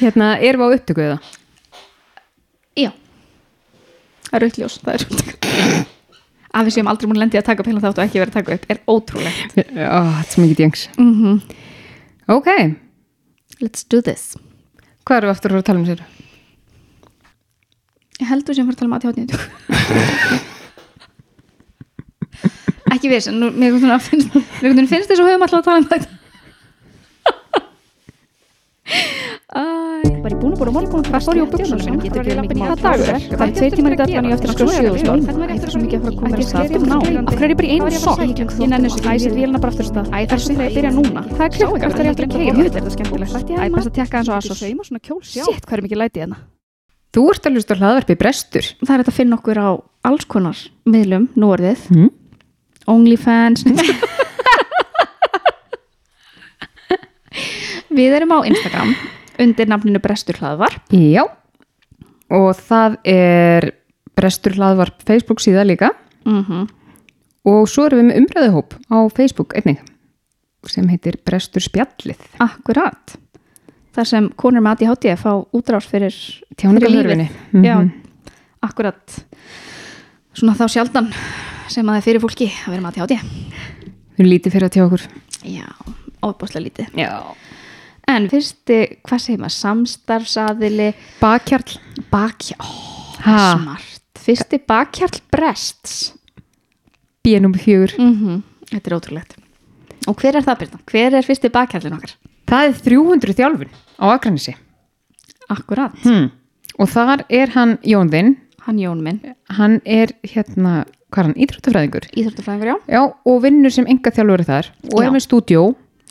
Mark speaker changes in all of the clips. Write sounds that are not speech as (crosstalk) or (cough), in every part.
Speaker 1: Hérna, erum við á upptöku eða?
Speaker 2: já, það er auðljós það er auðljós að við séum aldrei múin lendi að taka upp heilan þátt og ekki verið að taka upp er ótrúlegt
Speaker 1: Ó, þetta er svo mikið djengs.
Speaker 2: mm
Speaker 1: Ok,
Speaker 2: let's do this
Speaker 1: hvað erum við aftur að fara að tala um sér?
Speaker 2: ég held við séum að fara að tala um aðtjóðnýtt
Speaker 3: um
Speaker 2: ekki viss en nú, mér einhvern veginn að finnst mér einhvern veginn finnst þess að höfum alltaf að tala um þetta Æ,
Speaker 3: var í búin að búin að morgun og
Speaker 2: Fast
Speaker 3: fór
Speaker 2: í
Speaker 3: ég á buksunum
Speaker 2: buxunum, getur ekki labbað í
Speaker 3: hvaða
Speaker 2: hálfan
Speaker 3: dagur
Speaker 2: dag.
Speaker 3: er? það er tveir tímar í dagbann ég eftir að skrá sjöðustól æ, það er svo mikið sko. að fara að koma mér af stað aftur ná af hverju er ég bara í einu sokk ég nenni þessu ekki. æ, sér vélina bara aftur af stað æ, það er svo þegar ég byrja núna hvað er klukkan hvað er ég aftur að keira jöfnveld er þetta skemmtilegt æ, best að tekka hans á Asos shit, hvað er mikið læti hérna
Speaker 1: Þú ert að hlusta á hlaðvarpi brestur.
Speaker 2: það er hægt að finna okkur á alls konar miðlum, nú orðið
Speaker 1: Mm.
Speaker 2: Onlyfans Við erum á Instagram undir nafninu Brestur Hlaðvarp
Speaker 1: Já. Og það er brestur hlaðvarp Facebook síða líka.
Speaker 2: mm
Speaker 1: Mhm. Og svo erum við með umræðuhóp á Facebook einnig sem heitir Brestur spjallið.
Speaker 2: Akkurat Þar sem konur með ADHD fá útrás fyrir
Speaker 1: Tjáningarhörfunni. Mhm.
Speaker 2: fyrir lífið. Já, akkurat Svona þá sjaldan sem að það er fyrir fólki að vera með ADHD
Speaker 1: Við erum lítið fyrir að tjá okkur.
Speaker 2: Já, óbúslega lítið
Speaker 1: Já.
Speaker 2: En fyrsti, hvað segir maður, samstarfsaðili
Speaker 1: Bakkjarl.
Speaker 2: Bakkjarl, ó,
Speaker 1: Ha.
Speaker 2: smart Fyrsti bakkjarl brests
Speaker 1: Bínum fjögur.
Speaker 2: mm Þetta er ótrúlegt Og hver er það, Birna? Hver er fyrsti bakkjarlin okkar?
Speaker 1: Það er 300 þjálfun á Akranesi.
Speaker 2: Akkurat,
Speaker 1: Hmm. Og þar er hann Jón þinn,
Speaker 2: hann Jón minn
Speaker 1: hann er hérna, hvað er hann, íþróttafræðingur.
Speaker 2: Íþróttafræðingur, já
Speaker 1: Já, og vinnur sem enga þjálfur þar og
Speaker 2: Já.
Speaker 1: er með stúdjó.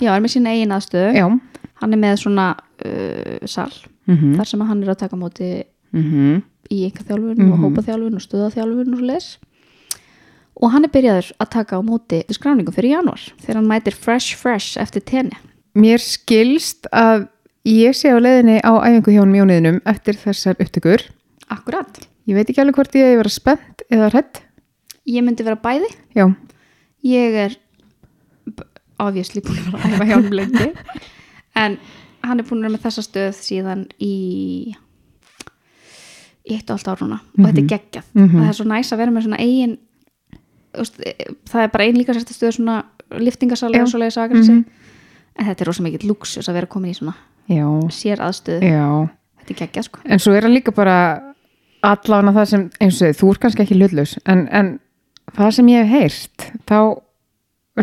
Speaker 2: Já, er með sína eigin aðstöðu
Speaker 1: Já.
Speaker 2: hann er með svona uh, sal
Speaker 1: Mm -hmm.
Speaker 2: þar sem hann er að taka á móti
Speaker 1: Mm
Speaker 2: í einkaþjálfun og hópaþjálfun og stöðaþjálfun og svoleiðis og hann er byrjaður að taka á móti skráningum fyrir januar þegar hann mætir fresh fresh eftir tenni
Speaker 1: Mér skilst að ég sé á leiðinni á æfingu hjá hann mjóniðinum eftir þessar upptökur.
Speaker 2: Akkurat,
Speaker 1: Ég veit ekki alveg hvort ég hef verið spennt eða hrætt.
Speaker 2: ég myndi vera bæði
Speaker 1: Já.
Speaker 2: ég er obviously búin að vera að æfa hjálm lengi en hann er búin að vera með þessa stöð síðan í í eitt og allt ár núna og þetta er geggjað
Speaker 1: (laughs) Mhm.
Speaker 2: það er svo næs að vera með svona eigin þú veist, eh, það er bara ein líka sérsta stöð svona liftingasalega
Speaker 1: Já. Mhm.
Speaker 2: og svoleiðis akkur mm en þetta er rosa mikill luxus að vera komin í svona
Speaker 1: Já.
Speaker 2: sér aðstöð
Speaker 1: Já.
Speaker 2: þetta er geggjað sko
Speaker 1: En svo er hann líka bara allan að það sem, eins og þið, þú er kannski ekki hlutlaus, en, en það sem ég hef heyrt, þá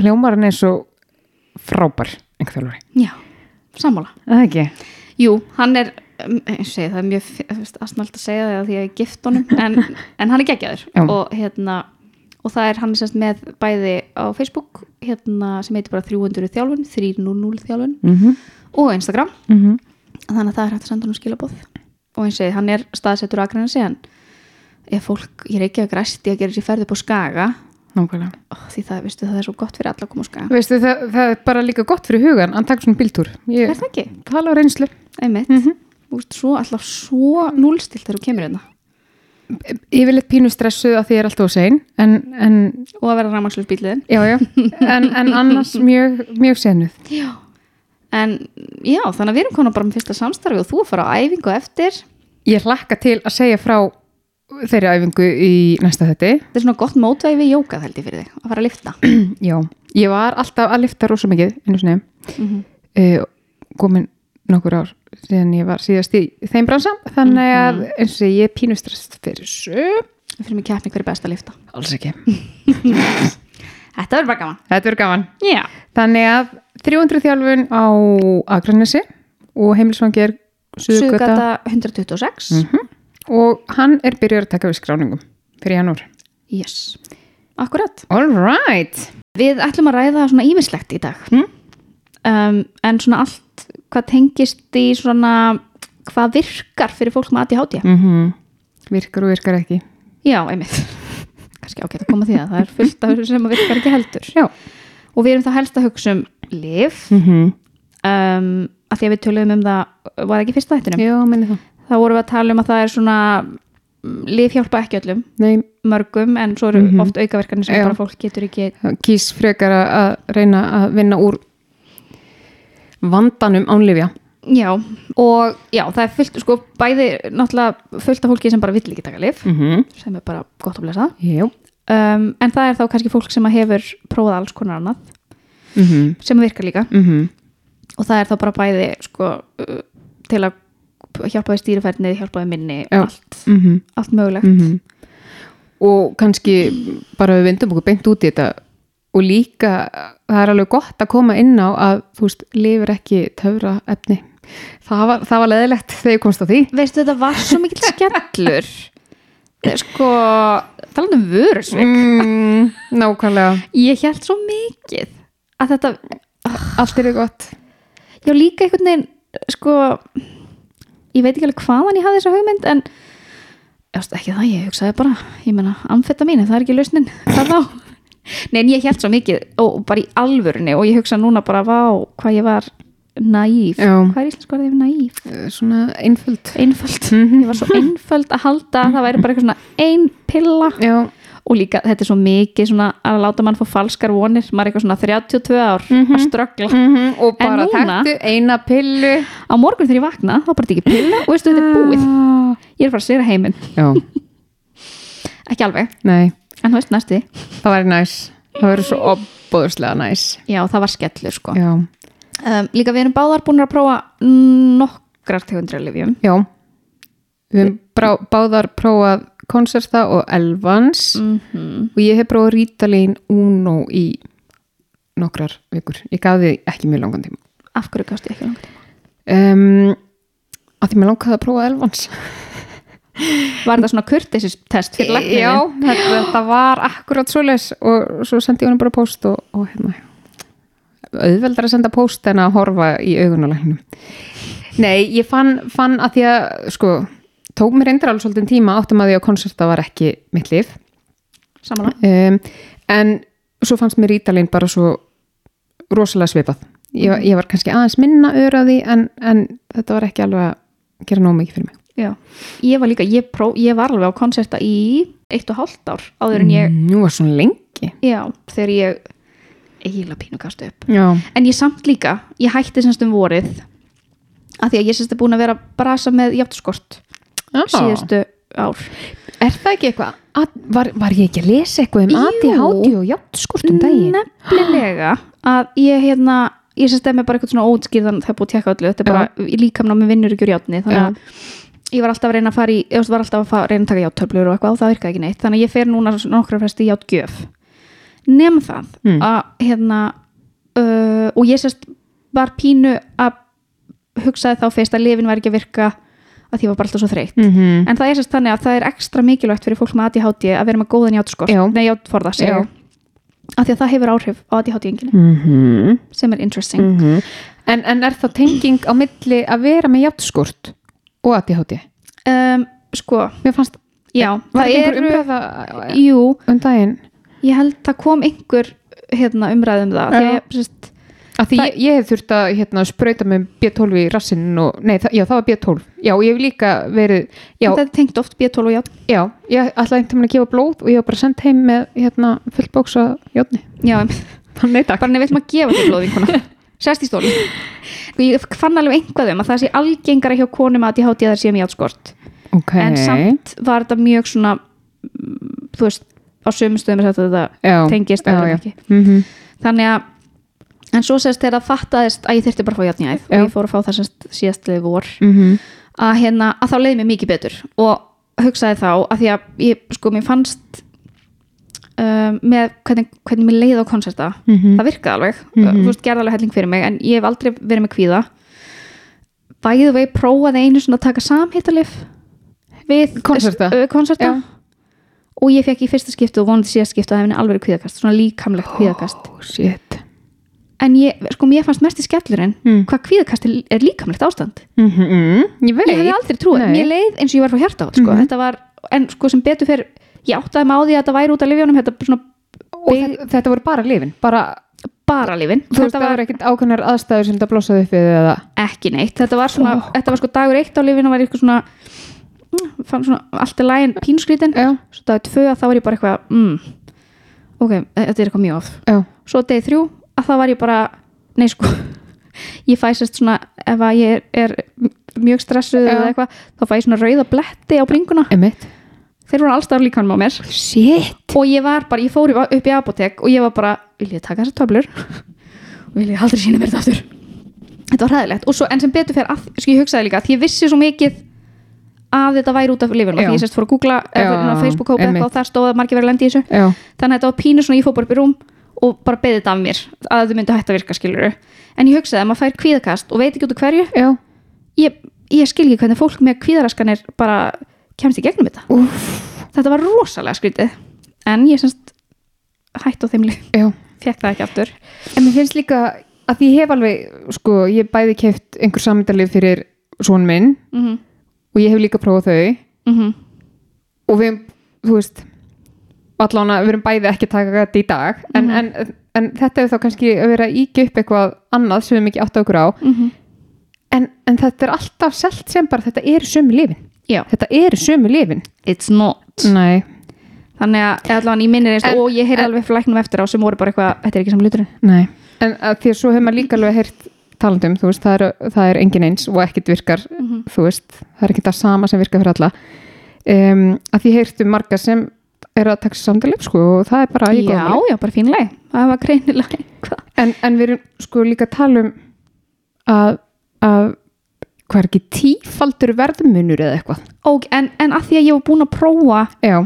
Speaker 1: hljómar hann eins og frábær einhver þjálfari.
Speaker 2: já, sammála
Speaker 1: Er Það ekki?
Speaker 2: Jú, hann er um, ég segi, það er mjög fi- þú veist, asnalt að segja það því að ég er gift honum en, en hann er
Speaker 1: Já.
Speaker 2: geggjaður og, hérna, og það er hann er semst með bæði á Facebook hérna, sem heitir bara 300 þjálfun 300 þjálfun
Speaker 1: Mm -hmm.
Speaker 2: og Instagram
Speaker 1: Mm -hmm.
Speaker 2: þannig að það er hægt að senda hann skilabóð og eins og ég, hann er staðsettur á Akranesi en ef fólk, ég er ekki að græsti að gera sér ferð upp á Skaga
Speaker 1: Nákvæmlega.
Speaker 2: ó, því það, veistu, það er svo gott fyrir alla að koma á Skaga
Speaker 1: Veistu, það, það er bara líka gott fyrir hugan að taka svona bíltúr. Ég
Speaker 2: Er það ekki?
Speaker 1: tala á reynslu.
Speaker 2: Einmitt, mm þú veist svo alltaf svo núlstilt þegar þú kemur hérna
Speaker 1: Ég vil eitt pínu stressuð að því ég er alltaf á sein, en, en,
Speaker 2: og að vera rafmagnslaus bíliðin
Speaker 1: já, já, en, en annars mjög, mjög senuð.
Speaker 2: Já, en já, þannig að við erum konar bara með fyrsta samstarfi og þú að fara á æfingu á eftir.
Speaker 1: Ég hlakka til að segja frá þeirri æfingu í næsta þetti.
Speaker 2: Þetta er svona gott mótvæði við jóka held ég fyrir þig, að fara að (clears throat) lifta.
Speaker 1: Já, ég var alltaf að lifta rosa mikið einu sinni
Speaker 2: mm -hmm.
Speaker 1: uh, komin nokkur ár síðan ég var síðast í þeim bransam þannig að eins og ég er pínu stressað fyrir þessu
Speaker 2: Við fyrir mig keppni hverju best að lifta.
Speaker 1: alls ekki,
Speaker 2: Þetta verður bara gaman.
Speaker 1: þetta verður gaman
Speaker 2: Já.
Speaker 1: þannig að 300 þjálfun á Akranesi og heimilisvangir Suðugöta
Speaker 2: Sugata 126.
Speaker 1: og hann er byrjar að taka við skráningum fyrir janúar
Speaker 2: Yes. Akkurat.
Speaker 1: All right,
Speaker 2: Við ætlum að ræða svona ímislegt í dag.
Speaker 1: Mm.
Speaker 2: Um, en svona allt hvað tengist í svona hvað virkar fyrir fólk með ADHD.
Speaker 1: mm virkar og virkar ekki
Speaker 2: Já, einmitt. (laughs) Kannski ágætt að koma því að það er fullt af þessu sem að virkar ekki heldur.
Speaker 1: Já,
Speaker 2: og við erum þá helst að hugsa um lif
Speaker 1: mm
Speaker 2: um, að því að við töluðum um það var ekki fyrsta þættinum,
Speaker 1: já minni það
Speaker 2: þá vorum við að tala um að það er svona mm, lif hjálpa ekki öllum
Speaker 1: Nei,
Speaker 2: mörgum en svo eru
Speaker 1: Mhm.
Speaker 2: oft aukaverkanir sem
Speaker 1: Já.
Speaker 2: bara fólk getur ekki
Speaker 1: kýs frekar að- að reyna að vinna úr vandanum án lifja
Speaker 2: já, og já, það er fullt, sko, bæði náttúrulega fullt af fólki sem bara vill ekki taka lif
Speaker 1: Mm
Speaker 2: sem er bara gott að blessa
Speaker 1: Jú.
Speaker 2: um, en það er þá kannski fólk sem að hefur prófað alls konar annað
Speaker 1: Mm -hmm.
Speaker 2: sem virkar líka
Speaker 1: Mm -hmm.
Speaker 2: og það er þá bara bæði sko, uh, til að hjálpa því stýrifærni, hjálpa því minni
Speaker 1: Já.
Speaker 2: allt,
Speaker 1: Mhm.
Speaker 2: allt mögulegt
Speaker 1: Og kannski bara við vindum okkur beint út í þetta og líka það er alveg gott að koma inn á að þú veist, lifir ekki töfra efni. Það var, það var leðilegt þegar ég komst á því.
Speaker 2: veistu þetta var svo mikill skellur Eh, sko talandi um vörusvik
Speaker 1: Mm, (laughs) nákvæmlega.
Speaker 2: ég held svo mikið að þetta,
Speaker 1: Allt er gott.
Speaker 2: já líka einhvern veginn sko ég veit ekki alveg hvaðan ég hafði þessa hugmynd en ég veist, ekki það, ég hugsaði bara ég meina, amfetta mín, það er ekki lausnin (laughs) hvað þá? Nei, en ég held svo mikið og bara í alvörunni og ég hugsa núna bara, vá, hvað ég var naíf,
Speaker 1: Já.
Speaker 2: hvað er íslensk orðið yfir naíf?
Speaker 1: Eh, Svona einföld.
Speaker 2: Einföld,
Speaker 1: Mhm.
Speaker 2: ég var svo einföld að halda að það væri bara eitthvað svona ein pilla
Speaker 1: Já.
Speaker 2: og líka þetta er svo mikið svona að láta mann fá falskar vonir, maður er eitthvað svona 32 ár að ströggla
Speaker 1: Mm Og
Speaker 2: En
Speaker 1: bara
Speaker 2: núna-
Speaker 1: takktu eina pillu.
Speaker 2: á morgun þegar ég vakna, þá bara tekið pilla og veistu þetta er búið,
Speaker 1: Ah.
Speaker 2: ég er bara að sýra heiminn
Speaker 1: Já,
Speaker 2: ekki alveg,
Speaker 1: nei.
Speaker 2: en þú veist næsti
Speaker 1: Það væri næs. Það verður svo opbóðslega næs.
Speaker 2: já, það var skellur sko
Speaker 1: Já,
Speaker 2: um, líka við erum báðar búin að prófa nokkrar tegundri af lifjum
Speaker 1: já. Við hefum brá, báðar prófað konserta og elvans
Speaker 2: Mm. Mhm.
Speaker 1: og ég hef prófað rítalín Uno í nokkrar vikur. Ég gaf því ekki mjög langan tíma.
Speaker 2: af hverju gastu ekki langt
Speaker 1: Um, að því mér langaði að prófa elvans.
Speaker 2: var þetta svona kurtesis test fyrir læknirinn
Speaker 1: Já, þetta, þetta var akkurat svoleiðis og svo sendi ég honum bara post og, og hérna auðveldar að senda post en að horfa í augunulegnum Nei, ég fann, fann að því að sko, tók mér endur alveg svolítið tíma áttum að því að konserta var ekki mitt líf
Speaker 2: samanlega,
Speaker 1: um, en svo fannst mér ítalinn bara svo rosalega svipað ég,
Speaker 2: Mm.
Speaker 1: ég var kannski aðeins minna öraði en, en þetta var ekki alveg að gera nóg mikið fyrir mig
Speaker 2: já ég var líka, ég, pró, ég var alveg á konserta í eitt og hálft ár áður en ég
Speaker 1: Nú var svona lengi
Speaker 2: já, þegar ég eiginlega pínu gastu upp
Speaker 1: Já,
Speaker 2: En ég samt líka, ég hætti semst um vorið að því að ég semst er búin að vera að brasa með játskort
Speaker 1: Ah.
Speaker 2: síðustu ár.
Speaker 1: Er það ekki eitthvað? að- Var, var ég ekki að lesa eitthvað um
Speaker 2: Jú.
Speaker 1: ADHD og játnskort um daginn?
Speaker 2: Nefnilega að ég hérna, ég semst er með bara eitthvað svona ótskýrðan það er búið að tjekka öllu, þetta er bara ja. líkamna með vinnur ekki úr játni, þannig að ég var alltaf að reyna að fara í, ég veist, var alltaf að fara, reyna að taka játtöflur og eitthvað og það virkaði ekki neitt, þannig að ég fer núna svo- nokkra fresti í játgjöf nefn það
Speaker 1: Mm.
Speaker 2: að hérna uh, og ég sérst var pínu að hugsaði þá fyrst að lifin var ekki að virka að því ég var bara alltaf svo þreytt
Speaker 1: Mm -hmm.
Speaker 2: en það er sérst þannig að það er ekstra mikilvægt fyrir fólk með ADHD að vera með góðan játskort
Speaker 1: Já.
Speaker 2: nei játforða
Speaker 1: Já.
Speaker 2: segja að því að það hefur áhrif á ADHD enginni
Speaker 1: Mm -hmm.
Speaker 2: sem er interesting
Speaker 1: en, en er þá tenging á milli að vera með játnskort og ADHD?
Speaker 2: um, sko,
Speaker 1: Mér fannst,
Speaker 2: já,
Speaker 1: var
Speaker 2: það
Speaker 1: ekki einhver
Speaker 2: eru
Speaker 1: umræða
Speaker 2: jú,
Speaker 1: um daginn?
Speaker 2: Ég held það kom einhver hérna, umræðum það
Speaker 1: Já.
Speaker 2: þegar, sérst,
Speaker 1: Af því
Speaker 2: Það-
Speaker 1: ég, ég hef þurft að hérna, sprauta með B12 í rassinn og, nei, það, já, það var B12. Já, ég hef líka verið, já,
Speaker 2: þetta er tengt oft B12 og játn
Speaker 1: já, ég ætlaði einhvern veginn að gefa blóð og ég hef bara sendt heim með, hérna, fullt bóksa játni.
Speaker 2: Já,
Speaker 1: Nei, takk.
Speaker 2: bara nefnum að gefa þér
Speaker 1: (laughs)
Speaker 2: blóðvinkuna Sérst í stóli Ég fann alveg einhvað um að það sé algengara hjá konum að ég hátíð að það sé með játskort
Speaker 1: Ok.
Speaker 2: En samt var þetta mjög svona mm, þú veist, á sömu stöðum er sagt að þetta
Speaker 1: Já,
Speaker 2: tengist
Speaker 1: já,
Speaker 2: öðrum
Speaker 1: já.
Speaker 2: ekki.
Speaker 1: Mm
Speaker 2: Þannig að En svo sérst þegar það fattaðist að ég þyrfti bara að fá játn í æð
Speaker 1: Já.
Speaker 2: og ég fór að fá það sérst síðast liðið vor
Speaker 1: -hmm.
Speaker 2: að, hérna, að þá leiði mér mikið betur og hugsaði þá að því að ég, sko, mér fannst um, með hvernig, hvernig mér leiði á konserta
Speaker 1: Mhm.
Speaker 2: það virkaði alveg, mm -hmm. veist, gerði alveg helling fyrir mig en ég hef aldrei verið með kvíða bæðið vegi prófaði einu svona að taka samhittalif við
Speaker 1: Konserta?
Speaker 2: ö, konserta
Speaker 1: Já.
Speaker 2: og ég fekk í fyrsta skiptu og vonandi síðast skiptu að hefni alveg kvíðakast, svona líkamlegt kvíðakast
Speaker 1: Oh, shit.
Speaker 2: en ég, sko, mér fannst mest í skellurinn
Speaker 1: Mm.
Speaker 2: hvað kvíðakast er, er líkamlegt ástand
Speaker 1: Mm Ég veit.
Speaker 2: ég hefði aldrei trúið,
Speaker 1: Nei.
Speaker 2: mér leið eins og ég var frá hjarta sko.
Speaker 1: Mhm.
Speaker 2: þetta var, en sko sem betur fyrir ég áttaði mig á því að þetta væri út af lifjónum þetta svona
Speaker 1: Og þetta, þetta voru bara lifin, bara,
Speaker 2: bara lifin
Speaker 1: þú veist,
Speaker 2: þetta
Speaker 1: það
Speaker 2: var
Speaker 1: voru ekkert ákveðnar aðstæður sem það blossaði upp við eða.
Speaker 2: ekki neitt, þetta var svona þetta var sko dagur eitt á lifinu var ég eitthvað svona mm, fann svona allt í lægin pínskrítin
Speaker 1: Já,
Speaker 2: svo dagur tvö að þá var ég bara eitthvað mm, ok, þetta er eitthvað mjög of
Speaker 1: já,
Speaker 2: svo degi þrjú að þá var ég bara, nei sko (laughs) ég fæ sérst svona ef að ég er, er mjög stressuð
Speaker 1: Já.
Speaker 2: eða eitthvað, þá fæ ég svona rauða bletti á bringuna,
Speaker 1: Einmitt.
Speaker 2: þeir voru allstaf líkanum á mér
Speaker 1: Shit.
Speaker 2: og ég var bara, ég fór í- upp í apotek og ég var bara, vil ég taka þessar töflur (laughs) og vil ég aldrei sína mér þetta aftur þetta var hræðilegt og svo en sem betur fyrir að, sko ég hugsaði líka, því ég vissi svo mikið að þetta væri út af lifinu
Speaker 1: Já.
Speaker 2: því ég sérst fór að googla,
Speaker 1: Já,
Speaker 2: eða inn á Facebook hópa
Speaker 1: einmitt.
Speaker 2: eitthvað og þar stóð að margir verið að lenda í þessu
Speaker 1: Já.
Speaker 2: þannig að þetta var pínu svona, ég fór bara upp í rúm og bara beðið þetta af mér, að þetta myndi hægt að virka skiluru, en ég hugsaði að maður fær kvíðakast og veit ekki út af hverju,
Speaker 1: Já.
Speaker 2: ég, ég skil ekki hvernig fólk með kvíðaraskanir bara kemst í gegnum þetta
Speaker 1: Úff.
Speaker 2: þetta var rosalega skrítið en ég semst hætt á þeim lið (laughs)
Speaker 1: Já.
Speaker 2: fekk það ekki aftur
Speaker 1: En mér finnst líka að ég hef alveg, sko, ég hef bæði keft einhver samendalið fyrir svon minn
Speaker 2: mm -hmm.
Speaker 1: og ég hef líka prófað þau
Speaker 2: mhm,
Speaker 1: og við, þú veist, allan að við erum bæði ekki að taka þetta í dag en, en, en þetta hefur þá kannski að vera að ígja upp eitthvað annað sem við mikið átt okkur á
Speaker 2: mhm.
Speaker 1: en, en þetta er alltaf selt sem bara þetta eru sömu lifin.
Speaker 2: já,
Speaker 1: Þetta eru sömu lifin.
Speaker 2: it's not
Speaker 1: Nei.
Speaker 2: þannig að eða allavega ég minnir eins
Speaker 1: En-
Speaker 2: og ég heyrði
Speaker 1: en-
Speaker 2: alveg fyrir læknum eftir á sem voru bara eitthvað, þetta er ekki saman liturinn
Speaker 1: Nei, en að því að svo hefur maður líka alveg heyrt talandum, þú veist, það er, það er engin eins og ekkert virkar,
Speaker 2: Mhm.
Speaker 1: þú veist það er ekkert það sama sem virkar fyrir alla um, að því heyrtu marga sem eru að taka sér samtalið, sko, og það er bara í góðum
Speaker 2: já,
Speaker 1: málum.
Speaker 2: já, bara fínlega, það var greinilega eitthvað.
Speaker 1: en, en við erum sko líka að tala um að, að hvað er ekki tífaldur verðmunur eða eitthvað
Speaker 2: og en, en að því að ég var búin að prófa
Speaker 1: já,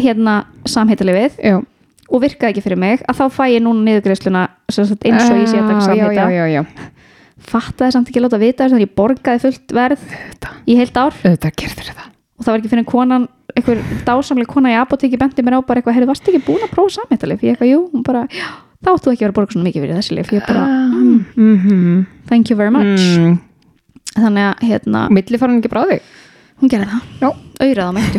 Speaker 2: hérna samheitalifið
Speaker 1: já,
Speaker 2: og virkaði ekki fyrir mig að þá fæ ég núna niðurgreiðsluna sem sagt, eins og ég sé að
Speaker 1: Ah,
Speaker 2: taka
Speaker 1: já, já,
Speaker 2: samheita
Speaker 1: já, já,
Speaker 2: fattaði samt ekki að láta vita þess að ég borgaði fullt verð
Speaker 1: Auðvitað.
Speaker 2: í heilt ár
Speaker 1: auðvitað gerður það
Speaker 2: og það var ekki fyrir konan einhver dásamleg kona í apoteki benti mér á bara eitthvað, heyrðu, varstu ekki búin að prófa samhættalif ég eitthvað, jú, hún bara, já, þá áttu ekki að vera að borga svona mikið fyrir þessi lif, ég bara,
Speaker 1: mm -hmm.
Speaker 2: thank you very much
Speaker 1: Mm.
Speaker 2: þannig að, hérna,
Speaker 1: milli fara hann Ah, ekki bráði
Speaker 2: hún gerði það
Speaker 1: Já.
Speaker 2: auðraða mættu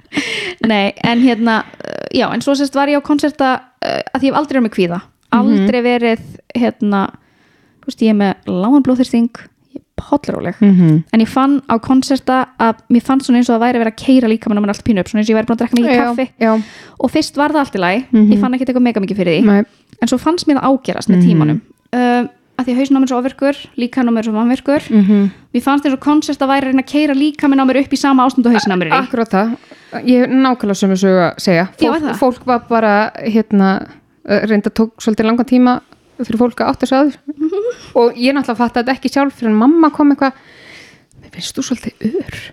Speaker 2: (laughs) nei, en hérna, uh, já, en svo sérst var ég á konserta uh, að ég hef aldrei verið með kvíða aldrei verið, hérna þú veist, ég er með lágan blóðþyrsting ég er hollaróleg
Speaker 1: mm -hmm.
Speaker 2: en ég fann á konserta að mér fannst svona eins og það væri verið að keira líkamann og mann allt pínu upp, svona eins og ég væri búin að drekka mikið kaffi
Speaker 1: já,
Speaker 2: og fyrst var það allt í lagi,
Speaker 1: Mhm.
Speaker 2: ég fann ekki eitthvað mega mikið fyrir því
Speaker 1: Nei.
Speaker 2: en svo fannst mér það ágerast með
Speaker 1: Mhm.
Speaker 2: tímanum uh, að því að hausnáminn svo ofirkur líkanáminn svo vannvirkur
Speaker 1: mm
Speaker 2: mér fannst eins og koncert að væri að reyna að keira líkaminn á mér upp í sama ástand og hausnáminn er í
Speaker 1: Akkurat það, ég hef nákvæmlega sömu sögu að segja
Speaker 2: Já,
Speaker 1: fólk,
Speaker 2: er það?
Speaker 1: fólk var bara hérna, reynda tók svolítið langan tíma fyrir fólk að átta sig á
Speaker 2: (laughs)
Speaker 1: því og ég náttúrulega fatt að þetta ekki sjálf fyrir en mamma kom eitthvað mér finnst þú svolítið ör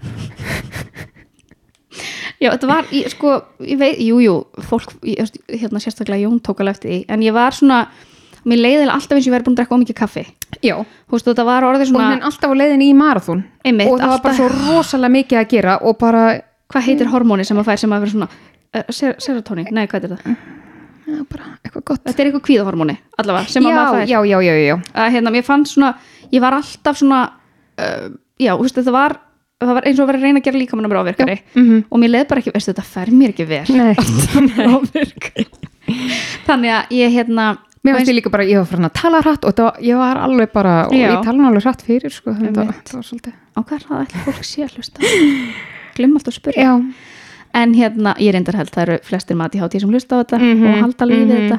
Speaker 2: já, þetta var, ég, sko, ég veit jú, jú, fólk, ég, þú veist, hérna sérstaklega Jón tók alveg eftir því, en ég var svona mér leiðilega alltaf eins og ég væri búin að drekka ómikið kaffi
Speaker 1: Já,
Speaker 2: þú veist, þetta var orðið
Speaker 1: og
Speaker 2: svona
Speaker 1: henn alltaf á leiðin í marathón
Speaker 2: Einmitt,
Speaker 1: og það var bara svo
Speaker 2: alltaf-
Speaker 1: rosalega mikið að gera og bara,
Speaker 2: hvað
Speaker 1: Mm.
Speaker 2: heitir hormóni sem að fær sem að vera svona uh, ser, serotonin, nei, hvað er það?
Speaker 1: Mm. já, bara eitthvað gott
Speaker 2: Þetta er eitthvað kvíðahormóni, allavega, sem að maður
Speaker 1: já,
Speaker 2: fær
Speaker 1: já, já, já, já,
Speaker 2: að hérna, mér fannst svona ég var alltaf svona uh, já, þú veist, þetta var, það var eins og að vera að reyna að gera líkamann að mér áverkari
Speaker 1: mhm.
Speaker 2: og mér leið bara ekki, veist, þetta fer mér ekki vel
Speaker 1: Nei,
Speaker 2: þannig að ég hérna
Speaker 1: (laughs) mér finnst ég líka bara, ég var farin að tala hratt og það, var- ég var alveg bara, og
Speaker 2: Já.
Speaker 1: ég tala nú alveg hratt fyrir, sko, þannig að
Speaker 2: Einmitt.
Speaker 1: það var svolítið
Speaker 2: á hvað er það ætla fólk sé að hlusta glimm alltaf að spyrja
Speaker 1: Já,
Speaker 2: en hérna, ég reyndar held, það eru flestir mati hátíð sem hlusta á þetta
Speaker 1: Mhm,
Speaker 2: og halda lífið
Speaker 1: mhm.
Speaker 2: þetta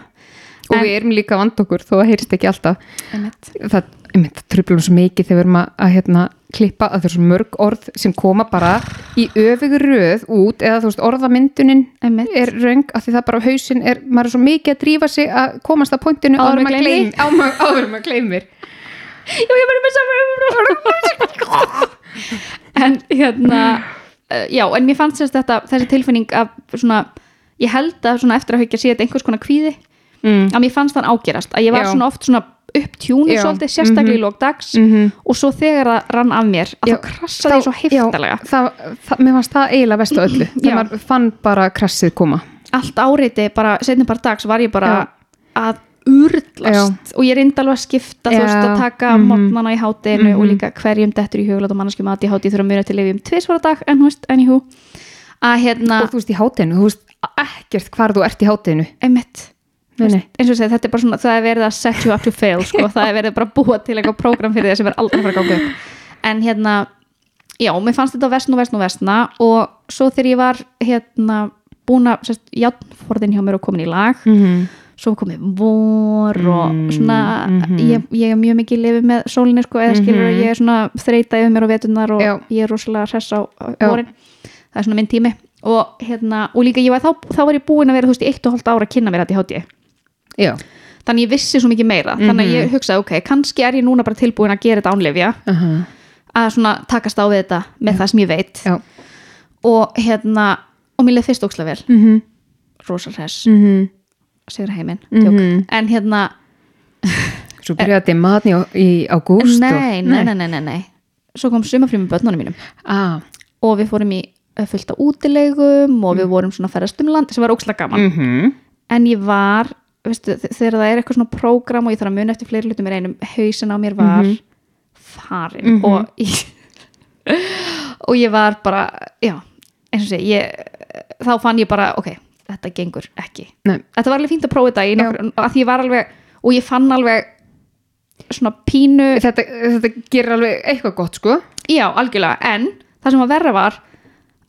Speaker 1: og
Speaker 2: En-
Speaker 1: við erum líka vand okkur þó það heyrist ekki alltaf
Speaker 2: Einmitt.
Speaker 1: það, einmitt, það trublum svo mikið þegar við erum að, að hérna, klippa að það er svo mörg orð sem koma bara í öfugur röð út eða þú veist orðamyndunin
Speaker 2: Einmitt.
Speaker 1: er röng að því það bara á hausinn er, maður er svo mikið að drífa sig að komast að pointinu
Speaker 2: Áður
Speaker 1: áður
Speaker 2: maður
Speaker 1: maður
Speaker 2: gleymir.
Speaker 1: gleym- á ma- (laughs) áður en maður gleymir
Speaker 2: já, ég verður með saman en hérna uh, já, en mér fannst þess þetta þessi tilfinning af svona ég held að svona eftir að haukja sé þetta einhvers konar kvíði
Speaker 1: mm.
Speaker 2: að mér fannst þann ágerast að ég var
Speaker 1: Já.
Speaker 2: svona oft svona upptjúnu
Speaker 1: Já.
Speaker 2: svolítið, sérstaklega í lókdags
Speaker 1: Mm
Speaker 2: og svo þegar það rann af mér að
Speaker 1: Já.
Speaker 2: það krassaði ég svo heftalega
Speaker 1: það, það, Mér fannst það eiginlega vestu
Speaker 2: (clears throat)
Speaker 1: öllu
Speaker 2: Já.
Speaker 1: þegar maður fann bara krassið koma
Speaker 2: allt áreiti, bara setni bara dags var ég bara
Speaker 1: Já.
Speaker 2: að urlast og ég reyndi alveg að skipta þú
Speaker 1: Já.
Speaker 2: veist að taka mm
Speaker 1: Mhm.
Speaker 2: mótnana í hátinu og líka hverjum dettur í huglátt og mannskjum að í háti þurfa mjög til lifjum tvisvara dag en húst, anywho að hérna,
Speaker 1: og þú veist í hátinu, þú veist ekkert hvar þú ert í hátinu
Speaker 2: einmitt
Speaker 1: Nei, nei.
Speaker 2: eins og segja, þetta er bara svona, það er verið að set you up to fail
Speaker 1: (laughs)
Speaker 2: sko, það er verið bara að búa til eitthvað prógram fyrir þér sem er aldrei að fara að ganga upp en hérna, já, mér fannst þetta vestn og vestn og vestna og svo þegar ég var hérna búin að, sérst, játnforðin hjá mér og komin í lag
Speaker 1: Mm -hmm.
Speaker 2: svo komið vor og
Speaker 1: Mm,
Speaker 2: svona
Speaker 1: mhm.
Speaker 2: ég, ég er mjög mikið lifið með sólinni sko, eða skilur
Speaker 1: Mhm.
Speaker 2: ég er svona þreita yfir mér á veturnar og
Speaker 1: Já.
Speaker 2: ég er rosalega hress á á
Speaker 1: Já.
Speaker 2: vorin það er svona minn tími og hérna, og líka ég var þá, þá var ég búin að vera þú veist, í eitt og hálft ára að kynna mér að ég hátti
Speaker 1: já,
Speaker 2: þannig ég vissi svo mikið meira þannig að
Speaker 1: Mhm.
Speaker 2: ég hugsaði, ok, kannski er ég núna bara tilbúin að gera þetta ánlefja
Speaker 1: uh
Speaker 2: að svona takast á við þetta með það sem ég veit
Speaker 1: já.
Speaker 2: og hérna, og mér leið fyrst ókslega vel
Speaker 1: Mm -hmm.
Speaker 2: rosa hress,
Speaker 1: Mm
Speaker 2: sigur heiminn
Speaker 1: Mhm.
Speaker 2: en hérna,
Speaker 1: svo byrjaði að dimma þarna í- í ágúst
Speaker 2: Eh. nei,
Speaker 1: og...
Speaker 2: nei, nei, nei, nei, nei svo kom sumafrí með börnunum mínum
Speaker 1: Ah,
Speaker 2: og við fórum í eh, fullt af útilegum og við vorum svona að ferðast um land sem var ókslega gaman
Speaker 1: mm -hmm.
Speaker 2: en ég var, veistu, þ- þegar það er eitthvað svona prógram og ég þarf að muna eftir fleiri hlutum er einum hausin á mér var
Speaker 1: Mhm.
Speaker 2: farin
Speaker 1: Mhm.
Speaker 2: og ég, (laughs) og ég var bara já, eins og sé ég, þá fann ég bara, ok, þetta gengur ekki
Speaker 1: Nei.
Speaker 2: þetta var alveg fínt að prófa þetta í nokkur, að því ég var alveg, og ég fann alveg svona pínu
Speaker 1: þetta, þetta gerir alveg eitthvað gott sko
Speaker 2: Já, algjörlega, en það sem var verra var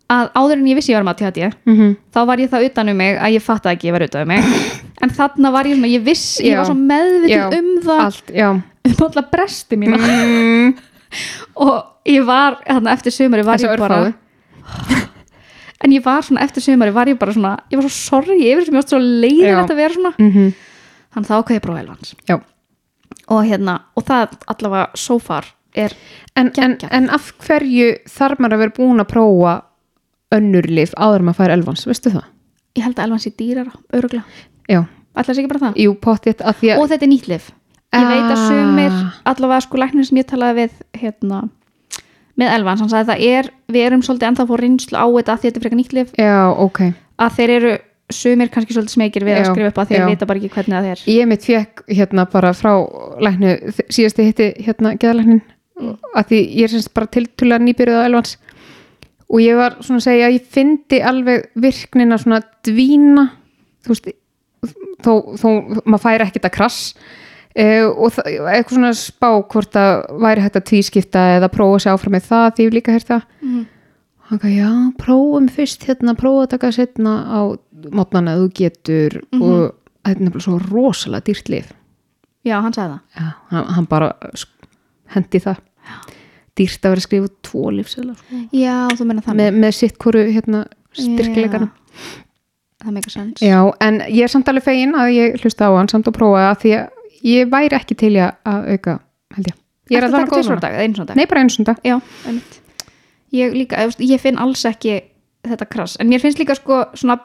Speaker 2: að áður en ég vissi ég var með ADHD
Speaker 1: mm -hmm.
Speaker 2: þá var ég það utan um mig að ég fattaði ekki ég var utan um mig
Speaker 1: (laughs)
Speaker 2: en þarna var ég svona, ég viss ég
Speaker 1: Já.
Speaker 2: var svo meðvitið um það
Speaker 1: allt, já
Speaker 2: um alla bresti mína
Speaker 1: mm,
Speaker 2: (laughs) og ég var, þarna eftir sumari var
Speaker 1: þessu
Speaker 2: ég bara
Speaker 1: örfáðu
Speaker 2: en ég var svona eftir sumari var ég bara svona ég var svo sorgi yfir sem ég var svo leiðilegt
Speaker 1: Já.
Speaker 2: að vera svona
Speaker 1: mm -hmm.
Speaker 2: þannig þá ákveði ég prófa elvans
Speaker 1: já
Speaker 2: og hérna, og það allavega so far er
Speaker 1: en, en,
Speaker 2: Geggjað.
Speaker 1: en af hverju þarf maður að vera búin að prófa önnur lif áður en maður fær elvans, veistu það?
Speaker 2: ég held að elvans í dýrar, öruglega
Speaker 1: já,
Speaker 2: ætla sér ekki bara það
Speaker 1: jú, pottitt að því að
Speaker 2: og þetta er nýtt lif ég veit að
Speaker 1: Ah.
Speaker 2: sumir, allavega sko læknir sem ég talaði við hérna, með Elvan, hann sagði það er við erum svolítið ennþá að fá reynslu á þetta af því þetta er frekar nýtt lif,
Speaker 1: já, ok
Speaker 2: að þeir eru sumir kannski svolítið smekir við
Speaker 1: Já,
Speaker 2: að skrifa upp að þeir
Speaker 1: já.
Speaker 2: vita bara ekki hvernig það er
Speaker 1: ég mitt fekk hérna bara frá læknu, þ- síðast ég hitti hérna geðalæknin, að því ég er semst bara tiltúlega nýbyrjuð á elvans og ég var svona að segja að ég fyndi alveg virknina svona dvína þú veist þó, þó maður færi ekkert að krass uh, og það- eitthvað svona spá hvort að væri hægt að tvískipta eða prófa sig áfram með það því ég hef líka heyrt það
Speaker 2: Mhm.
Speaker 1: hann gaf já, prófum fyrst hérna prófa að taka setna á mótnana að þú getur
Speaker 2: Mhm.
Speaker 1: og þetta er nefnilega svo rosalega dýrt lif
Speaker 2: já, hann sagði það,
Speaker 1: já, hann, hann bara uh, sk- hendi það dýrt að vera að skrifa út tvo lifsela sko.
Speaker 2: já, þú menna það
Speaker 1: með, með sitt hvoru hérna styrkleikana
Speaker 2: það meikar sens
Speaker 1: Já, en ég er samt alveg fegin að ég hlusta á hann samt og prófa að því að ég væri ekki til í að auka, held ég. Ég er
Speaker 2: Ertu að
Speaker 1: alveg
Speaker 2: taka
Speaker 1: góð
Speaker 2: tvisvar á
Speaker 1: núna.
Speaker 2: dag, eða einu svona dag
Speaker 1: Nei, bara einu sunda.
Speaker 2: já, einmitt. ég líka, þú veist, ég finn alls ekki þetta krass, en mér finnst líka sko svona,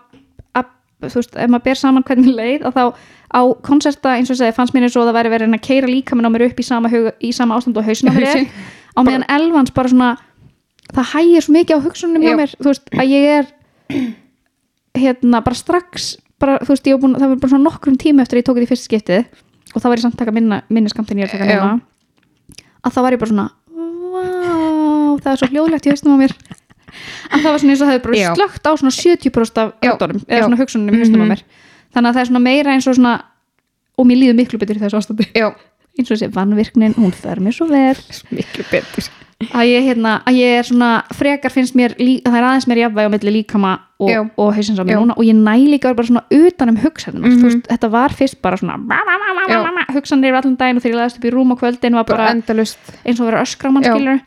Speaker 2: að, þú veist, ef maður ber saman hvernig leið, að þá á konserta eins og ég segi, fannst mér eins og það væri verið að keira líka minn á mér upp í sama, hug, í sama ástand og hausin á
Speaker 1: (laughs)
Speaker 2: mér er,
Speaker 1: Hausinn.
Speaker 2: á meðan elvans bara svona það hægir svo mikið á hugsunum hjá
Speaker 1: Já.
Speaker 2: mér þú veist, að ég er hérna, bara strax bara, þú veist, ég var búin, það var bara svona nokkrum tíma eftir að ég tók þetta í fyrsta skiptið og þá var ég samt að taka minna, minni skamtinn ég er að taka
Speaker 1: Já.
Speaker 2: núna að þá var ég bara svona vá, það er svo hljóðlegt í hausnum á mér að það var svona eins og það hefði bara
Speaker 1: Já.
Speaker 2: slögt á svona 70% af
Speaker 1: Já,
Speaker 2: hlutunum eða
Speaker 1: já.
Speaker 2: svona hugsunum í hausnum á mér þannig að það er svona meira eins og svona og mér líður miklu betur í þessu ástandi
Speaker 1: Já,
Speaker 2: eins og þessi vannvirknin, hún fer mér svo vel
Speaker 1: miklu betur.
Speaker 2: að ég, hérna, að ég er svona frekar finnst mér, lí, það er aðeins mér jafnvæg á milli líkama og,
Speaker 1: Já.
Speaker 2: og hausins á mér
Speaker 1: Já.
Speaker 2: núna og ég næ líka bara svona utan um hugsanum mm veist, þetta var fyrst bara svona hugsanir yfir allan daginn og þegar ég laðast upp í rúm á kvöldin var
Speaker 1: Bara
Speaker 2: bara
Speaker 1: endalust.
Speaker 2: eins og að vera öskra mann
Speaker 1: Já.
Speaker 2: skilur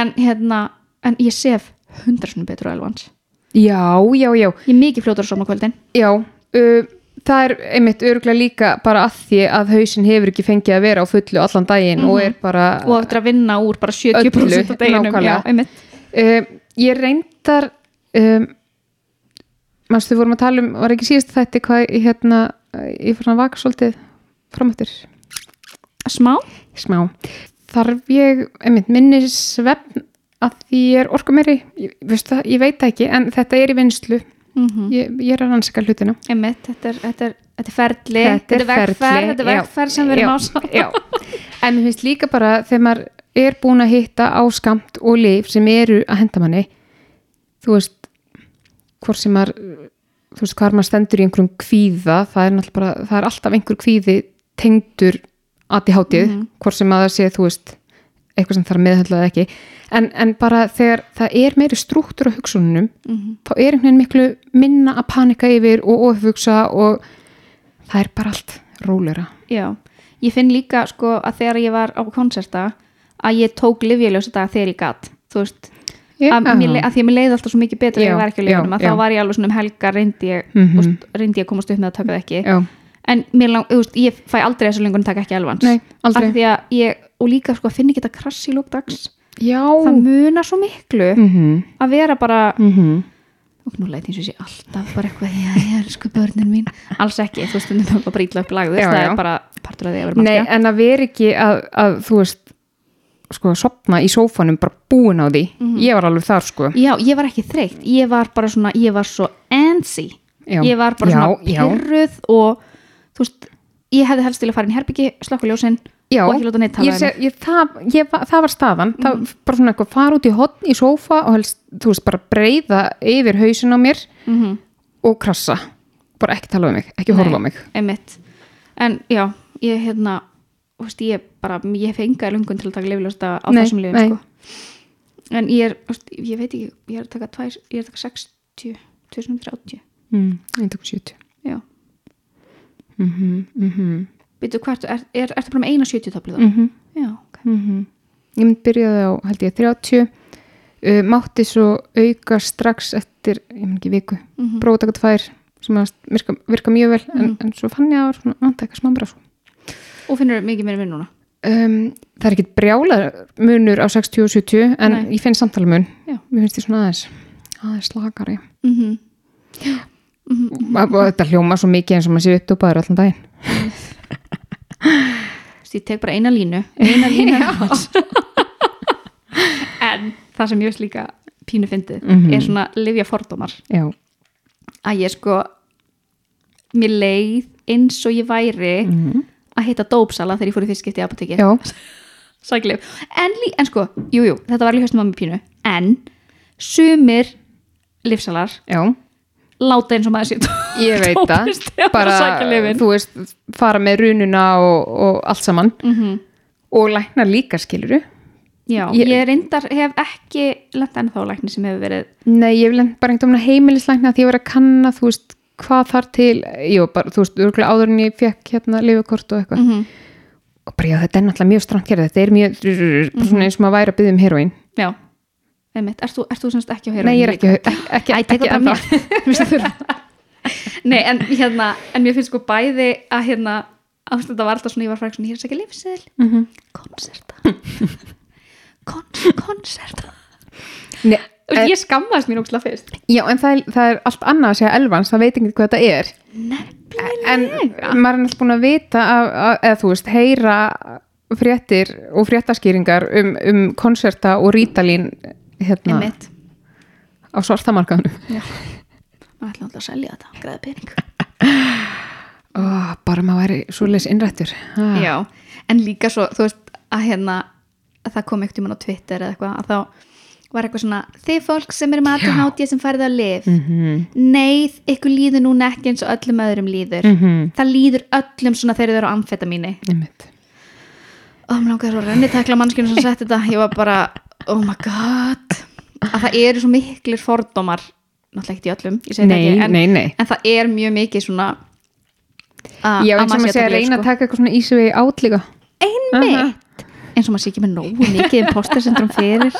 Speaker 2: en hérna, en ég sef hundra svona betur á elvans,
Speaker 1: Já, já, já.
Speaker 2: ég er mikið fljótur á sama kvöldin
Speaker 1: Já, uh, það er einmitt örglega líka bara að því að hausin hefur ekki fengið að vera á fullu allan daginn og er bara...
Speaker 2: og eftir að vinna úr bara 70%
Speaker 1: Öllu,
Speaker 2: af deginum
Speaker 1: nákvæmlega.
Speaker 2: já, einmitt.
Speaker 1: Um, ég reyndar um, mannstu vorum að tala um var ekki síðast þætti hvað ég hérna ég fór svona vaka svolítið framöttur
Speaker 2: smá,
Speaker 1: smá þarf ég, einmitt, minni svefn að því ég er orku meiri ég, veistu það, ég veit það ekki, en þetta er í vinslu
Speaker 2: mm
Speaker 1: ég, ég er að rannsaka hlutina
Speaker 2: einmitt þetta er, þetta, er, þetta er ferli
Speaker 1: Þetta er
Speaker 2: vegferð,
Speaker 1: ferli,
Speaker 2: þetta er
Speaker 1: já.
Speaker 2: vegferð sem við erum
Speaker 1: Já,
Speaker 2: á saman
Speaker 1: Já, en mér finnst líka bara þegar maður er búin að hitta á skamt og lif sem eru að henda manni þú veist hvort sem maður þú veist hvað maður stendur í einhverjum kvíða það er, náttúrulega bara, það er alltaf einhver kvíði tengdur aðiháttið
Speaker 2: Mhm.
Speaker 1: mm hvort sem maður sé þú veist eitthvað sem þarf að meðhöndla eða ekki en, en bara þegar það er meiri strúktur á
Speaker 2: Mhm.
Speaker 1: hugsunum þá er einhvern veginn miklu minna að panika yfir og ofugsa og það er bara allt rólera
Speaker 2: Já, ég finn líka sko að þegar ég var á konserta að ég tók livjuljósa dag þegar ég gatt þú veist, að, mér, le- að því að mér leið alltaf svo mikið betur
Speaker 1: Já,
Speaker 2: þegar ég var ekki á lifunum
Speaker 1: já,
Speaker 2: að þá
Speaker 1: já.
Speaker 2: var ég alveg svona um helga reyndi ég, mm
Speaker 1: Mhm.
Speaker 2: reyndi ég að komast upp með að taka það ekki
Speaker 1: Já,
Speaker 2: en mér lang, þú veist, ég fæ aldrei þessu lengur en taka ekki elvans
Speaker 1: Nei, aldrei.
Speaker 2: Af því að ég, og líka sko að finna ekki þetta krass í lókdags
Speaker 1: já.
Speaker 2: það muna svo miklu
Speaker 1: Mhm,
Speaker 2: að vera bara
Speaker 1: mhm.
Speaker 2: og nú læti eins og sé alltaf bara eitthvað já, ég elsku börnin mín alls ekki, þú stundum það bara ítla upp lagður
Speaker 1: Já,
Speaker 2: það
Speaker 1: já.
Speaker 2: er bara partur af því að vera
Speaker 1: Nei,
Speaker 2: mannskja
Speaker 1: en að vera ekki að, að þú veist sko að sopna í sófanum bara búin á því
Speaker 2: Mhm.
Speaker 1: ég var alveg þar sko
Speaker 2: Já, ég var ekki þreytt, ég var bara svona ég var svo antsy
Speaker 1: Já.
Speaker 2: ég var bara
Speaker 1: Já,
Speaker 2: svona
Speaker 1: já.
Speaker 2: pyrruð og þú veist, ég hefði helst til að fara inn í herbyggi, slökku ljósin
Speaker 1: Já,
Speaker 2: og ekki láta neitt tala
Speaker 1: ég
Speaker 2: við Mhm.
Speaker 1: sé,
Speaker 2: mig.
Speaker 1: ég, það, ég, var- það var staðan það, bara svona eitthvað fara út í hotn í sófa og helst, þú veist, bara breyða yfir hausin á mér
Speaker 2: Mhm.
Speaker 1: og krassa, bara ekki tala um mig ekki horfa á mig
Speaker 2: Nei, einmitt. en já, ég hérna þú veist, ég bara, ég fengi lungun til að taka lifljósta á
Speaker 1: Nei,
Speaker 2: þessum
Speaker 1: nei.
Speaker 2: lifin sko. en ég er, þú veist, ég veit ekki ég er að taka, tvær, ég er að taka 60 230,
Speaker 1: mm. ég tók 70
Speaker 2: já
Speaker 1: mm -hmm, mm
Speaker 2: Býtu, hvert, er, er, ertu bara með eina 70 töflu þá?
Speaker 1: Mhm. Mm.
Speaker 2: Já, ok.
Speaker 1: ég mynd byrjaði á held ég 30 uh, mátti svo auka strax eftir, ég mynd ekki viku mm
Speaker 2: Mhm.
Speaker 1: -hmm. prófa að taka tvær sem að virka, virka mjög vel en, en svo fann ég að það var svona vanta eitthvað smá bara svo
Speaker 2: Og finnur mikið meira vinn núna?
Speaker 1: um, það er ekkit brjálar munur á 60 og 70 en
Speaker 2: Nei.
Speaker 1: ég finn samtala mun
Speaker 2: Já.
Speaker 1: mér finnst ég svona aðeins aðeins slakari
Speaker 2: Mm
Speaker 1: Mhm.
Speaker 2: Mhm.
Speaker 1: og og þetta hljóma svo mikið eins og maður sé uppdópaður allan daginn
Speaker 2: Þú ég tek bara eina línu eina (laughs) línu en það sem ég veist líka pínu fyndið
Speaker 1: Mhm.
Speaker 2: er svona livja fordómar
Speaker 1: já,
Speaker 2: að ég sko mér leið eins og ég væri að hitta dópsala þegar ég fór í fyrst skipti í apotekki
Speaker 1: Mhm. já,
Speaker 2: sækileg en, lí- en sko, jújú, jú, þetta var alveg höstum á mér pínu en sumir livsalar
Speaker 1: já
Speaker 2: láta eins og maður sér
Speaker 1: ég veit það, bara þú veist, fara með rununa og, og allt saman og læknar líka skiluru
Speaker 2: Mhm. Já,
Speaker 1: Ég-
Speaker 2: ég, reyndar hef ekki lent ennþá á lækni sem hefur verið
Speaker 1: nei, ég vil en- bara einhvern veginn heimilislækna því ég var að kanna, þú veist, hvað þar til jú, bara, þú veist, örgulega áður en ég fekk hérna lifukort og eitthvað
Speaker 2: -hmm.
Speaker 1: og bara já, þetta er náttúrulega mjög strangt gerð þetta er mjög, bara
Speaker 2: Mhm.
Speaker 1: svona eins og maður væri að byggja um heroin
Speaker 2: Já, einmitt, ert þú, ert þú semst ekki á heroín?
Speaker 1: nei, ég er ekki, ekki, ekki,
Speaker 2: Æ,
Speaker 1: ekki,
Speaker 2: tekur bara
Speaker 1: ennþá.
Speaker 2: mér Nei, en hérna en mér finnst sko bæði að hérna ástu þetta var alltaf svona, ég var fræk svona ég er að sækja lifseðil,
Speaker 1: Mhm.
Speaker 2: konserta (laughs) Kon, konserta
Speaker 1: (laughs) Nei, eh,
Speaker 2: og ég skammaðist mín ógstlega fyrst
Speaker 1: já, en það er, það er allt annað að segja elvans það veit ekki hvað þetta er en maður er alltaf búin að vita að, að, eða þú veist, heyra fréttir og fréttaskýringar um, um konserta og rítalín hérna
Speaker 2: Einmitt,
Speaker 1: á svartamarkaðunum
Speaker 2: maður ætla alltaf að selja þetta, græða pening
Speaker 1: oh, bara maður væri svoleiðis innrættur ah.
Speaker 2: Já, en líka svo, þú veist, að hérna að það kom ekkert um hann á Twitter eða eitthvað að þá var eitthvað svona þið fólk sem er með aðtunáttíð sem farið á lif mm
Speaker 1: Mhm.
Speaker 2: -hmm. neið, ykkur líður núna ekki eins og öllum öðrum líður
Speaker 1: Mhm.
Speaker 2: það líður öllum svona þegar þau eru á amfetamíni
Speaker 1: Einmitt.
Speaker 2: og mér langar svo að renni takla mannskjörnum sem sett þetta ég var bara, oh my god að það eru svo miklir fordómar náttúrulega ekki í öllum, ég segi
Speaker 1: Nei,
Speaker 2: það ekki en,
Speaker 1: nei, nei.
Speaker 2: en það er mjög mikið svona að-
Speaker 1: Já,
Speaker 2: að
Speaker 1: eins og
Speaker 2: maður sé
Speaker 1: maður segja að
Speaker 2: taka lyf,
Speaker 1: reyna
Speaker 2: sko.
Speaker 1: að taka eitthvað svona ísvegi át líka
Speaker 2: einmitt eins og maður sé ekki með nógu mikið imposter syndrom fyrir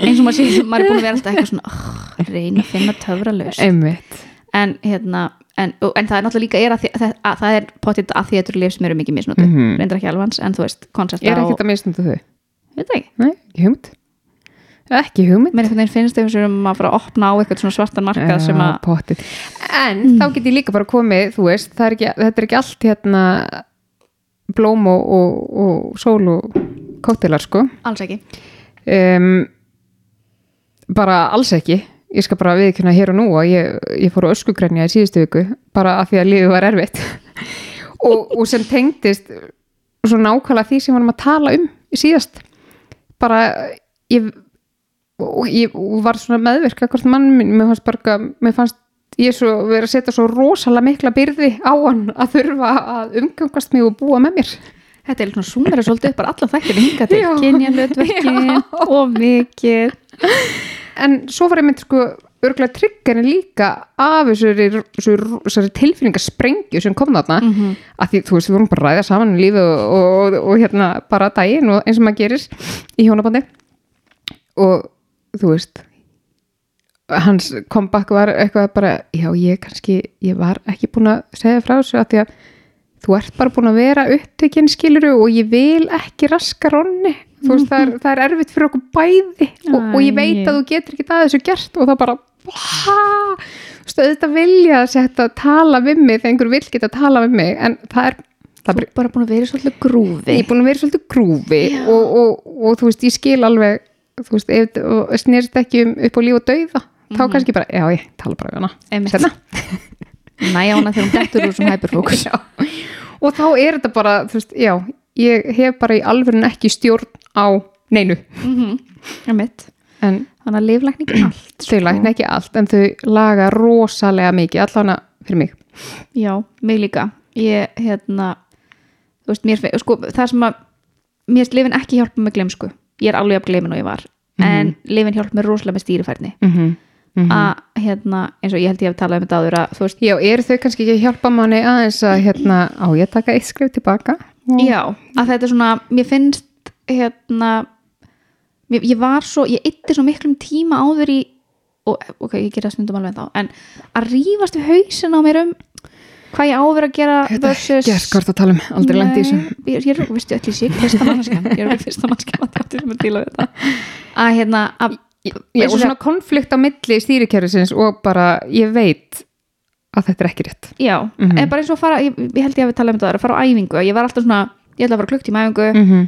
Speaker 2: eins og maður sé maður er búin að vera alltaf eitthvað svona oh, reyna að finna töfralaus
Speaker 1: Einmitt
Speaker 2: en hérna en, og- en það er náttúrulega líka er að, að, að það er potið að því að þetta eru lif sem eru mikið misnóti
Speaker 1: Mhm.
Speaker 2: reyndar ekki alveg hans en þú veist
Speaker 1: Ég
Speaker 2: koncepta
Speaker 1: er
Speaker 2: og
Speaker 1: ekkert að misnunda þau
Speaker 2: veit það ekki
Speaker 1: Nei, ekki hugmynd Ekki hugmynd
Speaker 2: mér einhvern veginn finnst þau sem að fara að opna á eitthvað svona svartan markað sem að Mm.
Speaker 1: pottið. Ah, En þá get ég líka bara komið, þú veist, það er ekki, þetta er ekki allt hérna blóm og, og, og sól og kóttelar sko.
Speaker 2: alls ekki
Speaker 1: Um, bara alls ekki. Ég skal bara viðkynna hér og nú að ég, ég fór á öskugrenja í síðustu viku bara af því að lífið var erfitt. (laughs) og, og sem tengdist svo nákvæmlega því sem við varum að tala um síðast. Bara ég og ég og var svona meðvirk akkvart mann minn, mér fannst bara, mér fannst ég svo verið að setja svo rosalega mikla byrði á hann að þurfa að umgangast mig og búa með mér
Speaker 2: þetta er svona súmera svolítið upp bara alla þættir hinga til
Speaker 1: Já.
Speaker 2: kynjanlöðverkin
Speaker 1: Já.
Speaker 2: og mikið
Speaker 1: en svo var ég mynd sko örgulega triggerin líka af þessari, þessari, þessari tilfinningasprengju sem kom þarna mm -hmm. að því, þú veist, við vorum bara að ræða saman um lífið og, og, og, hérna bara daginn og eins og maður gerir í hjónabandi og þú veist hans comeback var eitthvað bara, já, ég kannski ég var ekki búin að segja frá þessu að því að þú ert bara búin að vera upptökinn skiluru og ég vil ekki raska ronni þú veist, það er, það er erfitt fyrir okkur bæði og, og ég veit að þú getur ekki að þessu gert og það bara "Vá!" þú veist, auðvitað vilja að setja að tala við mig þegar einhver vil geta að tala við mig en það er, það er
Speaker 2: Þú er bara búin að vera í svolítið grúfi
Speaker 1: ég er búin að vera svolítið grúfi og, og, og þú veist, ég skil alveg þú veist, ef og snerist ekki um upp á líf og dauða, þá
Speaker 2: Mhm.
Speaker 1: kannski bara já, ég tala bara við hana
Speaker 2: Einmitt.
Speaker 1: Seinna.
Speaker 2: næja hana þegar hún dettur úr sem
Speaker 1: (laughs)
Speaker 2: hyperfókus
Speaker 1: Já. og þá er þetta bara þú veist, já, ég hef bara í alveg ekki stjórn á neinu
Speaker 2: Mhm. þannig
Speaker 1: en
Speaker 2: að liflækning er allt
Speaker 1: þau lækna ekki allt en þau laga rosalega mikið allan að fyrir mig
Speaker 2: Já, mig líka ég, hérna þú veist, mér, fe- sko, það sem að mér er lifin ekki hjálpa með glemsku ég er alveg jafn glemin og ég var en
Speaker 1: Mhm.
Speaker 2: lifin hjálpa mér rosalega með stýrifærni
Speaker 1: mm -hmm.
Speaker 2: að, hérna, eins og ég held ég hef talað um þetta áður að, þú veist,
Speaker 1: Já, eru þau kannski ekki að hjálpa manni aðeins að hérna, á ég að taka eitt skrif tilbaka
Speaker 2: já, að þetta er svona mér finnst, hérna mér, ég var svo, ég ytti svo miklum tíma áður í og, ok, ég gera stundum alveg þá en að rífast við hausin á mér um hvað ég á að vera að gera versus
Speaker 1: Gert hvort að tala um, aldrei
Speaker 2: Nei,
Speaker 1: lendi í þessu
Speaker 2: ég, ég er okkur veistu öll í sig, fyrsta mannskján ég er okkur fyrsta mannskján að þetta sem að díla við þetta að hérna að,
Speaker 1: Já, og svona konflikt á milli stýrikerfisins og bara, ég veit að þetta er ekki rétt
Speaker 2: já,
Speaker 1: Mhm.
Speaker 2: mm bara eins og að fara ég, ég held ég að við tala um þetta, að fara á æfingu ég var alltaf svona, ég ætla að fara klukkt í mæfingu
Speaker 1: mm -hmm.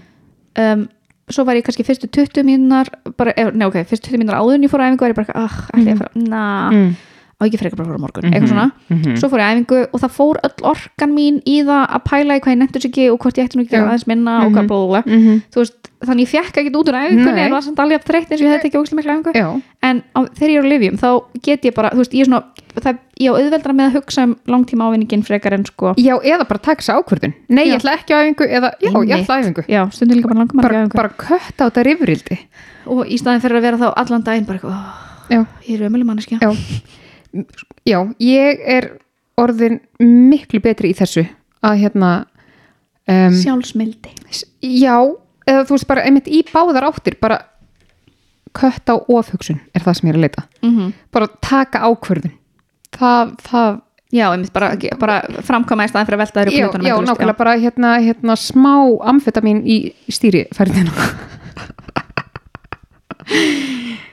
Speaker 2: um, svo var ég kannski fyrstu 20 mínunar bara, eh, nei ok, fyrstu 20 mínunar áður en ég fór á æfingu var ég bara, ah, ætla ég að fara, na
Speaker 1: Mhm. Mm. Mhm.
Speaker 2: á ekki frekar bara að fara á morgun, eitthvað svona svo fór ég á æfingu og það fór öll orkan mín í það að pæla í hvað ég nefntur sig ekki og hvort ég ætti nú ekki að gera aðeins minna og hvað blóðulega þú veist, þannig ég fjekk ekkert út úr æfingunni
Speaker 1: Mhm. Nei.
Speaker 2: en var samt alveg að þreytt eins og ég hefði ekki ógæslega mikla æfingu
Speaker 1: Já,
Speaker 2: en á, þegar ég er á lifjum þá get ég bara, þú veist, ég er svona það, ég á auðveldra með að hugsa um langtíma ávinningin frekar en sko,
Speaker 1: já, eða bara taka þessa ákvörðin Nei,
Speaker 2: Já.
Speaker 1: ég ætla ekki á æfingu eða, já, ég ætla á æfingu
Speaker 2: já, stundum líka bara langar maður
Speaker 1: bara,
Speaker 2: í æfingu
Speaker 1: bara kött á þetta rifrildi
Speaker 2: og í staðin fyrir að vera þá allan daginn bara, eitthvað, ó,
Speaker 1: Já,
Speaker 2: ég er ömuleg manneskja
Speaker 1: já Já, ég er orðin miklu betri í þessu að hérna um,
Speaker 2: sjálfsmildi
Speaker 1: Já, eða þú veist bara einmitt í báðar áttir bara kött á ofhugsun er það sem ég er að leita bara taka ákvörðun Mhm. það, það
Speaker 2: já, einmitt bara, ekki- bara framkvæma í staðin fyrir að velta þér upp
Speaker 1: já,
Speaker 2: hlutunum
Speaker 1: já,
Speaker 2: endalaust,
Speaker 1: nákvæmlega bara hérna, hérna smá amfetamin í stýrifærdina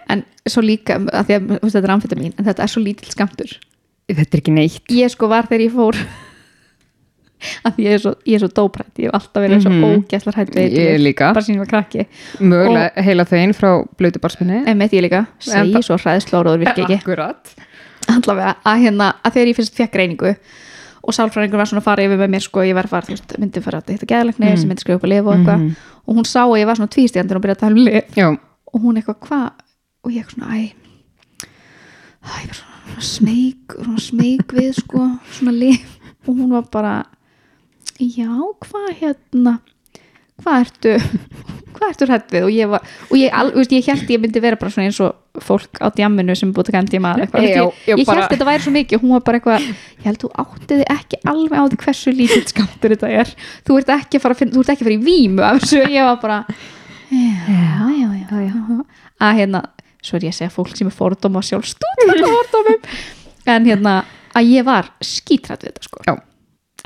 Speaker 2: en svo líka, að því að þú veist, þetta er amfetamín en þetta er svo lítill skamtur
Speaker 1: (laughs) Þetta er ekki neitt
Speaker 2: ég sko var þegar ég fór (laughs) að því ég er svo, ég er svo dóprætt ég hef alltaf verið svo ógæslar hætt við
Speaker 1: Mhm. Ég
Speaker 2: eiturlyf,
Speaker 1: líka.
Speaker 2: bara sín ég var krakki
Speaker 1: mögulega heila þegin frá blötu barspinni
Speaker 2: emitt ég líka, segi
Speaker 1: það-
Speaker 2: svo hræðslóraður virki ekki
Speaker 1: Akkurat
Speaker 2: allavega að hérna að þegar ég fyrst fekk greiningu og sálfræðingur var svona að fara yfir með mér sko ég var að fara, þú veist, myndi fara að hitta geðlækni
Speaker 1: Mhm.
Speaker 2: sem myndi skrifa upp að lifa og eitthvað og hún sá að ég var svona tvístjandi og byrjaði að tala um lif
Speaker 1: Já, (laughs)
Speaker 2: og hún eitthvað hvað og ég eitthvað svona æ æ, ég var svona smeg svona smeg við sko svona lif og hún var bara já hvað hérna hvað ertu hvað ertu hrætt við og ég var og ég, al, veist, ég held ég myndi vera bara svona eins og fólk á djamminu sem er búið að kæmdi í maður
Speaker 1: Já,
Speaker 2: eitthvað, ég,
Speaker 1: já,
Speaker 2: ég, ég
Speaker 1: bara-
Speaker 2: held þetta væri svo mikið og hún var bara eitthvað ég held þú áttið ekki alveg á því hversu lítill skamtur þetta er þú ert ekki að fara, að finna, þú ert ekki að fara í vímu af þessu ég var bara já, já, já, já. að hérna, svo er ég að segja fólk sem er fordóma sjálfstútt fordómum en hérna, að ég var skítrætt við þetta sko
Speaker 1: Já.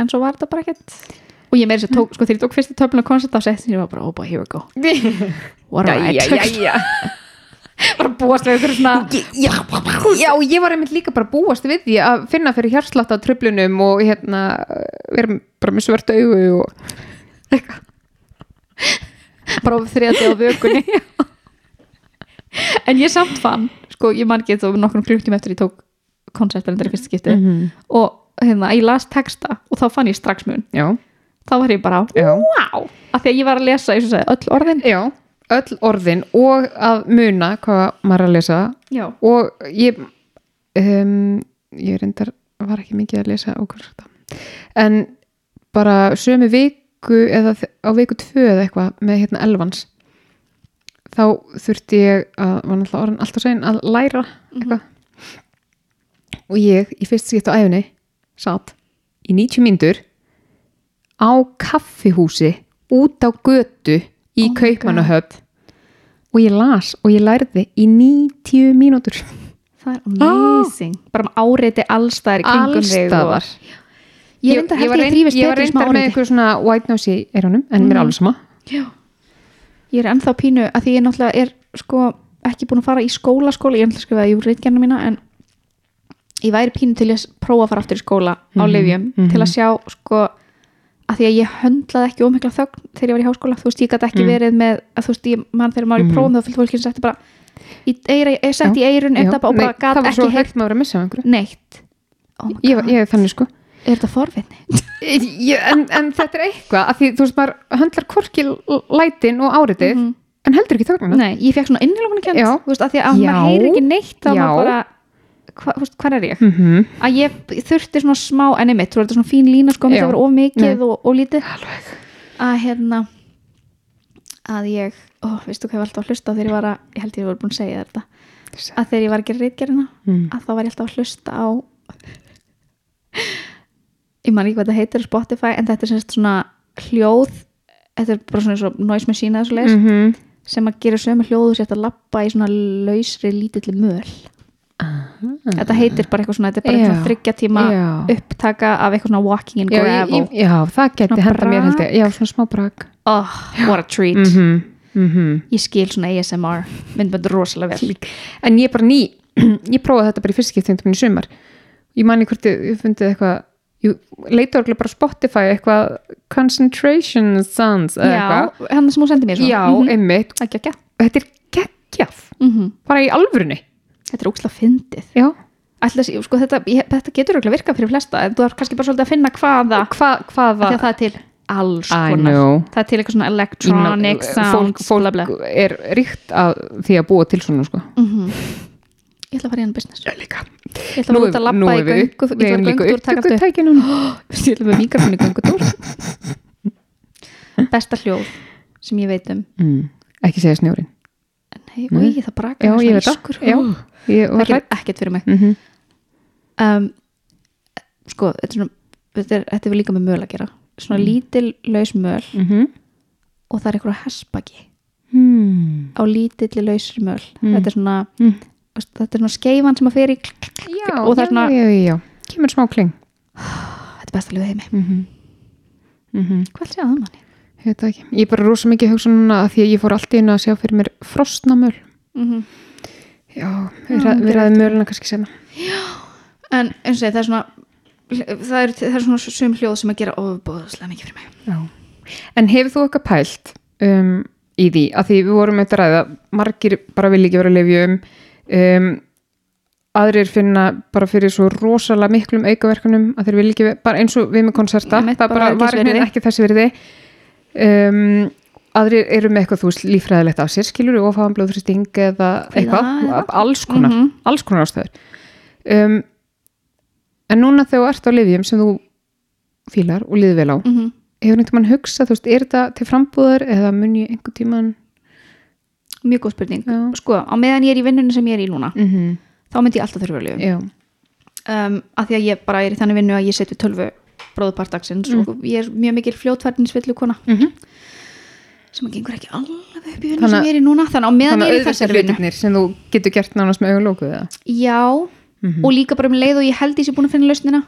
Speaker 2: en svo var þetta bara ekkert og ég meiri þess að segja tók, sko þegar ég tók fyrstu töflun og koncept á sett sem ég var bara, oh boy, here we go what a right
Speaker 1: (laughs) jæja
Speaker 2: bara búast við ykkur svona
Speaker 1: Já, já, ég var einmitt líka bara búast við því að finna fyrir hjárslátt á tröflunum og hérna vera bara með svört augu og
Speaker 2: (laughs) bara þriðandi á vökunni (laughs) en ég samt fann sko, ég man ekki þó nokkrum klukktum eftir ég tók konceptverðindar í fyrsta skipti
Speaker 1: Mhm.
Speaker 2: og hérna, ég las texta og þá fann ég strax mun
Speaker 1: Já,
Speaker 2: þá var ég bara,
Speaker 1: já
Speaker 2: wow af því að ég var að lesa, eins og segja, öll orðin
Speaker 1: Já, öll orðin og að muna hvað maður er að lesa
Speaker 2: já,
Speaker 1: og ég um, ég reyndar var ekki mikið að lesa okkur þetta en bara sömu viku eða þ- á viku tvö eða eitthvað með hérna elvans
Speaker 2: Mhm.
Speaker 1: þá þurfti ég að var náttúrulega orðin alltaf sein að læra eitthvað og ég í fyrst skipt á æfni satt í 90 mínútur á kaffihúsi út á götu í
Speaker 2: Oh my
Speaker 1: oh Kaupmannahöfn og ég las og ég lærði í 90 mínútur
Speaker 2: það er amazing
Speaker 1: Ah.
Speaker 2: bara um áreiti allstæðar í kringum þig og-
Speaker 1: allstaðar
Speaker 2: ég, reyndar held ég,
Speaker 1: reynd-
Speaker 2: þrífist
Speaker 1: ég var
Speaker 2: betur í
Speaker 1: reyndar
Speaker 2: smá Mm.
Speaker 1: með
Speaker 2: áreiti
Speaker 1: einhver svona white noise í eyrunum en mér er alveg sama
Speaker 2: ég er ennþá pínu að því ég náttúrulega er sko ekki búin að fara í skóla skóla ég er náttúrulega skrifaði í reitgerna mína en ég væri pínu til að prófa að fara aftur í skóla á
Speaker 1: Mhm,
Speaker 2: lifjum
Speaker 1: mhm.
Speaker 2: til að sjá sko að því að ég höndlaði ekki ómikla þögn þegar ég var í háskóla þú veist ég gæti ekki
Speaker 1: Mm.
Speaker 2: verið með að þú veist ég mann þegar maður var í
Speaker 1: Mhm.
Speaker 2: prófum þá fylgði fólkið sem setti bara í eira, er sett í eirun
Speaker 1: Já,
Speaker 2: eða bara og
Speaker 1: nei,
Speaker 2: bara gat
Speaker 1: það var svo
Speaker 2: ekki heyrt
Speaker 1: hægt maður að missa af einhverju
Speaker 2: neitt oh my
Speaker 1: ég, var-
Speaker 2: God.
Speaker 1: ég er þannig sko
Speaker 2: er þetta forvitni?
Speaker 1: ég, en, en þetta er eitthvað að því þú veist maður höndlar korki l- lætin og áritið
Speaker 2: Mhm.
Speaker 1: en heldur ekki þögnina
Speaker 2: Nei, ég fekk svona innilokkunarkend
Speaker 1: Já.
Speaker 2: þú veist, af því að
Speaker 1: Já.
Speaker 2: maður heyrir ekki neitt þá
Speaker 1: Já.
Speaker 2: maður bara, hva, þú veist, hvað er ég?
Speaker 1: mm -hmm.
Speaker 2: Að ég þurfti svona smá enni mitt, þú veist, svona fín lína sko,
Speaker 1: Já.
Speaker 2: það var of
Speaker 1: Nei.
Speaker 2: mikið og, og lítið
Speaker 1: alveg
Speaker 2: að hérna að ég, ó, veistu hvað ég var alltaf að hlusta á þegar ég var að, ég held ég var búin að segja þér þetta að þegar ég var að gera reitgerina
Speaker 1: Mm.
Speaker 2: að þá var ég alltaf að hlusta á ég man ekki hvað þetta heitir á Spotify, en þetta er semst svona hljóð, þetta er bara svona, svona noise machine eða svo leiðis
Speaker 1: -hmm.
Speaker 2: sem að gera sömu hljóðu sér að lappa í svona lausri lítilli möl þetta heitir bara eitthvað svona þetta er bara
Speaker 1: Já.
Speaker 2: eitthvað þryggja tíma
Speaker 1: Já.
Speaker 2: upptaka af eitthvað svona walking and
Speaker 1: já, ég,
Speaker 2: gravel
Speaker 1: ég, já, það geti
Speaker 2: Svona
Speaker 1: henda mér
Speaker 2: brak.
Speaker 1: held ég já, svona smá brak
Speaker 2: oh, what a treat
Speaker 1: mm -hmm. Mm -hmm.
Speaker 2: ég skil svona ASMR myndböndur rosalega vel
Speaker 1: en ég er bara ný (clears throat) ég prófaði þetta bara í fyrstskipt þegar minn í sumar ég man ekki hvort ég, ég fundið eitthvað ég leita örgulega bara á Spotify eitthvað concentration sounds eða
Speaker 2: já,
Speaker 1: eitthvað
Speaker 2: hann sem hún sendi mér svona
Speaker 1: já,
Speaker 2: Mhm.
Speaker 1: einmitt
Speaker 2: ekki ekki
Speaker 1: þetta er geggjaf,
Speaker 2: Mhm.
Speaker 1: bara í alvörunni
Speaker 2: þetta er úksla fyndið
Speaker 1: já,
Speaker 2: Ætla, sé- sko, þetta, ég, þetta getur örugglega virkað fyrir flesta en þú er kannski bara svolítið að finna hvaða af
Speaker 1: Hva,
Speaker 2: því
Speaker 1: hvaða
Speaker 2: að það er til alls
Speaker 1: I
Speaker 2: konar
Speaker 1: know.
Speaker 2: það er til eitthvað svona
Speaker 1: Inn
Speaker 2: electronic
Speaker 1: á- fólk,
Speaker 2: sounds
Speaker 1: fólk
Speaker 2: bla, bla. Mm.
Speaker 1: er ríkt að því að búa til svona sko.
Speaker 2: ég ætla að fara í hann business
Speaker 1: líka
Speaker 2: Ég ætla að vera út að labba í göngu Ég ætla að göngutúr taka allt upp
Speaker 1: tækinu
Speaker 2: (gasps) Ég ætla að vera mikrofón í göngutúr Besta hljóð sem ég veit um
Speaker 1: mm, ekki segja snjórin
Speaker 2: Nei,
Speaker 1: Nei.
Speaker 2: úi, það brakar
Speaker 1: Mm. já,
Speaker 2: mér
Speaker 1: ég
Speaker 2: svona
Speaker 1: veit
Speaker 2: ískur.
Speaker 1: það já, ég
Speaker 2: Það
Speaker 1: var rætt
Speaker 2: gerir ekkert fyrir mig
Speaker 1: mm -hmm.
Speaker 2: um, Sko, þetta er, svona- þetta er, þetta er líka með möl að gera Svona
Speaker 1: Mm.
Speaker 2: lítil laus möl og það er eitthvað hespaki á lítilli lausri möl
Speaker 1: Mm.
Speaker 2: Þetta er svona
Speaker 1: Mm.
Speaker 2: veist, Þetta er svona skeifan sem að fer í
Speaker 1: já,
Speaker 2: og það er svona,
Speaker 1: já, já, já, já. kemur smá kling
Speaker 2: þetta er besta hljóð heimi
Speaker 1: mm -hmm. Mm -hmm.
Speaker 2: Hvað sé að það manni?
Speaker 1: Ég, veit það ekki. ég er bara rosa mikið að hugsa núna að því að ég fór allt í einu að sjá fyrir mér frostnamöl
Speaker 2: Mm
Speaker 1: Mhm.
Speaker 2: -hmm.
Speaker 1: já, við ræ- við ræðum möluna kannski senna
Speaker 2: En eins og ég, það er svona það er, það er svona sum hljóð sem að gera ofbóðslega mikið fyrir mig
Speaker 1: Já. En hefur þú eitthvað pælt um, í því, að því við vorum eitthvað ræða, margir bara vilja ekki vera að lifja um, um aðrir finna bara fyrir svo rosalega miklum aukaverkunum að þeir vilja ekki, bara eins og við með konserta,
Speaker 2: Einmitt,
Speaker 1: það
Speaker 2: bara
Speaker 1: bara
Speaker 2: var
Speaker 1: var
Speaker 2: ekki þess
Speaker 1: ekki,
Speaker 2: virði.
Speaker 1: ekki þessi verði um, aðrir eru með eitthvað þú veist lífræðilegt af sér skilur og fáum blóðþristing eða eitthvað,
Speaker 2: eða-
Speaker 1: alls konar
Speaker 2: Mhm.
Speaker 1: alls konar ástæður um, en núna þegar þú ert á lifjum sem þú fílar og liði vel á
Speaker 2: mm -hmm.
Speaker 1: hefur einhvern tímann hugsað, þú veist, er þetta til frambúðar eða mun ég einhvern tímann
Speaker 2: mjög góð spurning
Speaker 1: já,
Speaker 2: sko, á meðan ég er í vinnunni sem ég er í núna
Speaker 1: mm -hmm.
Speaker 2: þá myndi ég alltaf þurfa að lifa
Speaker 1: já.
Speaker 2: um, af því að ég bara er í þannig vinnu að ég set við tölvu bróðpartaksins og ég er mjög mikil fljótfærdinsvillu kona
Speaker 1: Mm -hmm.
Speaker 2: sem að gengur ekki alveg upp í vinnu
Speaker 1: Þannig að-
Speaker 2: sem ég er í núna þannig á meðan
Speaker 1: þannig
Speaker 2: ég er í
Speaker 1: auðvitað
Speaker 2: þessari vinnu
Speaker 1: hlutirnir sem þú getur gert nánast með augunlóku eða
Speaker 2: já,
Speaker 1: Mhm.
Speaker 2: og líka bara um leið og ég held ég sé búin að finna lausnina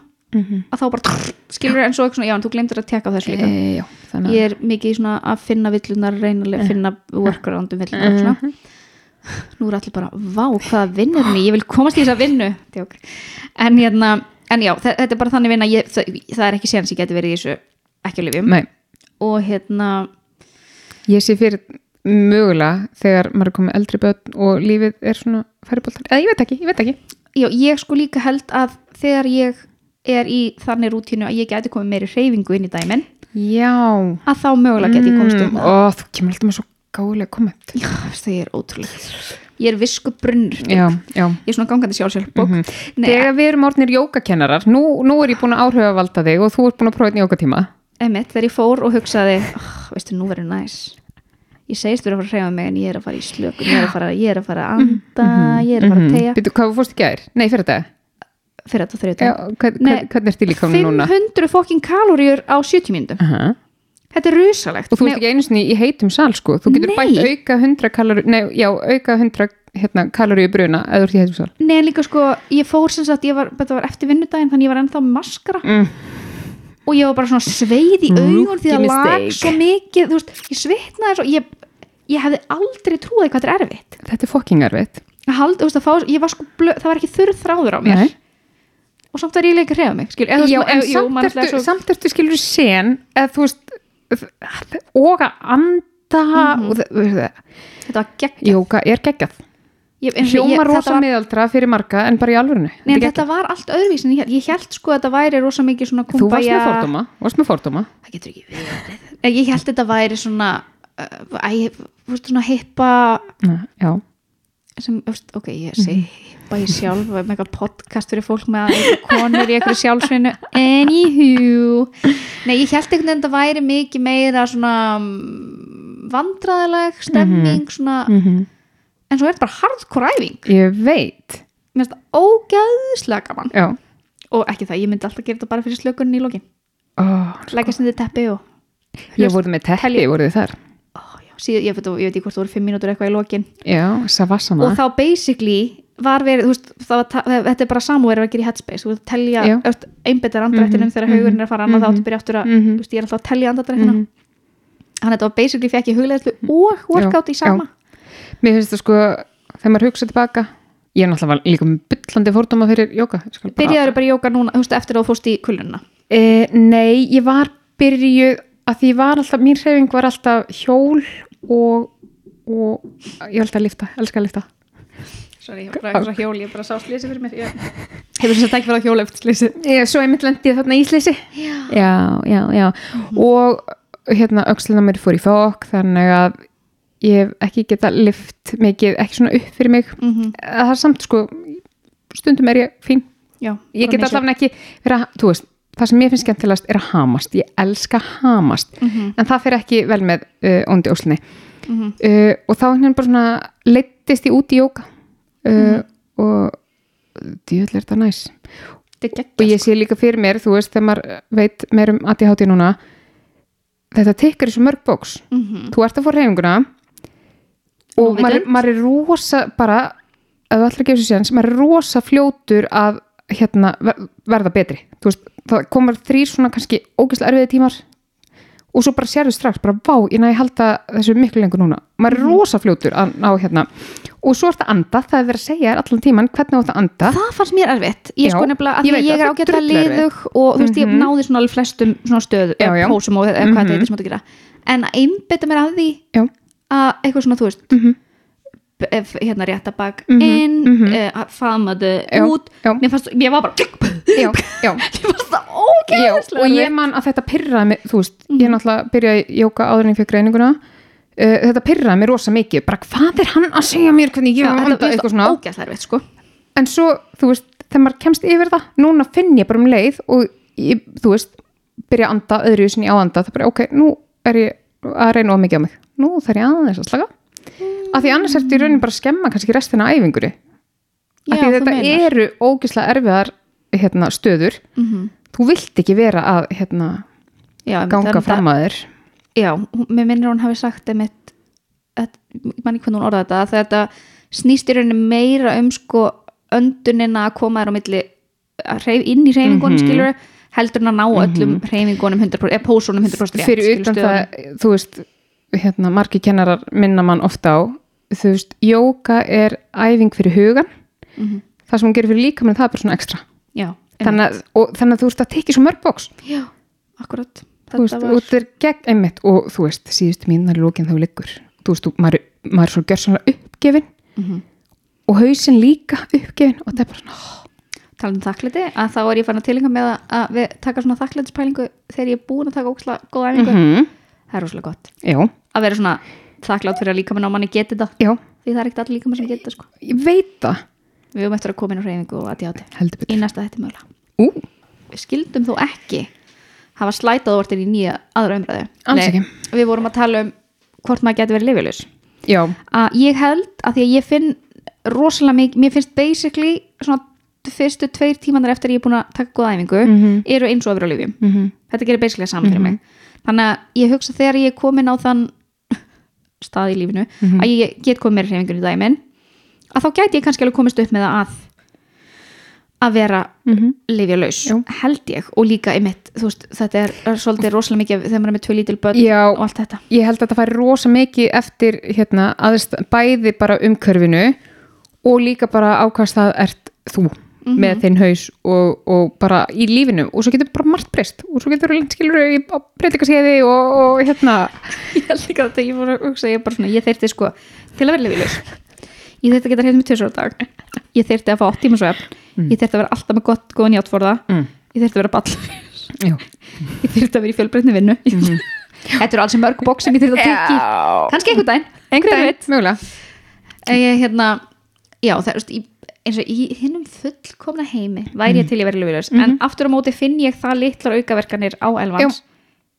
Speaker 1: (coughs)
Speaker 2: að þá bara skilur en svo eitthvað svona, já en þú glemdur að tekka á þessu líka
Speaker 1: e, já, þannig Eh.
Speaker 2: ég er mikið í svona að finna villunar reyna að finna workaround um villunar og svona nú er allir bara, vá, hvaða vinnur mér ég vil komast í þessa vinnu Djók. en hérna, en já, þe- þetta er bara þannig vinna ég, það, það er ekki séns ég geti verið í þessu ekki að lifjum
Speaker 1: Nei,
Speaker 2: og hérna,
Speaker 1: ég sé fyrir mögulega þegar maður er komið eldri börn og lífið er svona færiboltar, eða ég veit ekki, ég veit ekki
Speaker 2: já, ég sko líka held að þegar ég er í þannig rútínu að ég geti komið meiri reyfingu inn í dæmin,
Speaker 1: já,
Speaker 2: að þá mögulega geti ég komist um það
Speaker 1: og Mm. þú kemur alltaf með svo gáðulega komment
Speaker 2: já, það er ótrúlega ég er visku brunnur
Speaker 1: já, já
Speaker 2: ég er svona gangandi sjálfsjálfbók mm -hmm.
Speaker 1: Þegar við erum orðnir jókakennarar, nú, nú er ég búin að áhuga valda þig og þú ert búin að prófa einn jókatíma.
Speaker 2: Einmitt, þegar ég fór og hugsaði oh, veistu, nú verður næs ég segist verið að fara að hreyfa mig en ég er að fara í slökun ég er að fara, ég er að, fara að
Speaker 1: Mhm.
Speaker 2: anda ég er að fara að tegja
Speaker 1: Býtu, Mhm. hvað fórst í gær? Nei, fyrir þetta
Speaker 2: fyrir þetta
Speaker 1: Já,
Speaker 2: þriðudag
Speaker 1: hvern,
Speaker 2: Nei,
Speaker 1: hvern, Hvernig er stílikánu núna?
Speaker 2: 500 fokkin kaloríur á 70 mínútum
Speaker 1: Aha.
Speaker 2: þetta er rusalegt
Speaker 1: Og þú ert ekki einu sinni í heitum sal sko Þú getur
Speaker 2: Nei.
Speaker 1: bætt auka 100 kaloríu Nei, já, auka 100 hérna, kaloríu í bruna eða þú ert í heitum sal
Speaker 2: Nei, en líka sko, ég fór sem sagt, ég var, þetta var eftir vinnudaginn, þannig ég var ennþá með maskara
Speaker 1: Mm.
Speaker 2: og ég var bara svona sveið í augun því það
Speaker 1: Rookie
Speaker 2: lag
Speaker 1: mistake.
Speaker 2: svo mikið, þú veist, ég sveitnaði svo, ég, ég hefði aldrei trúið hvað þetta er erfitt.
Speaker 1: Þetta er fokking erfitt
Speaker 2: Að Hald, þú veist, að fá, ég var sko, blö, það var ekki þurr þráður á mér
Speaker 1: Nei.
Speaker 2: og samt var ég líka að hreyfa mig, skil, eða þú
Speaker 1: Já,
Speaker 2: veist,
Speaker 1: en
Speaker 2: eða- jú,
Speaker 1: samt
Speaker 2: mann
Speaker 1: ertu,
Speaker 2: ætlaði svo,
Speaker 1: samt ertu skilur sen eða þú veist og að anda
Speaker 2: Mhm.
Speaker 1: og það- þú veist,
Speaker 2: þetta var gegn,
Speaker 1: Jóka er geggjað
Speaker 2: ég, eins og ég-
Speaker 1: Hjóma
Speaker 2: þetta
Speaker 1: rosa
Speaker 2: var-
Speaker 1: miðaldra fyrir marga en bara í alvörinu
Speaker 2: Nei, en
Speaker 1: Þetta er
Speaker 2: þetta var allt öðruvísin, ég, ég held sko að þetta væri rosa mikið svona
Speaker 1: geggjað. Þú varst með
Speaker 2: kumbaya-
Speaker 1: fordóma, varst með fordóma
Speaker 2: það getur ekki verið Nei, ég held þetta væri svona uh, æ, þú veist svona hippa Mhm.
Speaker 1: Nei, Já,
Speaker 2: sem, þú veist, ok, ég sé hippa ég sjálf með eitthvað podcast fyrir fólk með einhver konur í einhverju sjálfsvinnu anywho nei, ég held einhvern veginn að þetta væri mikið meira svona mm, vandræðaleg stemming, svona
Speaker 1: Mhm.
Speaker 2: en svo er þetta bara hardcore æfing
Speaker 1: ég veit
Speaker 2: mér finnst það ógæðslega gaman
Speaker 1: Já,
Speaker 2: og ekki það, ég myndi alltaf gera þetta bara fyrir slökunni í lokin
Speaker 1: Ó,
Speaker 2: leggast niður teppi og
Speaker 1: ég voru með teppi, voru þið þar
Speaker 2: ó, já, síð, ég, veit, ég veit ekki hvort það voru fimm mínútur eitthvað í lokin
Speaker 1: Já, savasana
Speaker 2: og þá basically var verið, þú veist, það var, ta- þetta er bara samúverið að gera í headspace, þú veist, að telja
Speaker 1: Já.
Speaker 2: öll- einbeitar andrættinum þegar haugurinn er að fara annað þá áttu að byrja aftur að, þú veist, ég er alltaf að telja andrættina þannig að þetta var basically fekk ég hugleðslu og workout í
Speaker 1: Já,
Speaker 2: sama
Speaker 1: Mér finnst það sko, þegar maður hugsa tilbaka Ég er náttúrulega var líka með byllandi fordóma fyrir jóka ég skal bara-
Speaker 2: byrjaður bara í jóka núna, þú veist, eftir að þú fórst í kulunna
Speaker 1: Eh, nei, ég var byrjuð að því ég var alltaf, mín hreyfing var alltaf hjól og, og ég held að lifta, elska að lifta
Speaker 2: sorry, ég bara að hjóli, ég bara sá slísi fyrir mér hefur þess að ekki verið að hjóla eftir slísi
Speaker 1: ég, Svo einmitt lendi ég þarna í ísleysi Já, já, já og hérna öxlina mér fór í fokk þannig að ég hef ekki geta lift mikið, ekki svona upp fyrir mig
Speaker 2: mm -hmm.
Speaker 1: að það er samt sko stundum er ég fín
Speaker 2: já,
Speaker 1: ég
Speaker 2: bara
Speaker 1: get
Speaker 2: misjafn.
Speaker 1: allavega ekki vera, þú veist, það sem mér finnst skemmtilegast er að hamast, ég elska hamast en það fyrir ekki vel með uh, óndi óslinni
Speaker 2: Mhm.
Speaker 1: uh, og þá hérna bara svona leittist ég út í jóka uh, og djöðlega er þetta næs
Speaker 2: Þetta er
Speaker 1: og
Speaker 2: geggjað.
Speaker 1: ég sé líka fyrir mér, þú veist, þegar maður veit meir um ADHD núna þetta tekkar í svo mörg bóks
Speaker 2: Mhm.
Speaker 1: þú ert að fá reyfinguna og maður, er- maður er rosa bara, ef þú ætlar að gefa sér séns maður er rosa fljótur að hérna, ver- verða betri Þú veist, það komar þrýr svona kannski ógeðslega erfiði tímar og svo bara sérðu strax, bara vá, ég næði halda þessu miklu lengur núna, maður er rosa fljótur að ná hérna, og svo ertu að anda það er verið að segja þér allan tíman hvernig þú ert að anda
Speaker 2: það fannst mér erfitt ég
Speaker 1: Já,
Speaker 2: sko nefnilega, að
Speaker 1: ég
Speaker 2: ég,
Speaker 1: veit það,
Speaker 2: ég
Speaker 1: það
Speaker 2: er
Speaker 1: er
Speaker 2: ágætt að
Speaker 1: drullerfitt.
Speaker 2: liðug og þú veist, ég náði svona alveg flestum svona stöð,
Speaker 1: Já, já.
Speaker 2: pósum og eða hvað þetta heitir sem átti að gera en að einbytta mér að því
Speaker 1: Já.
Speaker 2: að eitthvað svona, þú veist
Speaker 1: Mhm.
Speaker 2: b- ef, hérna rétta bak
Speaker 1: Mhm,
Speaker 2: inn,
Speaker 1: mhm.
Speaker 2: eh, faðmaðu
Speaker 1: Já,
Speaker 2: út
Speaker 1: já.
Speaker 2: mér fannst, ég var bara
Speaker 1: já, já,
Speaker 2: (laughs) mér fannst það
Speaker 1: já,
Speaker 2: ógeðslega
Speaker 1: og ég
Speaker 2: erfitt.
Speaker 1: man að þetta pyrraði mig, þú veist,
Speaker 2: Mhm.
Speaker 1: ég náttúrulega byrjaði í jóka áður en ég fekk greininguna uh, þetta pyrraði mig rosa mikið, bara hvað er hann að segja mér hvernig ég
Speaker 2: Já,
Speaker 1: á að
Speaker 2: þetta
Speaker 1: anda
Speaker 2: mér
Speaker 1: eitthvað
Speaker 2: fannst
Speaker 1: svona
Speaker 2: það ógeðslega erfitt, sko
Speaker 1: en svo, þú veist, þegar maður kemst yfir það núna finn ég bara um leið og ég, þú veist, byrja að anda öðru sinni á að anda, það er bara, ok, nú er ég að reyna of mikið á mig, nú þarf ég aðeins að slaka, af því annars ertu í raunin bara að skemma kannski restina af æfingur af
Speaker 2: Já,
Speaker 1: því
Speaker 2: þú
Speaker 1: þetta
Speaker 2: meinar.
Speaker 1: eru ógislega erfiðar hérna, stöður,
Speaker 2: Mhm.
Speaker 1: þú vilt ekki vera að hérna,
Speaker 2: Já, einmitt, um það er
Speaker 1: ganga
Speaker 2: þetta-
Speaker 1: fram að þér
Speaker 2: já, hún- mér minnir að hún hafi sagt einmitt, að, ég man ekki hvernig hún orðaði þetta að þetta snýst í rauninni meira um sko öndunina að koma þér á milli að hreyf, inn í hreyfingunum mm
Speaker 1: Mhm.
Speaker 2: heldur en að ná öllum hreyfingunum 100%, eða pósunum 100% rétt,
Speaker 1: fyrir
Speaker 2: skilur,
Speaker 1: utan
Speaker 2: stöðunum.
Speaker 1: það, þú veist hérna, margi kennarar minna mann ofta á þú veist, jóka er æfing fyrir hugan
Speaker 2: Mhm.
Speaker 1: það sem hún gerir fyrir líkamann það er bara svona ekstra
Speaker 2: já,
Speaker 1: þannig
Speaker 2: þannig
Speaker 1: að, og, þannig að þú veist að tekja svo mörg bóks
Speaker 2: já, akkurat
Speaker 1: þú veist, og þetta er gegn einmitt og þú veist, síðustu mínar lókin þá liggur þú veist, þú, maður, maður er svo gjörsanlega uppgefin
Speaker 2: Mhm.
Speaker 1: og hausinn líka uppgefin og þetta er bara svona
Speaker 2: tala um þakklæti að þá er ég fann að tilinga með að, að við taka svona þakklætispælingu þegar ég er búin að taka óksla góða æfingu
Speaker 1: mhm,
Speaker 2: það er rosalega gott
Speaker 1: já,
Speaker 2: að vera svona þakklátt fyrir að líkaminn á manni geti þetta
Speaker 1: já,
Speaker 2: því það er ekkert allir líkaminn sem geti þetta sko
Speaker 1: ég veit það
Speaker 2: Við höfum eftir að koma inn á reyningu og aðjáti
Speaker 1: heldur
Speaker 2: í
Speaker 1: betur,
Speaker 2: næsta þetta mögulega.
Speaker 1: ú,
Speaker 2: Við skildum þó ekki hafa slætað orðin í nýja aðra umræðu.
Speaker 1: Alls ekki.
Speaker 2: Við vorum að tala um hvort maður getur verið lifilaus
Speaker 1: já,
Speaker 2: að ég held að því að ég finn rosalega mikið, mér finnst basically svona fyrstu tveir tímanar eftir að ég er búin að taka góða æfingu
Speaker 1: Mhm.
Speaker 2: eru eins og að vera á lifjum
Speaker 1: Mhm.
Speaker 2: þetta gerir basically saman fyrir mig þannig að ég hugsa þegar ég er komin á þann (laughs) stað í lífinu
Speaker 1: Mhm.
Speaker 2: að ég get komið meira hreyfingun í dæmin að þá gæti ég kannski alveg komist upp með það að að vera
Speaker 1: Mhm.
Speaker 2: lifjalaus,
Speaker 1: Jú.
Speaker 2: held ég og líka einmitt, þú veist, þetta er, er svolítið rosalega mikið þegar maður er með tvö lítil börn
Speaker 1: já
Speaker 2: og allt þetta
Speaker 1: ég held að þetta færi rosa mikið eftir hérna, aðeins bæði bara umkörfinu og líka bara ákvæmst það ert þú
Speaker 2: Mhm.
Speaker 1: með þinn haus og, og bara í lífinu og svo getur bara margt breyst og svo getur þú skilur á breytingarskeði og, og hérna
Speaker 2: ég held ekki að þetta, ég voru að hugsa ég er bara svona, ég þeirti sko til að vera lifilaus ég þeirti að geta hreyfð með tvisar á dag ég þeirti að fá 8 tíma svefn ég þeirti að vera alltaf með gott, góðan játforða
Speaker 1: mm,
Speaker 2: ég þeirti að vera ball, (laughs)
Speaker 1: já.
Speaker 2: ég þeirti að vera í fjölbreytni vinnu Mhm. þetta eru alls mörg bók sem ég þeirti að teki kannski einhvern daginn, einhvern veit
Speaker 1: mögulega
Speaker 2: En ég hérna, já það er þú veist, í- eins og í hinnum fullkomna heimi væri ég til ég verið lifilaus en aftur á móti finn ég það litlar aukaverkanir á Elvans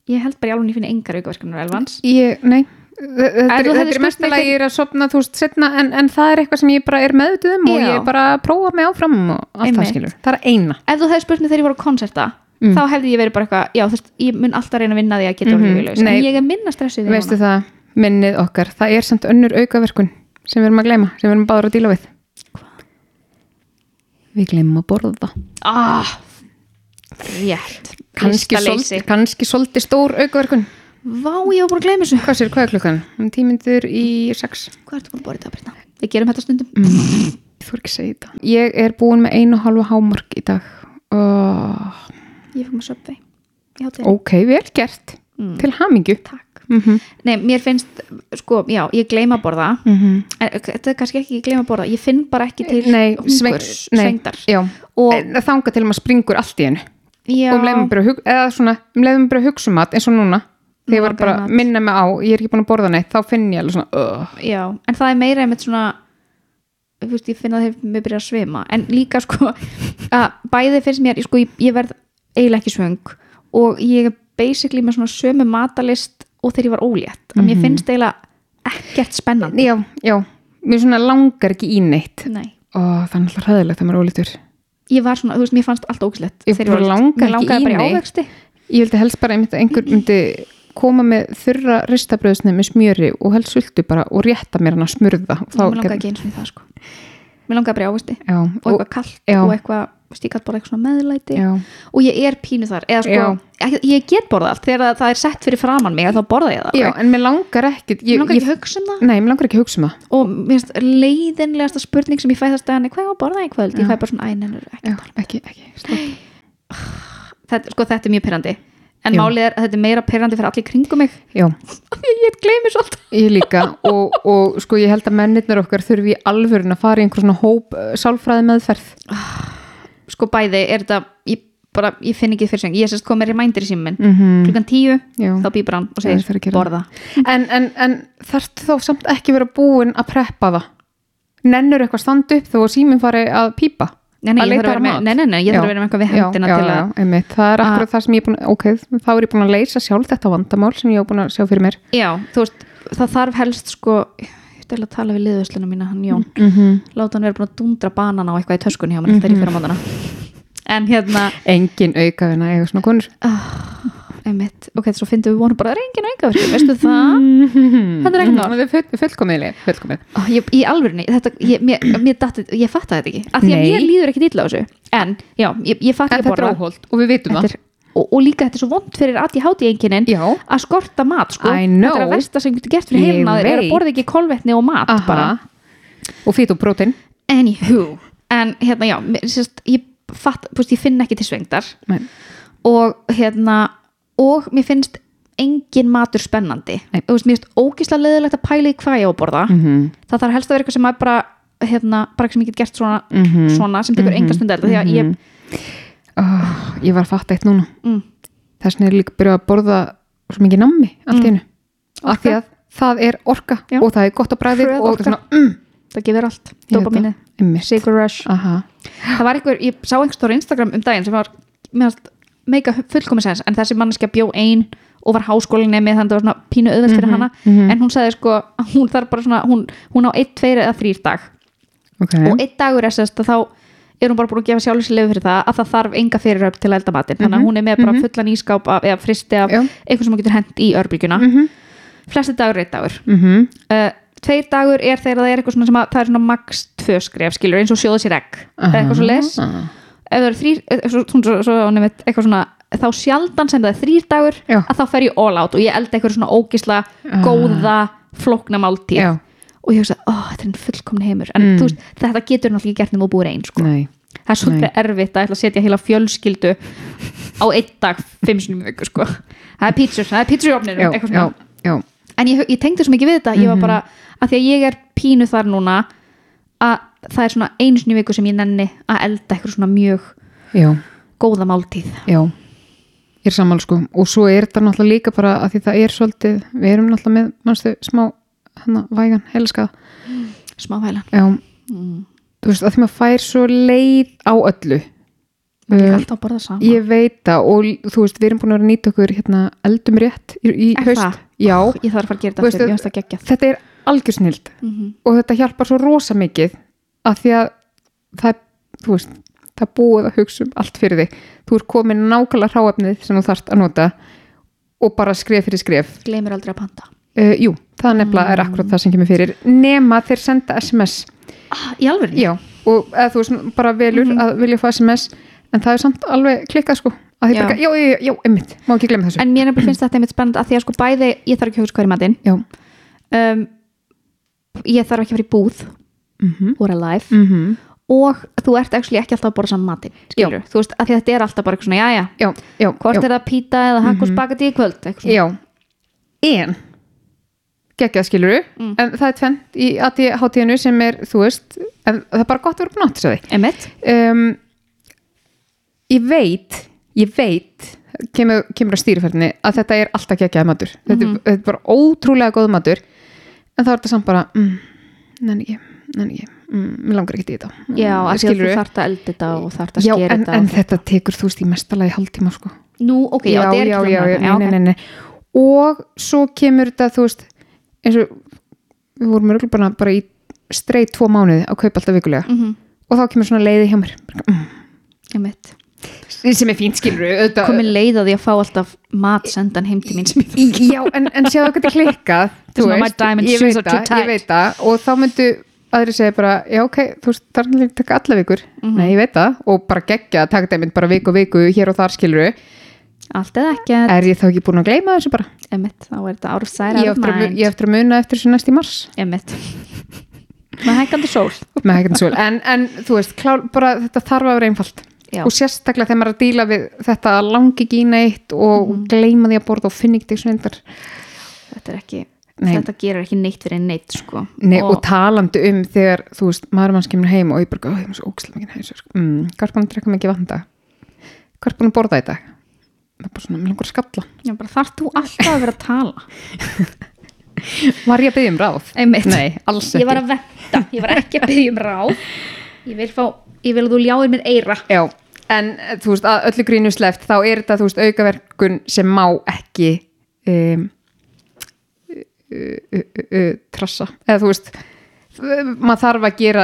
Speaker 2: ég held bara í alveg ég finn engar aukaverkanir á Elvans
Speaker 1: ég, nei Þ- Þetta
Speaker 2: Ef
Speaker 1: er,
Speaker 2: þú
Speaker 1: þetta
Speaker 2: hefðir
Speaker 1: er
Speaker 2: spurt
Speaker 1: mest að
Speaker 2: mig
Speaker 1: ég er að sopna þú veist setna en, en það er eitthvað sem ég bara er meðutuð um og
Speaker 2: Já.
Speaker 1: ég bara prófa mig áfram og allt það
Speaker 2: Einmitt.
Speaker 1: skilur. Það er eina.
Speaker 2: ef þú hefði spurt mig þegar ég voru á konserta
Speaker 1: Mm.
Speaker 2: þá hefði ég verið bara eitthvað, já þú veist, ég mun alltaf reyna að vinna því að geta mm
Speaker 1: Mhm,
Speaker 2: -hmm. lifilaus
Speaker 1: nei.
Speaker 2: en ég er minna stressið
Speaker 1: Veistu það, minnið okkar, það er samt önnur aukaverkun sem við erum að gleyma, sem við erum báður að díla við. Hvað? Við gleymum að borða.
Speaker 2: ah, rétt
Speaker 1: Kannski,
Speaker 2: Listaleysi.
Speaker 1: sold, kannski svolítið stór aukaverkun.
Speaker 2: vá ég var búin að gleyma þessu
Speaker 1: Hvað sér, hvað er klukkan? Um tímyndur í sex.
Speaker 2: hvað ertu búin að bóra þetta Birna? við gerum þetta stundum
Speaker 1: Mm. Þú er ekki að segja þetta. Ég er búin með einu og halva hámark í dag. Oh,
Speaker 2: ég fyrir maður söpvei
Speaker 1: ok, vel gert.
Speaker 2: Mm.
Speaker 1: Til hamingju.
Speaker 2: takk
Speaker 1: Mm -hmm.
Speaker 2: Nei, mér finnst, sko, já, ég gleyma að borða
Speaker 1: Mm. Mhm.
Speaker 2: En þetta er kannski ekki ég gleyma að borða ég finn bara ekki til
Speaker 1: Nei, sveng,
Speaker 2: hungurs svengdar
Speaker 1: Já, og,
Speaker 2: og
Speaker 1: þanga til að maður springur allt í hennu.
Speaker 2: já,
Speaker 1: og um leiðum bara, að hug- eða svona, um leiðum bara að hugsa um mat eins og núna þegar ég var bara
Speaker 2: Morgunmat.
Speaker 1: að minna mig á, ég er ekki búin að borða neitt þá finn ég alveg svona uh.
Speaker 2: já, en það er meira einmitt svona þú veist, ég finn að þeir mér byrja að svima en líka sko (laughs) að bæði finnst mér, sko, ég, ég verð eiginlega ekki svöng og ég er basically með svona sömu matalist og þegar ég var ólétt, að
Speaker 1: Mhm.
Speaker 2: mér finnst eiginlega ekkert spennandi
Speaker 1: já, já, mér svona langar ekki í neitt
Speaker 2: Nei.
Speaker 1: og það er alltaf hræðilegt þegar maður er ólítur
Speaker 2: ég var svona, þú veist, mér fannst allt ógislegt
Speaker 1: Ég bara langar
Speaker 2: mér
Speaker 1: ekki í
Speaker 2: langaði bara í
Speaker 1: neitt.
Speaker 2: ávexti
Speaker 1: ég vildi helst bara einmitt að einhver myndi koma með þurra ristabröðsni með smjöri og helst sultu bara og rétta mér hann að smurða og
Speaker 2: þá mér langaði
Speaker 1: gæti-
Speaker 2: ekki eins og það sko mér langaði bara í ávexti
Speaker 1: já,
Speaker 2: og
Speaker 1: og,
Speaker 2: eitthvað kallt
Speaker 1: já.
Speaker 2: og eitthvað stíkat bara eitthvað svona meðlæti
Speaker 1: já,
Speaker 2: og ég er pínu þar eða sko, ekki, ég get borða allt þegar það- það er sett fyrir framann mig að þá borða ég það
Speaker 1: já,
Speaker 2: alveg.
Speaker 1: en mér langar ekki
Speaker 2: Mér
Speaker 1: ég,
Speaker 2: langar
Speaker 1: ég,
Speaker 2: ekki að hugsa um það
Speaker 1: nei, mér langar ekki að hugsa um það
Speaker 2: og mér finnst leiðinlegasta spurning sem ég fæ það stæðan er hvað ég á að borða í kvöld ég fæ bara svona æ, neina, ekki
Speaker 1: já, ekki, ekki, stopp
Speaker 2: þetta, sko, þetta er mjög pyrrandi en
Speaker 1: Já.
Speaker 2: málið er að þetta er meira pyrrandi fyrir allir í kringum mig (laughs)
Speaker 1: já,
Speaker 2: af því að ég gleymi svolítið
Speaker 1: Ég líka og, og sko ég held að mennirnir okkar þurfi í alvörun að fara í einhver svona hóp uh, sálfræði meðferð.
Speaker 2: sko bæði er þetta ég, bara, ég finn ekki fyrir sem ég sérst komið reminder í símum minn
Speaker 1: Mm
Speaker 2: klukkan tíu
Speaker 1: Já.
Speaker 2: þá býpar hann og
Speaker 1: Já, ég þarf að
Speaker 2: segir
Speaker 1: gera
Speaker 2: borða
Speaker 1: En, en, en þarftu þá samt ekki vera búin að preppa það? Nennur eitthvað standa upp þó að síminn fari að pípa?
Speaker 2: Nei, nei,
Speaker 1: Að leita
Speaker 2: ég þarf að vera
Speaker 1: að
Speaker 2: með-
Speaker 1: mat?
Speaker 2: nei, nei, nei, ég þarf að vera með eitthvað við
Speaker 1: Já,
Speaker 2: hendina
Speaker 1: já,
Speaker 2: til að Ah.
Speaker 1: Já, einmitt, það er
Speaker 2: að-
Speaker 1: akkurat það sem ég er búin, ok, þá er ég búin að leysa sjálf þetta vandamál sem ég er búin að sjá fyrir mér.
Speaker 2: Já, þú veist, það þarf helst sko, ég ætla að tala við liðvösluna mína hann Jón,
Speaker 1: Mm -hmm.
Speaker 2: láta hann vera búin að dundra banana á eitthvað í töskunni hjá mér þegar ég
Speaker 1: Mhm.
Speaker 2: fyrir á mótana en hérna,
Speaker 1: Engin aukavina eða svona konur.
Speaker 2: einmitt ok, svo fyndum við vonum bara, það er engin aukaverkjum
Speaker 1: Mhm.
Speaker 2: veistu það?
Speaker 1: Þetta
Speaker 2: Mhm. Þetta er ekkert mál.
Speaker 1: Það er Mhm. full, fullkomiðli, fullkomið.
Speaker 2: Ó, ég, í alvörni, þetta, ég, mér, mér datti, ég fatta þetta ekki, af því að
Speaker 1: Nei.
Speaker 2: mér líður ekki illa á þessu, en, já, ég, ég fatta
Speaker 1: En
Speaker 2: ekki
Speaker 1: þetta er
Speaker 2: borða
Speaker 1: óholt og við vitum
Speaker 2: Þetta
Speaker 1: það.
Speaker 2: er- og, og líka þetta er svo vond fyrir allir háti enginin
Speaker 1: Já,
Speaker 2: að skorta mat, sko
Speaker 1: I
Speaker 2: þetta er
Speaker 1: know.
Speaker 2: að versta sem getur gert fyrir
Speaker 1: Ég
Speaker 2: heilin að þeir eru að
Speaker 1: veit.
Speaker 2: borða ekki kolvetni og mat bara
Speaker 1: aha. Og fýtt og brótin.
Speaker 2: Anywho, en hérna já mér- sérst, ég, fatt, púst, ég finn ekki til svengdar
Speaker 1: Nei.
Speaker 2: og hérna og mér finnst engin matur spennandi
Speaker 1: Nei.
Speaker 2: Þú veist, mér finnst ógislega leðilegt að pæla í hvað ég á að borða
Speaker 1: Mm -hmm.
Speaker 2: það þarf helst að vera eitthvað sem er bara hérna, bara sem ég get gert svona,
Speaker 1: mhm.
Speaker 2: svona
Speaker 1: Mm-hmm.
Speaker 2: sem tekur mm -hmm. enga stund elda því að ég,
Speaker 1: oh, ég var að fatta eitt núna
Speaker 2: Mm.
Speaker 1: þess vegna er ég líka byrjuð að borða svo mikið nammi allt í einu af því að það er orka
Speaker 2: Mm. Já.
Speaker 1: og það er gott að bræði
Speaker 2: Hröð
Speaker 1: og
Speaker 2: orka.
Speaker 1: svona mm,
Speaker 2: það gefur allt
Speaker 1: ég veit
Speaker 2: dopa mínu,
Speaker 1: það. Einmitt.
Speaker 2: sigur rush
Speaker 1: Aha.
Speaker 2: það var einhver, ég sá einhver stóra Instagram um daginn sem var meika fullkomisens en þessi manneskja bjó ein og var háskólinemi þannig að það var svona pínu auðvelt fyrir hana
Speaker 1: mhm.
Speaker 2: en hún sagði sko að hún þarf bara svona hún, hún á einn, tveir eða þrýr dag
Speaker 1: ok,
Speaker 2: og einn dagur er sérst að þá er hún bara búin að gefa sjálfur sér leið fyrir það að það þarf enga fyriröfn til að elda matinn þannig að hún er með bara fullan ískáp af, eða fristi af
Speaker 1: Mhm, Já.
Speaker 2: eitthvað sem hún getur hent í örbylgjuna mm
Speaker 1: Mhm.
Speaker 2: flesti dagur er einn dagur
Speaker 1: Mhm.
Speaker 2: uh, tveir dagur er þegar það er eitthvað svona sem að það er svona max tvö skref skilur eins og sjóða sér egg það er eitthvað svo les
Speaker 1: Ah.
Speaker 2: ef það er þrýr, eh, svo, svo, svo, svo, nefnt, eitthvað svona þá sjaldan sem það er þrýr dagur
Speaker 1: Já.
Speaker 2: að þá fer ég all out og ég elda eitthvað svona ógisla góða flókna máltíð
Speaker 1: Mm. Já. Mm.
Speaker 2: og ég hugsa, ó, þetta er enn fullkomni heimur en þú veist, þetta getur náttúrulega ekki gert nema að búið einn sko.
Speaker 1: nei,
Speaker 2: það er
Speaker 1: Nei.
Speaker 2: svolítið erfitt að ætla að setja heila fjölskyldu á einn dag fimm sinni í viku sko. það er pítsur, það er pítsur í ofninu
Speaker 1: já,
Speaker 2: eitthvað
Speaker 1: já, Mhm.
Speaker 2: svona
Speaker 1: já
Speaker 2: en ég, ég tengdi svo mikið við þetta ég var bara, að því að ég er pínu þar núna að það er svona einu sinni í viku sem ég nenni að elda eitthvað svona mjög
Speaker 1: já,
Speaker 2: góða máltíð
Speaker 1: já ég er sammála sko og svo er þetta náttúrulega líka bara að því það er svolítið, við erum náttúrulega með manstu, smá hana, vægan, helskað
Speaker 2: smávælan
Speaker 1: já,
Speaker 2: Mm.
Speaker 1: þú veist, að því maður fær svo leið á öllu
Speaker 2: ég er
Speaker 1: Um,
Speaker 2: alltaf að borða saman
Speaker 1: Ég veit það og l- þú veist, við erum búin að vera að nýta okkur hérna eldum rétt í, í
Speaker 2: Er
Speaker 1: haust.
Speaker 2: það?
Speaker 1: Já,
Speaker 2: ég þarf að fara að gera þetta
Speaker 1: Þú veist,
Speaker 2: aftur, ég veist það geggjað
Speaker 1: þetta er algjörsnild
Speaker 2: mm -hmm.
Speaker 1: og þetta hjálpar svo rosa mikið að því að það, er, þú veist, það er búið að hugsa um allt fyrir þig. Þú er komin nákvæmlega hráefnið sem þú þarft að nota og bara skref fyrir skref.
Speaker 2: gleymir aldrei að panta
Speaker 1: Uh, jú, það nefnilega er akkurat það sem kemur fyrir. Nema þeir senda SMS.
Speaker 2: ah, í alveg?
Speaker 1: Já, og eða þú veist, bara velur
Speaker 2: Mhm.
Speaker 1: að vilja fá SMS en það er samt alveg klikkað sko. Að því
Speaker 2: Já.
Speaker 1: bara, Já, já, já, já, einmitt, má ekki glemma þessu.
Speaker 2: en mér nefnilega finnst þetta einmitt spennand að því að sko bæði ég þarf ekki að hugsa hverju matinn
Speaker 1: Já.
Speaker 2: um, ég þarf ekki að fara í búð or alive
Speaker 1: mm -hmm.
Speaker 2: og þú ert actually ekki alltaf að borða saman matinn skilur, þú veist, að því að þetta er alltaf bara eitthvað svona já, já,
Speaker 1: já, já,
Speaker 2: hvort
Speaker 1: já, Mhm.
Speaker 2: er það pýta eða hakk og spagetti í kvöld eitthvað svona.
Speaker 1: já en geggjað skiluru,
Speaker 2: Mm.
Speaker 1: en það er tvent í aðtíð hátíðinu sem er, þú veist en það er bara gott að vera búin að átta sig á því
Speaker 2: Einmitt.
Speaker 1: um, ég veit ég veit kemur, kemur að stýriferðinni að þetta er alltaf geggjað matur, þetta,
Speaker 2: Mhm.
Speaker 1: er, þetta er bara ótrúlega góð matur, en þá er þetta samt bara mm, nenni ekki nenni ekki, mm, mér langar ekki í þetta Mm,
Speaker 2: já, að því að
Speaker 1: skilurðu?
Speaker 2: þú þarft að elda þetta og þarft að
Speaker 1: Já,
Speaker 2: skera
Speaker 1: en,
Speaker 2: þetta
Speaker 1: en
Speaker 2: og-
Speaker 1: þetta tekur, þú veist, í mestalagi hálftíma sko.
Speaker 2: nú, ok, já,
Speaker 1: já,
Speaker 2: þetta er
Speaker 1: já, já,
Speaker 2: ekki
Speaker 1: já,
Speaker 2: þannig.
Speaker 1: nei,
Speaker 2: ok.
Speaker 1: nei, nei, nei. og svo kemur þetta, þú veist eins og við vorum örgulega bara, bara í streið tvo mánuði að kaupa alltaf vikulega
Speaker 2: Mhm, Mm.
Speaker 1: og þá kemur svona leiði hjá mér
Speaker 2: einmitt.
Speaker 1: sem er fínt skilur
Speaker 2: komin leið að því að fá alltaf mat sendan heim til mín sem ég þarf
Speaker 1: já, en, en séu það hvernig
Speaker 2: (laughs)
Speaker 1: klikkað
Speaker 2: This is
Speaker 1: þú
Speaker 2: why my
Speaker 1: veist,
Speaker 2: diamond
Speaker 1: ég
Speaker 2: shoes
Speaker 1: veit
Speaker 2: are too
Speaker 1: það,
Speaker 2: tight.
Speaker 1: ég veit það og þá myndu aðri segja bara já ok, þú veist, það er náttúrulega að taka alla vikur
Speaker 2: Mhm.
Speaker 1: nei, ég veit það, og bara geggja að taka dæmið bara viku og viku hér og þar skilur
Speaker 2: allt eða ekki,
Speaker 1: er ég þá ekki búin að gleyma þessu bara
Speaker 2: einmitt, þá er þetta out of sight,
Speaker 1: ég á
Speaker 2: out of
Speaker 1: eftir, að, mu-
Speaker 2: mind
Speaker 1: ég á eftir að muna eftir þessu næst í mars
Speaker 2: einmitt með hækandi sól
Speaker 1: með hægandi svol en, en þú veist, klár, bara þetta þarf að vera einfalt
Speaker 2: Já.
Speaker 1: og sérstaklega þegar maður er að díla við þetta að langi ekki í neitt og gleyma því að borða og finna ekkert eitthvað
Speaker 2: þetta er ekki
Speaker 1: Nei.
Speaker 2: þetta gerir ekki neitt fyrir neitt sko.
Speaker 1: Nei, og, talandi um þegar þú veist, maður manns kemur heim og ég bara, "Ó, ég er svo ókslega mikið hægis mm, hvað er búin að drekka mikið vanda hvað er búin að borða í dag það er bara svona, mér langar að skalla
Speaker 2: já, bara þarf þú alltaf að vera að tala
Speaker 1: var ég að byggja um ráð?
Speaker 2: einmitt,
Speaker 1: Nei, alls
Speaker 2: ég
Speaker 1: ekki
Speaker 2: var að venda ég var ekki að byggja um ráð ég vil, fá, ég vil að þú ljáir mér eira
Speaker 1: Já, en eh, þú veist, að öllu grínu sleft þá er þetta, þú veist, aukaverkun sem má ekki um, uh, uh, uh, uh, trassa, eða þú veist maður þarf að gera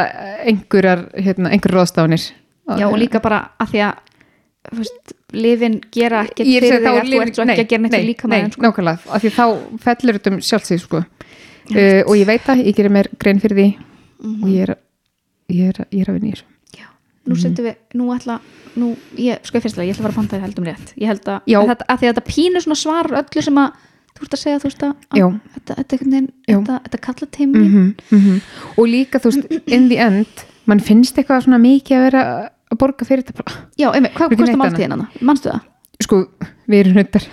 Speaker 1: einhverjar, hérna, einhverjar ráðstafanir
Speaker 2: já, og líka bara að því að þú veist, lifin gera ekkert
Speaker 1: Ég er
Speaker 2: fyrir
Speaker 1: að
Speaker 2: þig
Speaker 1: segja
Speaker 2: að
Speaker 1: þá
Speaker 2: þú ert svo ekki
Speaker 1: nei,
Speaker 2: að gera neitt
Speaker 1: nei,
Speaker 2: fyrir líka
Speaker 1: nei,
Speaker 2: maður sko.
Speaker 1: nákvæmlega, af því þá fellur þetta um sjálfsíð sko. uh, og ég veit það, ég gerir mér grein fyrir því
Speaker 2: Mhm.
Speaker 1: og ég er, ég er, ég er að vinna í þessu
Speaker 2: Já, nú
Speaker 1: Mhm.
Speaker 2: setjum við, nú ætla nú, ég, sko ég fyrstilega, ég ætla að fara að panta þér heldum rétt ég held að,
Speaker 1: Já.
Speaker 2: að, þetta- að því að þetta pínu svona svar öllu sem að, þú ert að segja þú veist að, að
Speaker 1: Já.
Speaker 2: þetta, þetta, einhvern veginn,
Speaker 1: Já.
Speaker 2: þetta, þetta kalla teimi
Speaker 1: mm og líka þú veist, in the end mann finnst eitthvað svona mikið að vera að borga fyrir þetta bara,
Speaker 2: já, einmitt, hvað
Speaker 1: Fyrir
Speaker 2: kostar
Speaker 1: neitt
Speaker 2: máltíðin hana, hérna? manstu það?
Speaker 1: sko, við erum hundar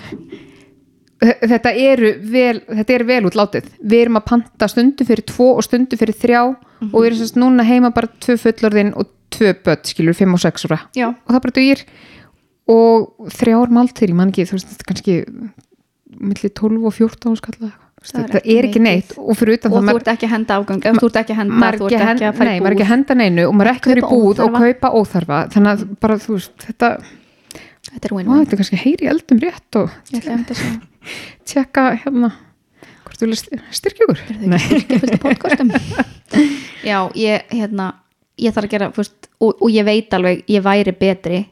Speaker 1: þetta eru vel, þetta er vel útlátið við erum að panta stundu fyrir tvo og stundu fyrir þrjá og við erum sérst núna heima bara tvö fullorðin og tvö börn skilur, fimm og sex ára
Speaker 2: já,
Speaker 1: og það bara dugir og þrjár máltir, ég man ekki þú veist, þetta er kannski milli 12 og 14 skalla það,
Speaker 2: Það er
Speaker 1: það
Speaker 2: ekki
Speaker 1: er ekki neitt og fyrir utan það
Speaker 2: og þú
Speaker 1: maður-
Speaker 2: ert ekki að henda afgang ef þú ert ekki að henda,
Speaker 1: maður
Speaker 2: þú
Speaker 1: ekki að
Speaker 2: ert ekki
Speaker 1: henda-
Speaker 2: að fara
Speaker 1: nei,
Speaker 2: í
Speaker 1: maður
Speaker 2: búð
Speaker 1: ekki að henda neinu og maður er ekki að fara í
Speaker 2: Kaupa
Speaker 1: búð og
Speaker 2: óþarfa.
Speaker 1: kaupa óþarfa þannig að bara þú veist, þetta,
Speaker 2: þetta er
Speaker 1: á,
Speaker 2: win-win
Speaker 1: þetta er kannski heyri í eldum rétt og
Speaker 2: Ég ætla einmitt að segja.
Speaker 1: tjekka hérna hvort þú vilja styrkja ykkur
Speaker 2: Eru þau ekki styrkja fullt af podcastum? (laughs) Já, ég, hérna, ég þarf að gera, þú veist, og, og ég veit alveg, ég væri betri,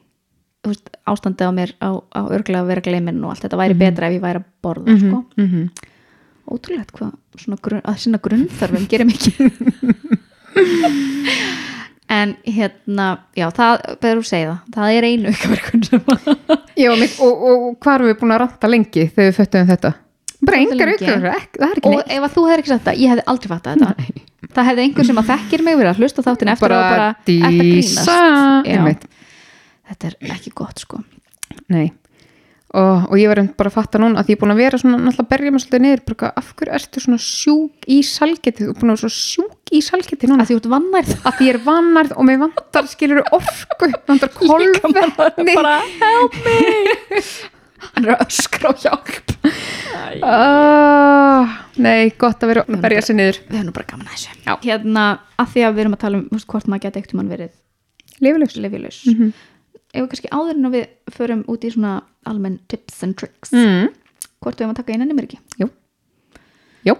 Speaker 2: þú veist, ástandið á mér á, á örglega að vera gleiminn og allt þetta væri betra ef ég væri að borða, sko.
Speaker 1: mm -hmm.
Speaker 2: Ótrúlegt hvað, svona grun, að sinna grunnþörfum gerir mikið. (laughs) en, hérna, já, það, beður þú segja það, það er einu aukaverkun sem að
Speaker 1: Já, og, og, og hvað erum við búin að ranta lengi þegar við föttum þetta? Bara
Speaker 2: Svolítið
Speaker 1: engar
Speaker 2: lengi.
Speaker 1: ykkur, það er ekki
Speaker 2: og
Speaker 1: neitt
Speaker 2: ef að þú hefði ekki sagt þetta, ég hefði aldrei fattað þetta það hefði einhver sem að þekkir mig verið að hlusta á þáttinn eftir
Speaker 1: Bara
Speaker 2: og bara, "Ertu að grínast?"
Speaker 1: dísa
Speaker 2: Já.
Speaker 1: einmitt,
Speaker 2: þetta er ekki gott sko
Speaker 1: nei og, og ég var einmitt bara að fatta núna að ég er búin að vera svona, náttúrulega að berja mig svolítið niður bara, eitthvað, af hverju ertu svona sjúk í salgeti þú er búin að vera svona sjúk í salgeti núna
Speaker 2: að því út vannar (laughs) það
Speaker 1: að ég er vannarð og mér vantar skilur orku, mig (laughs) vantar kolvetni
Speaker 2: help me (laughs) hann er að öskra og hjálp
Speaker 1: Ah, Nei, gott að vera að berja sér niður
Speaker 2: við hefum nú bara gaman að þessu Já. hérna að því að við erum að tala um þú veist, hvort maður geti eitthvað mann verið
Speaker 1: Lifilegs
Speaker 2: lefjulegs
Speaker 1: Mhm.
Speaker 2: ef við kannski áður en að við förum út í svona almenn tips and tricks
Speaker 1: mm.
Speaker 2: hvort við hefum að taka einan í mér ekki
Speaker 1: Jú, Jú.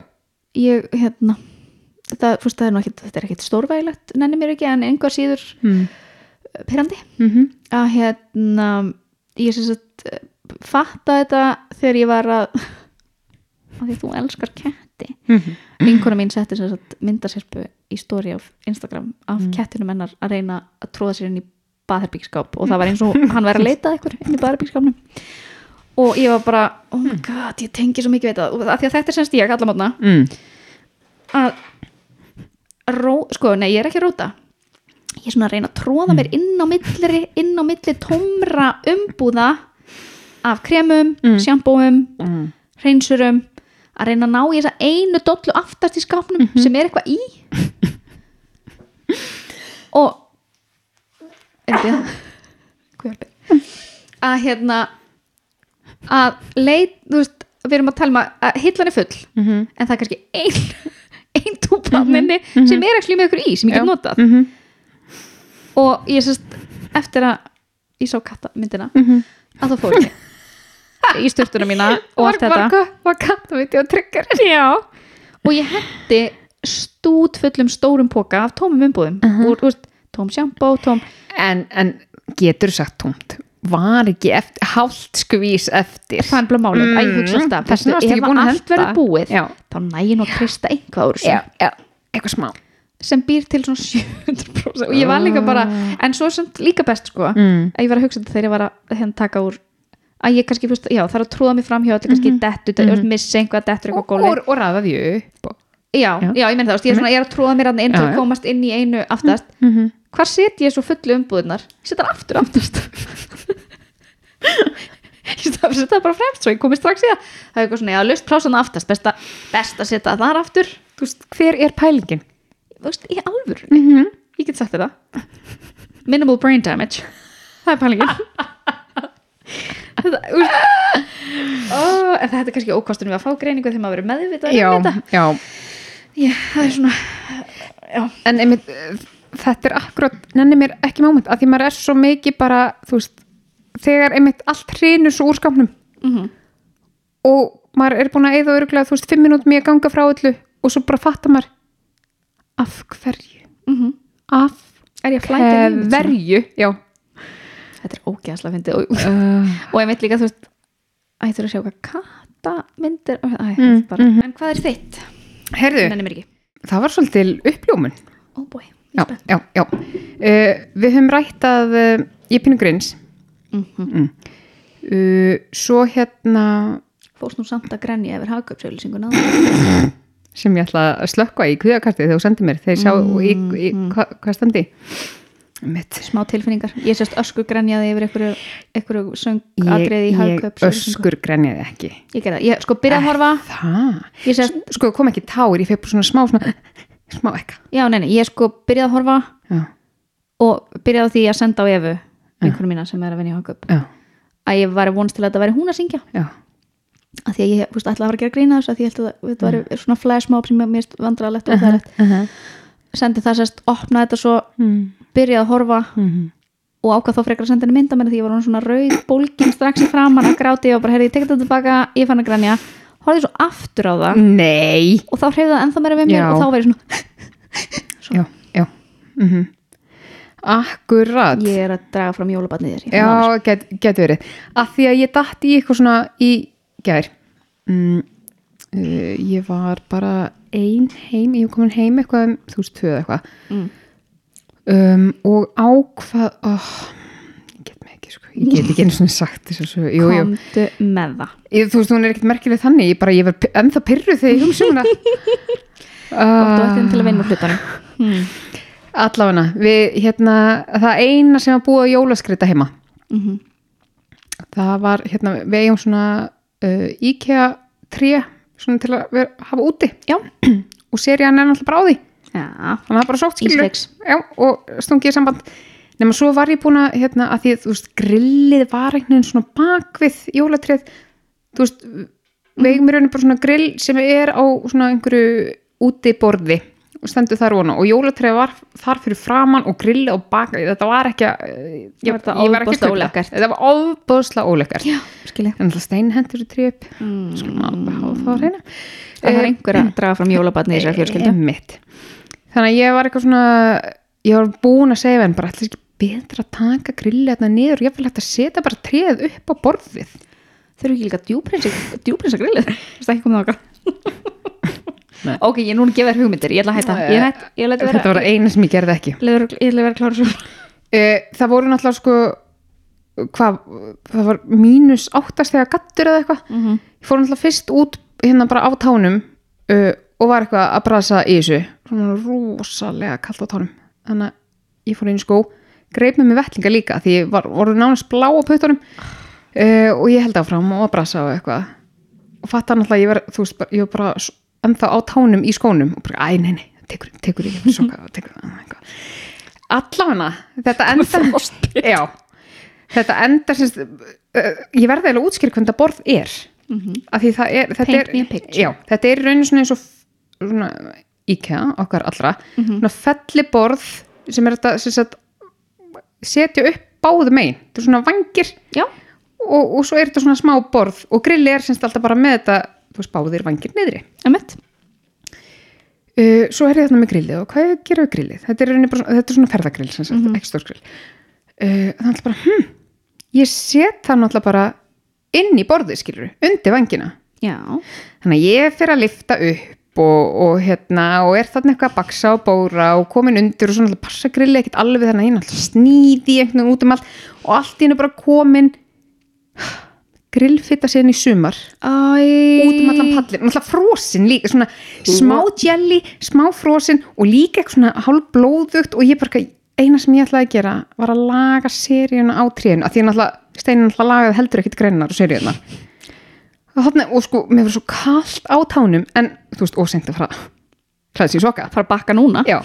Speaker 2: ég, hérna þetta, fúst, það er nú ekkit, þetta er ekkit stórvægilegt nenni mér ekki, en einhver síður
Speaker 1: Mm.
Speaker 2: pyrrandi,
Speaker 1: Mm
Speaker 2: að hérna ég sem sagt eh, fatta þetta þegar ég var að (laughs) af því að þú elskar ketti
Speaker 1: Mhm.
Speaker 2: vinkona mín setti sem sagt myndaserpu í stóri á Instagram af kettinum hennar að reyna að tróða sér inn í baðherbyggskáp og það var eins og hann væri að leita að ykkur inn í baðherbyggskapnum og ég var bara, oh my god, ég tengi svo mikið við þetta, og af því að þetta er semst ég allamotna mm
Speaker 1: Mm.
Speaker 2: að ró, sko, nei, ég er ekki að róta ég er svona að reyna að tróða mér inn á millri, inn á milli tómra umbúða af kremum, mm. sjambóum
Speaker 1: Mm.
Speaker 2: reynsurum að reyna að ná í þessa einu dollu aftast í skapnum sem er eitthvað í og er þetta hvað er þetta að hérna að leit, þú veist, við erum að tala um að- að hillan er full
Speaker 1: Mhm.
Speaker 2: en það er kannski ein (laughs) ein túpa minni sem er ekki með ykkur í sem ég get
Speaker 1: Já.
Speaker 2: notað
Speaker 1: Mhm.
Speaker 2: og ég sérst eftir að ég sá kattamyndina
Speaker 1: Mhm.
Speaker 2: að það fór ég í styrtuna
Speaker 1: (laughs)
Speaker 2: mína og allt
Speaker 1: Var,
Speaker 2: þetta
Speaker 1: var, var kattavíti og tryggur Já
Speaker 2: og ég hendi stút fullum stórum póka af tómum umbúðum
Speaker 1: Mhm.
Speaker 2: uh -huh. úr, úr, tóm sjampó, tóm
Speaker 1: En, en getur sagt tómt Var ekki eftir, hálft skvís eftir
Speaker 2: það er bara málið,
Speaker 1: Mm.
Speaker 2: að ég hugsa alltaf
Speaker 1: Þess vegna
Speaker 2: veistu,
Speaker 1: varstu ekki
Speaker 2: ef
Speaker 1: búin að
Speaker 2: allt
Speaker 1: henda.
Speaker 2: verður búið,
Speaker 1: Já.
Speaker 2: þá næ ég nú að krysta einhvað úr þessu
Speaker 1: Já, já, eitthvað smá
Speaker 2: sem býr til svona 700% og ég var líka bara,
Speaker 1: Ah.
Speaker 2: en svo sem líka best sko,
Speaker 1: Mm.
Speaker 2: að ég var að hugsa þetta þegar ég var að hérna taka úr að ég kannski, fyrst, já, þarf að trúða mig fram hjá allir kannski
Speaker 1: Mhm.
Speaker 2: dettu, mm -hmm. missa einhvað, dettur
Speaker 1: Og,
Speaker 2: eitthvað
Speaker 1: og,
Speaker 2: gólið
Speaker 1: og raða því upp og...
Speaker 2: já, já, ég meina það, þú veist, ég er, svona, ég er að trúða mér hann inn til
Speaker 1: Mhm. Já,
Speaker 2: að
Speaker 1: já.
Speaker 2: komast inn í einu aftast
Speaker 1: mm -hmm.
Speaker 2: hvar set ég svo fullu umbúðunar ég set hann aftur aftast (laughs) ég set það set það bara fremst svo ég komið strax í það það er eitthvað svona, já, laust plásan aftast best að, best að setja það þar aftur
Speaker 1: veist, Hver er pælingin?
Speaker 2: þú veist, í alvöru,
Speaker 1: Mm -hmm.
Speaker 2: Mhm. ég get sagt þetta minimal brain damage það er pælingin þetta, úr, ó, en þetta er kannski ókostunum við að fá greiningu þegar maður verið meðvitað
Speaker 1: Já,
Speaker 2: um þetta.
Speaker 1: já
Speaker 2: já, það er svona
Speaker 1: en einmitt, eh, þetta er akkurat nenni mér ekki moment, að því maður er svo mikið bara, þú veist, þegar einmitt allt hrynur svo úr skamnum
Speaker 2: Mhm.
Speaker 1: og maður er búin að eða öruglega, þú veist, fimm minútum í að ganga frá öllu og svo bara fattar maður af hverju
Speaker 2: Mhm.
Speaker 1: af
Speaker 2: er ég að flæta í mitt svona?
Speaker 1: hverju já
Speaker 2: þetta er ógeðslega fyndið og og ég veit líka þú veist að ég þurfa að sjá hvað kattamyndir æ, mm,
Speaker 1: Mm, mhm.
Speaker 2: en hvað er þitt?
Speaker 1: herðu,
Speaker 2: nenni mér ekki
Speaker 1: það var svolítið uppljómun
Speaker 2: ó bói
Speaker 1: já, já, já uh, við höfum rætt að uh, ég pínu grins
Speaker 2: Mhm.
Speaker 1: uh, svo hérna
Speaker 2: fórst nú samt að grenja yfir hagkjöpsauðlýsinguna
Speaker 1: sem ég ætla að slökka í kvíðakartið þegar þú sendir mér, þegar ég sjá í, í, hva, hvað standi mitt
Speaker 2: smá tilfinningar ég sérst öskur grenjaði yfir einhverju, einhverju
Speaker 1: ég,
Speaker 2: söngatriði í
Speaker 1: ég
Speaker 2: hagkjöpsauðlýsingu
Speaker 1: öskur grenjaði ekki
Speaker 2: ég gerði það, ég sko byrja að horfa
Speaker 1: það,
Speaker 2: ég sérst,
Speaker 1: sko kom ekki tár ég feg bara svona smá, svona, (laughs) smá ekka
Speaker 2: já neini, ég sko byrja að horfa
Speaker 1: já,
Speaker 2: og byrjaði á því að senda á Evu einhverju mína sem er að vinna í hagkjöp
Speaker 1: já,
Speaker 2: að ég var vonst til að þetta væri hún að syngja
Speaker 1: já
Speaker 2: að því að ég fúst, ætlaði að fara að gera grína þessu að því ég held að þetta
Speaker 1: Mm.
Speaker 2: væri svona flashmob sem mér
Speaker 1: (laughs)
Speaker 2: vandralegt og það er
Speaker 1: uh -huh.
Speaker 2: sendi það sérst, opnaði þetta svo
Speaker 1: mm.
Speaker 2: byrjaði að horfa
Speaker 1: Mm
Speaker 2: og ákvað þá frekar að senda henni mynda mér því ég var hún svona rauð bólgin strax í framan að gráti og bara heyrði ég tekið þetta tilbaka, ég fann að grænja horfði svo aftur á það
Speaker 1: Nei
Speaker 2: og þá hreyfði það ennþá meira við mér
Speaker 1: Já.
Speaker 2: og þá verið svona
Speaker 1: Já, já mm Akkurat
Speaker 2: ég er að draga fram jólabatnið þér
Speaker 1: Já, get, getur verið að því að ég datt í eitthvað svona í gær mm, uh, ég var bara ein heim, ég var komin heim eitthvað um þú veist, tvöð eitthvað
Speaker 2: Mm.
Speaker 1: um, og ákvað oh, ég get mig ekki sko ég get ekki einu svona sagt þess að svo jú, jú.
Speaker 2: komdu með það
Speaker 1: Ég, þú veist, hún er ekkert merkileg þannig ég bara, ég var ennþá pyrruð þegar ég hugsa um hana
Speaker 2: komdu
Speaker 1: Ah.
Speaker 2: eftir þeim til að vinna úr hlutunum mm.
Speaker 1: Allavega, við, hérna, það eina sem að búa jólaskreita heima
Speaker 2: mm -hmm.
Speaker 1: það var, hérna, við eigum svona uh, IKEA 3 svona til að vera, hafa úti
Speaker 2: já,
Speaker 1: (clears throat) og serían er náttúrulega bráði
Speaker 2: já,
Speaker 1: þannig að það er bara sótt skilur
Speaker 2: Ísleiks.
Speaker 1: já, og stungið í samband nema svo var ég búin að, hérna, að því að þú veist, grillið var einhvern veginn svona bakvið jólatrið þú veist,
Speaker 2: Mhm.
Speaker 1: við eigum í rauninni bara svona grill sem er á svona einhverju útiborði og stendur þar vona og jólatrið var þar fyrir framann og grillið og bakvið þetta var ekki að eh, ég,
Speaker 2: Var þetta
Speaker 1: ég var ekki
Speaker 2: ofboðslega
Speaker 1: að trufla.
Speaker 2: ólekkert?
Speaker 1: þetta var ofbóðslega óleikart
Speaker 2: já, skilja
Speaker 1: En alltaf steinhendur í tríup Skulum alveg hafa það Eh, að reyna
Speaker 2: það var einhver að draga fram jólabatnið þér fjölskyldu
Speaker 1: Eh, Einmitt. Þannig að ég var eitthvað svona Ég var búin að segja við henn bara ætli ekki betra að taka grillið þarna niður og ég vil hægt að setja bara tréð upp á borðið
Speaker 2: þau eru ekki líka djúprinsa- djúprinsa grillið það er ekki komið
Speaker 1: Nei.
Speaker 2: þáka ok, ég er núna að gefa þér hugmyndir ég ætla að hætta,
Speaker 1: Nei.
Speaker 2: ég er hætt ég ætla að
Speaker 1: Þetta var
Speaker 2: vera-
Speaker 1: það eina sem ég gerði ekki
Speaker 2: ég ætla að vera- ég ætla að vera klára svo
Speaker 1: e, Það voru náttúrulega sko hvað, það var mínus áttast þegar gattur eða eitthvað ég fór náttúrulega fyrst út hérna bara á tánum uh, og var eitthvað að brasa í þessu svona rosalega kallt á tánum þannig að ég fór inn í skó greip með mig vettlinga líka því ég var orðið nánast blá á puttunum uh, og ég held áfram og að brasa og eitthvað og fattar náttúrulega að ég var, þú veist, bara- ég var bara s- ennþá á tánum í skónum og bara, æ, nei, nei, tekur, tekur, ég var soka (laughs) tekur, Oh eitthvað allafana, þetta enda já, þetta enda sem, sagt, uh, ég verði eiginlega að útskýra hvernig það borð er af því það er, þetta
Speaker 2: Mhm. Paint me a
Speaker 1: er,
Speaker 2: picture.
Speaker 1: já, þetta er í rauninu svona eins og f- svona, IKEA, okkar allra
Speaker 2: Mhm.
Speaker 1: svona felliborð sem er þetta sem sagt, setja upp báðu megin, þetta er svona vangir
Speaker 2: já,
Speaker 1: og, og svo er þetta svona smá borð og grilli er semst alltaf bara með þetta þú veist, báðir vangir niðri
Speaker 2: emmett
Speaker 1: uh, svo er ég þarna með grillið og hvað gerum við grillið? Þetta er, í rauninni bara, svona- þetta er svona ferðagrill sem sagt, ekki stór grill uh, þannig alltaf bara, hm ég set það náttúrulega bara inn í borðið skilur, undir vangina
Speaker 2: já,
Speaker 1: þannig að ég fer að lifta upp og, og hérna, og er þarna eitthvað að baksa og bóra og komin undir og svona alltaf passa grillið ekkert alveg þannig að ég náttúrulega snýði einhvern veginn út um allt og allt í hennu bara komin grillfitta síðan í sumar
Speaker 2: Æ,
Speaker 1: út um allan pallin, náttúrulega frosin líka svona smá jelly, smá frosin og líka eitthvað svona hálfblóðugt og ég bara, eitthvað- eina sem ég ætlaði að gera var að laga seríuna á trénu að því að náttúrulega, steinin náttúrulega lagaði heldur ekkit greinar og seríuna og, þarna- og sko, mér var svo kallt á tánum en, þú veist, óseint að fara klæðis í soka
Speaker 2: fara að bakka núna
Speaker 1: Já,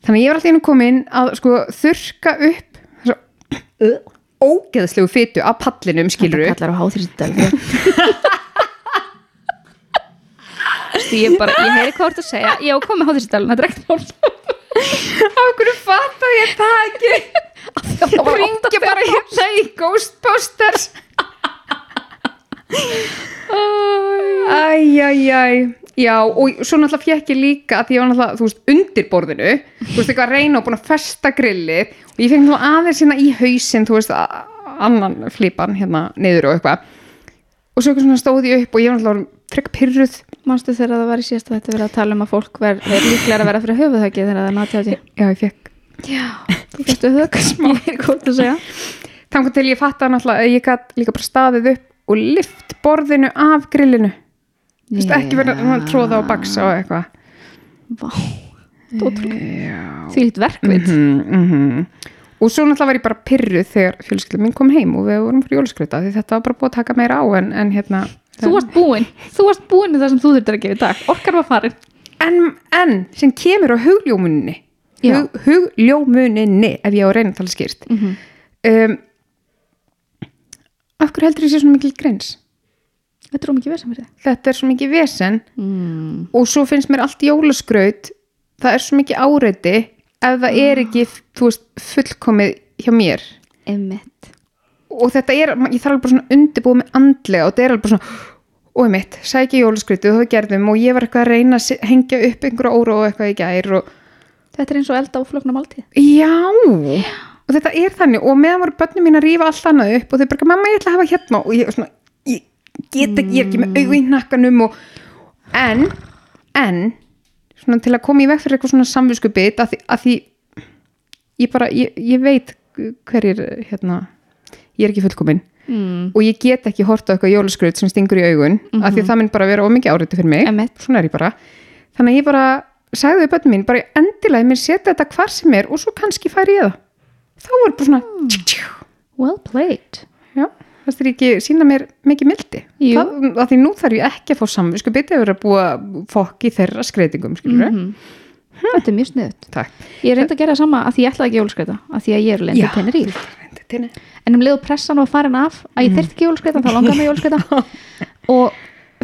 Speaker 1: þannig að ég var alltaf inn og komin að sko þurka upp þessu ógeðslegu fytu af pallinum skilur
Speaker 2: Þetta kallar á (laughs) háþrýstidöl Ég bara, ég heyri hvað þú ert að segja Já, kom með háþrýstidöl, þetta er ekkert (laughs) mál
Speaker 1: Af hverju fatta ég það ekki?
Speaker 2: það var
Speaker 1: Ringja bara hérna í Ghostbusters Æjæjæj Já, og svo náttúrulega fekk ég líka að því ég var náttúrulega, þú veist, undir borðinu þú veist, eitthvað að reyna og búin að festa grillið og ég fekk náttúrulega aðeins hérna í hausinn þú veist, a- annan flipan hérna niður og eitthvað og svo eitthvað svona stóð ég upp og ég var náttúrulega frekk pyrruð
Speaker 2: Manstu þegar það var í síðast að þetta verið að tala um að fólk ver, er líklega að vera fyrir höfuðhöggið þegar það er náttjátti
Speaker 1: Já, ég fekk
Speaker 2: Já, þú fyrstu höfuðhögg (laughs) smá Ég heyri hvað þú ert að segja
Speaker 1: þannig til ég fatta náttúrulega að ég gætt líka bara staðið upp og lift borðinu af grillinu þú veist ekki verið að tróða á baksa og eitthvað
Speaker 2: Vá, því lít verkvit
Speaker 1: mm -hmm. og svo náttúrulega var ég bara pyrruð þegar fjölskyldum minn kom heim og við vorum fyrir jólaskryta því þetta var bara búið að taka meira á en, en hérna
Speaker 2: Þú varst búinn, þú varst búinn með það sem þú þurftir að gefa í dag Orkar var farin
Speaker 1: en, en sem kemur á hugljómuninni
Speaker 2: Já. Mhm.
Speaker 1: Hug, hugljómuninni ef ég á að reyna að tala skýrt um, af hverju heldur ég sé svona mikil grins
Speaker 2: Þetta er um ekki verið sem verið
Speaker 1: þetta er svo mikið vesen
Speaker 2: mm.
Speaker 1: og svo finnst mér allt
Speaker 2: Ah.
Speaker 1: jólaskraut það er svo mikið áreiti ef það er ekki, þú veist, fullkomið hjá mér
Speaker 2: Einmitt.
Speaker 1: og þetta er, ég þarf alveg bara svona undirbúið með andlega og þetta er alveg bara svona og mitt, sækja jólaskryttu og það gerðum og ég var eitthvað að reyna að se- hengja upp einhverja óróa og eitthvað í gær og
Speaker 2: Þetta er eins og elda óflokna máltíð.
Speaker 1: já og þetta er þannig og meðan voru börnum mín að rífa allt annað upp og þau bara, mamma ég ætla að hafa hérna og ég, svona, ég get ekki, ég er ekki með augu í nakkanum og en, en svona til að koma í veg fyrir eitthvað svona samvinskupið að því, að því ég bara, ég, ég veit hverjir hérna, ég er ekki fullkomin
Speaker 2: Mm.
Speaker 1: og ég get ekki hort á eitthvað jólaskraut sem stingur í augun af því að það minn bara vera ómikið áriðti fyrir mig
Speaker 2: Einmitt.
Speaker 1: svona er ég bara þannig að ég bara sagði við börnum mín bara endilega mér setja þetta hvar sem er og svo kannski færi ég það þá var bara svona tjú, tjú,
Speaker 2: Well played.
Speaker 1: já, það er ekki sína mér mikið mildi
Speaker 2: Jú.
Speaker 1: það, af því nú þarf ég ekki að fá samvið sko betið að vera að búa fokk í þeirra skreitingum skilur mm
Speaker 2: Mhm. Þetta er mjög sniðut.
Speaker 1: takk
Speaker 2: Ég reyndi að gera það sama að því ég ætlaði ekki jólaskreita, að því að ég er lendið
Speaker 1: Já.
Speaker 2: yeah. Teneríf.
Speaker 1: Reyndi tinni.
Speaker 2: En um leiðu pressan var farin af að ég þyrfti ekki jólaskreita, þá langaði mig jólaskreita. og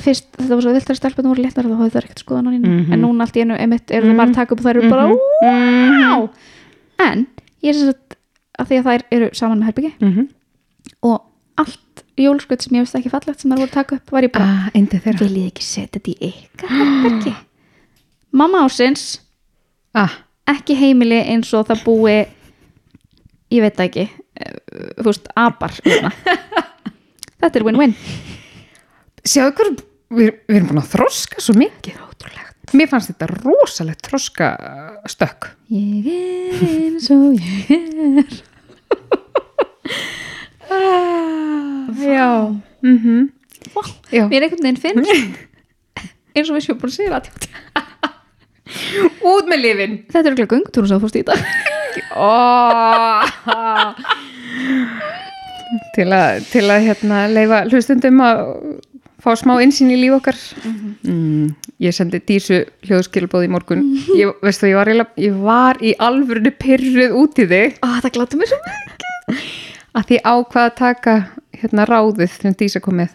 Speaker 2: fyrst, þetta var svo vildar stelpunum voru léttar þá hafði það ekkert skoðan á nýna. En núna allt í einu, einmitt, eru það bara að taka upp og það eru bara,
Speaker 1: Mhm.
Speaker 2: wow! En, ég er sem sagt, að því að þær eru saman með herbyggi
Speaker 1: Mhm.
Speaker 2: og allt jólaskreita sem ég veist ekki fallegt sem þær voru að taka upp, var ég bara,
Speaker 1: ah, endi þeirra
Speaker 2: viljið þið ekki setja þetta í ykkar herbergi mamma ásins
Speaker 1: ah,
Speaker 2: ekki heimili eins og það búi ég veit það ekki eh, þú veist, abar hérna. þetta er win-win
Speaker 1: sjáðu hvað við, við erum búin að þroska svo mikið
Speaker 2: ótrúlegt
Speaker 1: mér fannst þetta rosalegt þroska uh, stökk
Speaker 2: ég er eins og ég er
Speaker 1: Já mm
Speaker 2: Mhm.
Speaker 1: -hmm.
Speaker 2: wow.
Speaker 1: Já.
Speaker 2: Ah, mér einhvern veginn finnst eins og við séum búin að segja það
Speaker 1: Út með lifin
Speaker 2: þetta er ekki göngutúrun sem þú fórst í dag
Speaker 1: til, að, til að hérna leifa hlustundum að fá smá einsinn í líf okkar mm, Ég sendi dísu hljóðskilbóð í morgun ég, Veistu, ég var, eiginlega- ég var í alvörinu pyrruð út í þig
Speaker 2: ah, það glatið mér svo mikið
Speaker 1: að því ákvað að taka hérna ráðið þegar dísa kom með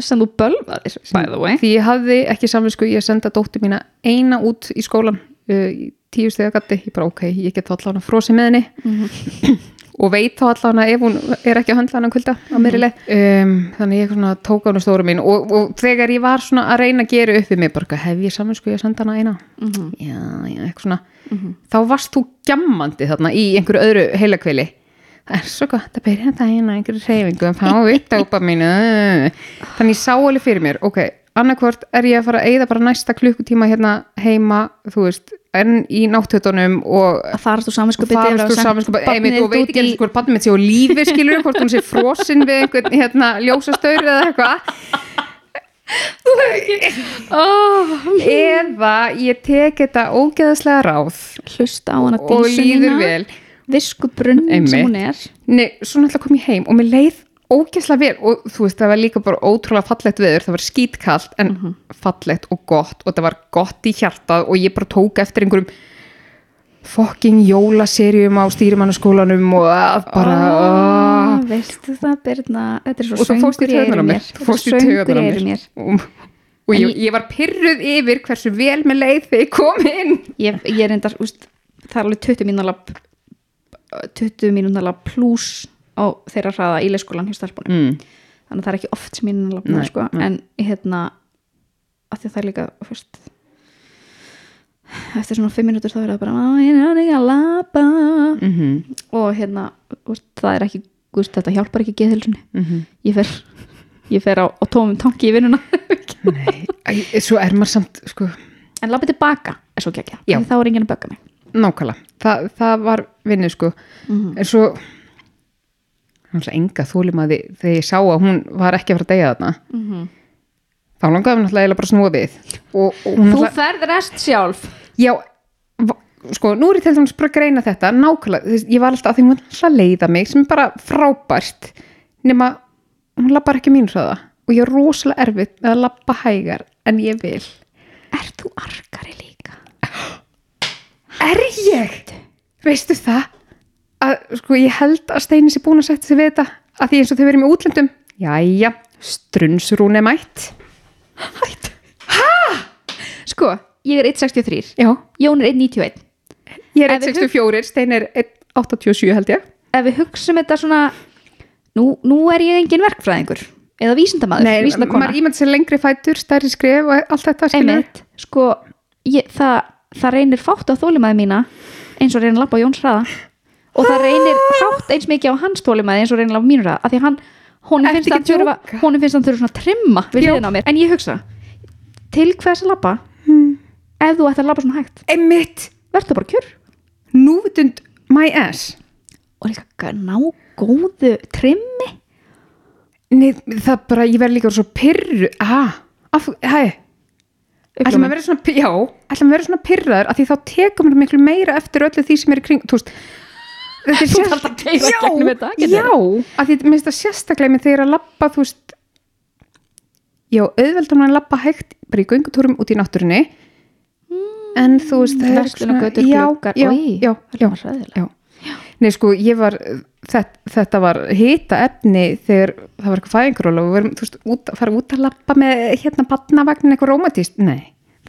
Speaker 2: sem þú bölvaðir, by the way
Speaker 1: Því ég hafði ekki samvisku, ég senda dóttir mína eina út í skólan uh, í tíu stega gatti, ég bara ok, ég get þá allan að frosi með henni Mhm. og veit þá allan að ef hún er ekki að höndla hann kvölda á meiri leið um, þannig ég svona tók á hann stóru mín og, og þegar ég var svona að reyna að gera upp við mig bara hef ég samvisku, ég senda hana eina já, já, eitthvað svona þá varst þú gjammandi þarna í einhverju öðru heilakvili það er svo gott að byrja þetta eina einhverju reyfingu að fá upp dópa mínu þannig ég sá alveg fyrir mér ok, annarkvort er ég að fara að eyða bara næsta klukkutíma hérna heima þú veist, enn í náttötunum og
Speaker 2: Sko, að farast úr samvinsku
Speaker 1: farast úr saminskapa sko, einmitt og veit ekki eins hvort barnið mitt sé á lífi skilur, hvort hún sé frosin við einhvern hérna, ljósastaur eða eitthvað eða ég tek þetta ógeðaslega ráð
Speaker 2: hlusta á hana
Speaker 1: og líður vel
Speaker 2: viskubrunnin
Speaker 1: Einmitt.
Speaker 2: sem hún er
Speaker 1: Nei, svo náttúrulega kom ég heim og mér leið ógeðslega vel og þú veist það var líka bara ótrúlega fallegt veður, það var skítkallt en fallegt og gott og það var gott í hjartað og ég bara tók eftir einhverjum fucking jólaserjum á stýrimannaskólanum og að bara
Speaker 2: Ah,
Speaker 1: oh.
Speaker 2: veistu það Birna þetta er svo
Speaker 1: og þú fórst í
Speaker 2: söngur í
Speaker 1: töðunar á mér
Speaker 2: eyrum mér
Speaker 1: þú
Speaker 2: Þetta er
Speaker 1: fórst í
Speaker 2: svo söngur
Speaker 1: töðunar á
Speaker 2: í
Speaker 1: mér,
Speaker 2: eyrum
Speaker 1: og,
Speaker 2: mér
Speaker 1: og ég, ég var pyrruð yfir hversu vel með leið þegar ég kom inn
Speaker 2: ég, ég er endar, úst, það er alveg 20 mínúna 20 mínúna pluss á þeirra hraða í leikskólan hjá stelpunum
Speaker 1: mm.
Speaker 2: þannig að það er ekki oft sem ég er
Speaker 1: Nei,
Speaker 2: nafna sko, en hérna að því að það er líka fyrst, eftir svona fimm minútur þá er það bara "Á, ég er ekki að lapa
Speaker 1: -hmm.
Speaker 2: og hérna úst, það er ekki, úst, þetta hjálpar ekki geðhilsunni ég fer, ég fer á, á tómum tanki í vinnuna
Speaker 1: Nei, æ, svo er maður samt sko,
Speaker 2: (laughs) en lappa tilbaka er svo gekkja,
Speaker 1: Já.
Speaker 2: þá er enginn að bögga mig
Speaker 1: nákvæmlega Þa, það var vinnu sko en svo náttúrulega enga þúlimaði þegar ég sá að hún var ekki að fara að deyja þarna
Speaker 2: Mhm.
Speaker 1: þá langaði mér náttúrulega eiginlega bara að snúa við og, og hún
Speaker 2: þú
Speaker 1: náttúrulega
Speaker 2: ferð rest sjálf
Speaker 1: já, va- sko, nú er ég til þess bara að greina þetta nákvæmlega, þess, ég var alltaf að því hún var alltaf að leiða mig sem er bara frábært nema hún lappar ekki mínu hraða og ég er rosalega erfitt með að lappa hægar en ég vil
Speaker 2: er þú arkari líka?
Speaker 1: Er ég? Veistu það? Að, sko, ég held að Steini sé búin að setja sig við þetta að því eins og þau verið með útlöndum Jæja, strunnsrún er mætt
Speaker 2: sko, ég er 1.63
Speaker 1: Já,
Speaker 2: Jón er 1.91
Speaker 1: ég er
Speaker 2: Ef við
Speaker 1: 164, Steini er 187 held ég
Speaker 2: ef við hugsum þetta svona nú, nú er ég engin verkfræðingur eða vísindamaður,
Speaker 1: Nei,
Speaker 2: vísindakona
Speaker 1: maður ímynd sér lengri fætur, stærri skrif og allt þetta skilur.
Speaker 2: einmitt, sko ég, það, það reynir fátt á þólimaði mína eins og reynir lappa á Jóns hraða og það reynir
Speaker 1: Ah!
Speaker 2: fátt eins mikið á hans þólimaði eins og reynir lappa á mínu hraða af því að hann, honum
Speaker 1: Ertu
Speaker 2: finnst,
Speaker 1: ekki
Speaker 2: hann þurfa,
Speaker 1: að djóka?
Speaker 2: honum finnst hann þurfa svona að trimma við hliðina á mér, en ég hugsa til hvers að lappa
Speaker 1: Hmm.
Speaker 2: ef þú ætti að lappa svona hægt,
Speaker 1: Einmitt,
Speaker 2: verður bara kjur
Speaker 1: núvitund my ass.
Speaker 2: og líka ná góðu trimmi
Speaker 1: Nei, það bara, ég verði líka svo pyrru. Ah, af, hæ, ætlum að vera svona, py- já, ætlum að vera svona pyrraður að því þá tekum við miklu meira eftir öllu því sem er í kring, þú veist. Þetta er
Speaker 2: Þú
Speaker 1: sérst-
Speaker 2: þarft að keyra
Speaker 1: Já,
Speaker 2: gegnum þetta, getur
Speaker 1: Já, að því minnst það sérstaklega með þegar að labba, þú veist, já, auðveldum að labba hægt bara í göngutúrum út í náttúrunni, en þú veist, það er
Speaker 2: Verslun og götur,
Speaker 1: já,
Speaker 2: Hmm, gluggar,
Speaker 1: já,
Speaker 2: oj,
Speaker 1: já,
Speaker 2: það
Speaker 1: já,
Speaker 2: hljómar hræðilega.
Speaker 1: já. Nei, sko, ég var, þetta, þetta var hita efni þegar það var eitthvað fæðinguról og við varum, þú veist, út, að fara út að labba með hérna batnavagn eitthvað rómatíst. Nei,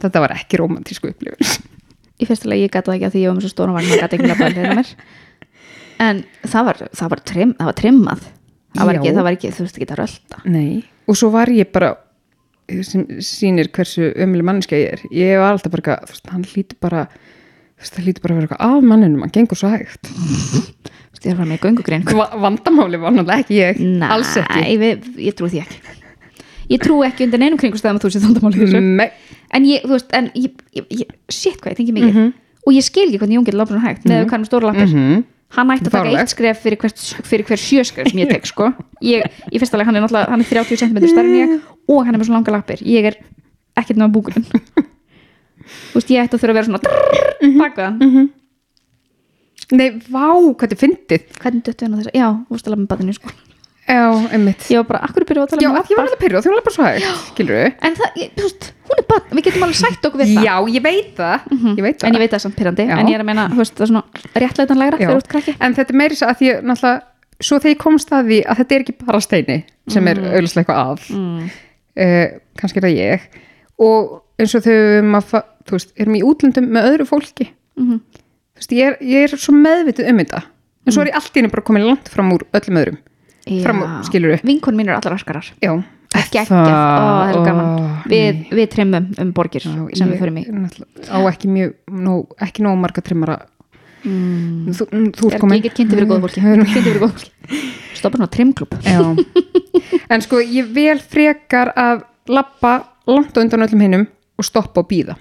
Speaker 1: þetta var ekki rómatísku upplifun.
Speaker 2: í fyrsta lagi ég gata það ekki að því ég var með svo stóran vagn og gata ekki labbað hlera mér en það var, það var, trim, það var trimmað það var, ekki,
Speaker 1: Já.
Speaker 2: það var ekki, þú veist ekki að rölda
Speaker 1: Nei. Og svo var ég bara, sem sýnir hversu ömuleg manneskja ég er, ég var alltaf bara, eitthvað, þú veist, hann hlýtur bara, þú veist, það hlýtur bara að vera eitthvað af manninum, hann gengur svo hægt.
Speaker 2: þú veist ég var með göngugrein
Speaker 1: Va vandamáli var náttúrulega ekki ég, alls ekki.
Speaker 2: Nei, við, ég trúi því ekki ég trúi ekki undir neinum kringustæðum að þú sér þóndamál mm.
Speaker 1: Nei,
Speaker 2: en ég, þú veist, en ég, ég, ég shit hvað ég tengi mikið og ég skil ekki hvernig Jón getur labbað svona hægt með mm. hvað hann er með stóra lappir
Speaker 1: Mhm.
Speaker 2: hann ætti að taka
Speaker 1: Fáránlegt.
Speaker 2: eitt skref fyrir hvert, fyrir hver sjö skref sem ég tek sko ég, ég finnst alveg hann er náttúrulega hann er 30 cm starri en ég og hann er með svona langa lappir ég er ekkert náða búkurinn þú veist ég ætti að þurfa að vera svona baka þann
Speaker 1: Nei, vá, hvað þetta er fyndið.
Speaker 2: hvernig döttu hann á þess já, þú veist að lafa með badinu sko
Speaker 1: Já, einmitt.
Speaker 2: ég var bara akkur byrjuð að tala
Speaker 1: Já,
Speaker 2: um
Speaker 1: að ég var
Speaker 2: lappar
Speaker 1: alveg pyrrjóð, því hún var bara svo hægt, skilur við?
Speaker 2: en það, ég, þú veist, hún er badn við getum alveg sætt okkur við það
Speaker 1: Já, ég veit það, ég veit það.
Speaker 2: en ég veit það er samt pyrrandi
Speaker 1: Já.
Speaker 2: en ég er að meina, þú veist, það er svona réttlætanlegra
Speaker 1: Já.
Speaker 2: þegar þú ert krakki
Speaker 1: En þetta er meiri svo að því, ég náttúrulega, svo þegar ég komst að því að þetta er ekki bara steini sem er auðvitað eitthvað að,
Speaker 2: Mm.
Speaker 1: uh, kannski er það ég, og eins og þegar maður, þú veist, erum í útlöndum með öðru fólki,
Speaker 2: Mhm.
Speaker 1: þú veist, ég er, ég er svo meðvitið um þetta, en svo er ég allt í henni bara komin langt fram úr öllum öðrum. Fram úr,
Speaker 2: Já.
Speaker 1: skilurðu.
Speaker 2: Vinkonur mínar eru allar raskarar
Speaker 1: Já.
Speaker 2: geggjað, ó, það er svo gaman
Speaker 1: ó,
Speaker 2: við,
Speaker 1: nei.
Speaker 2: við trimmum um borgir
Speaker 1: Já,
Speaker 2: sem
Speaker 1: ég
Speaker 2: við förum í
Speaker 1: náttúrulega á ekki mjög, nóg, ekki nóg marga trimmara
Speaker 2: mm.
Speaker 1: þú, mm, þú ert
Speaker 2: er
Speaker 1: komin
Speaker 2: ekki kynnti fyrir góð fólki kynnti fyrir góð fólki
Speaker 1: (laughs)
Speaker 2: stoppa nú að trimmklub
Speaker 1: Já. (laughs) en sko ég vel frekar að lappa langt á undan öllum hinnum og stoppa og býða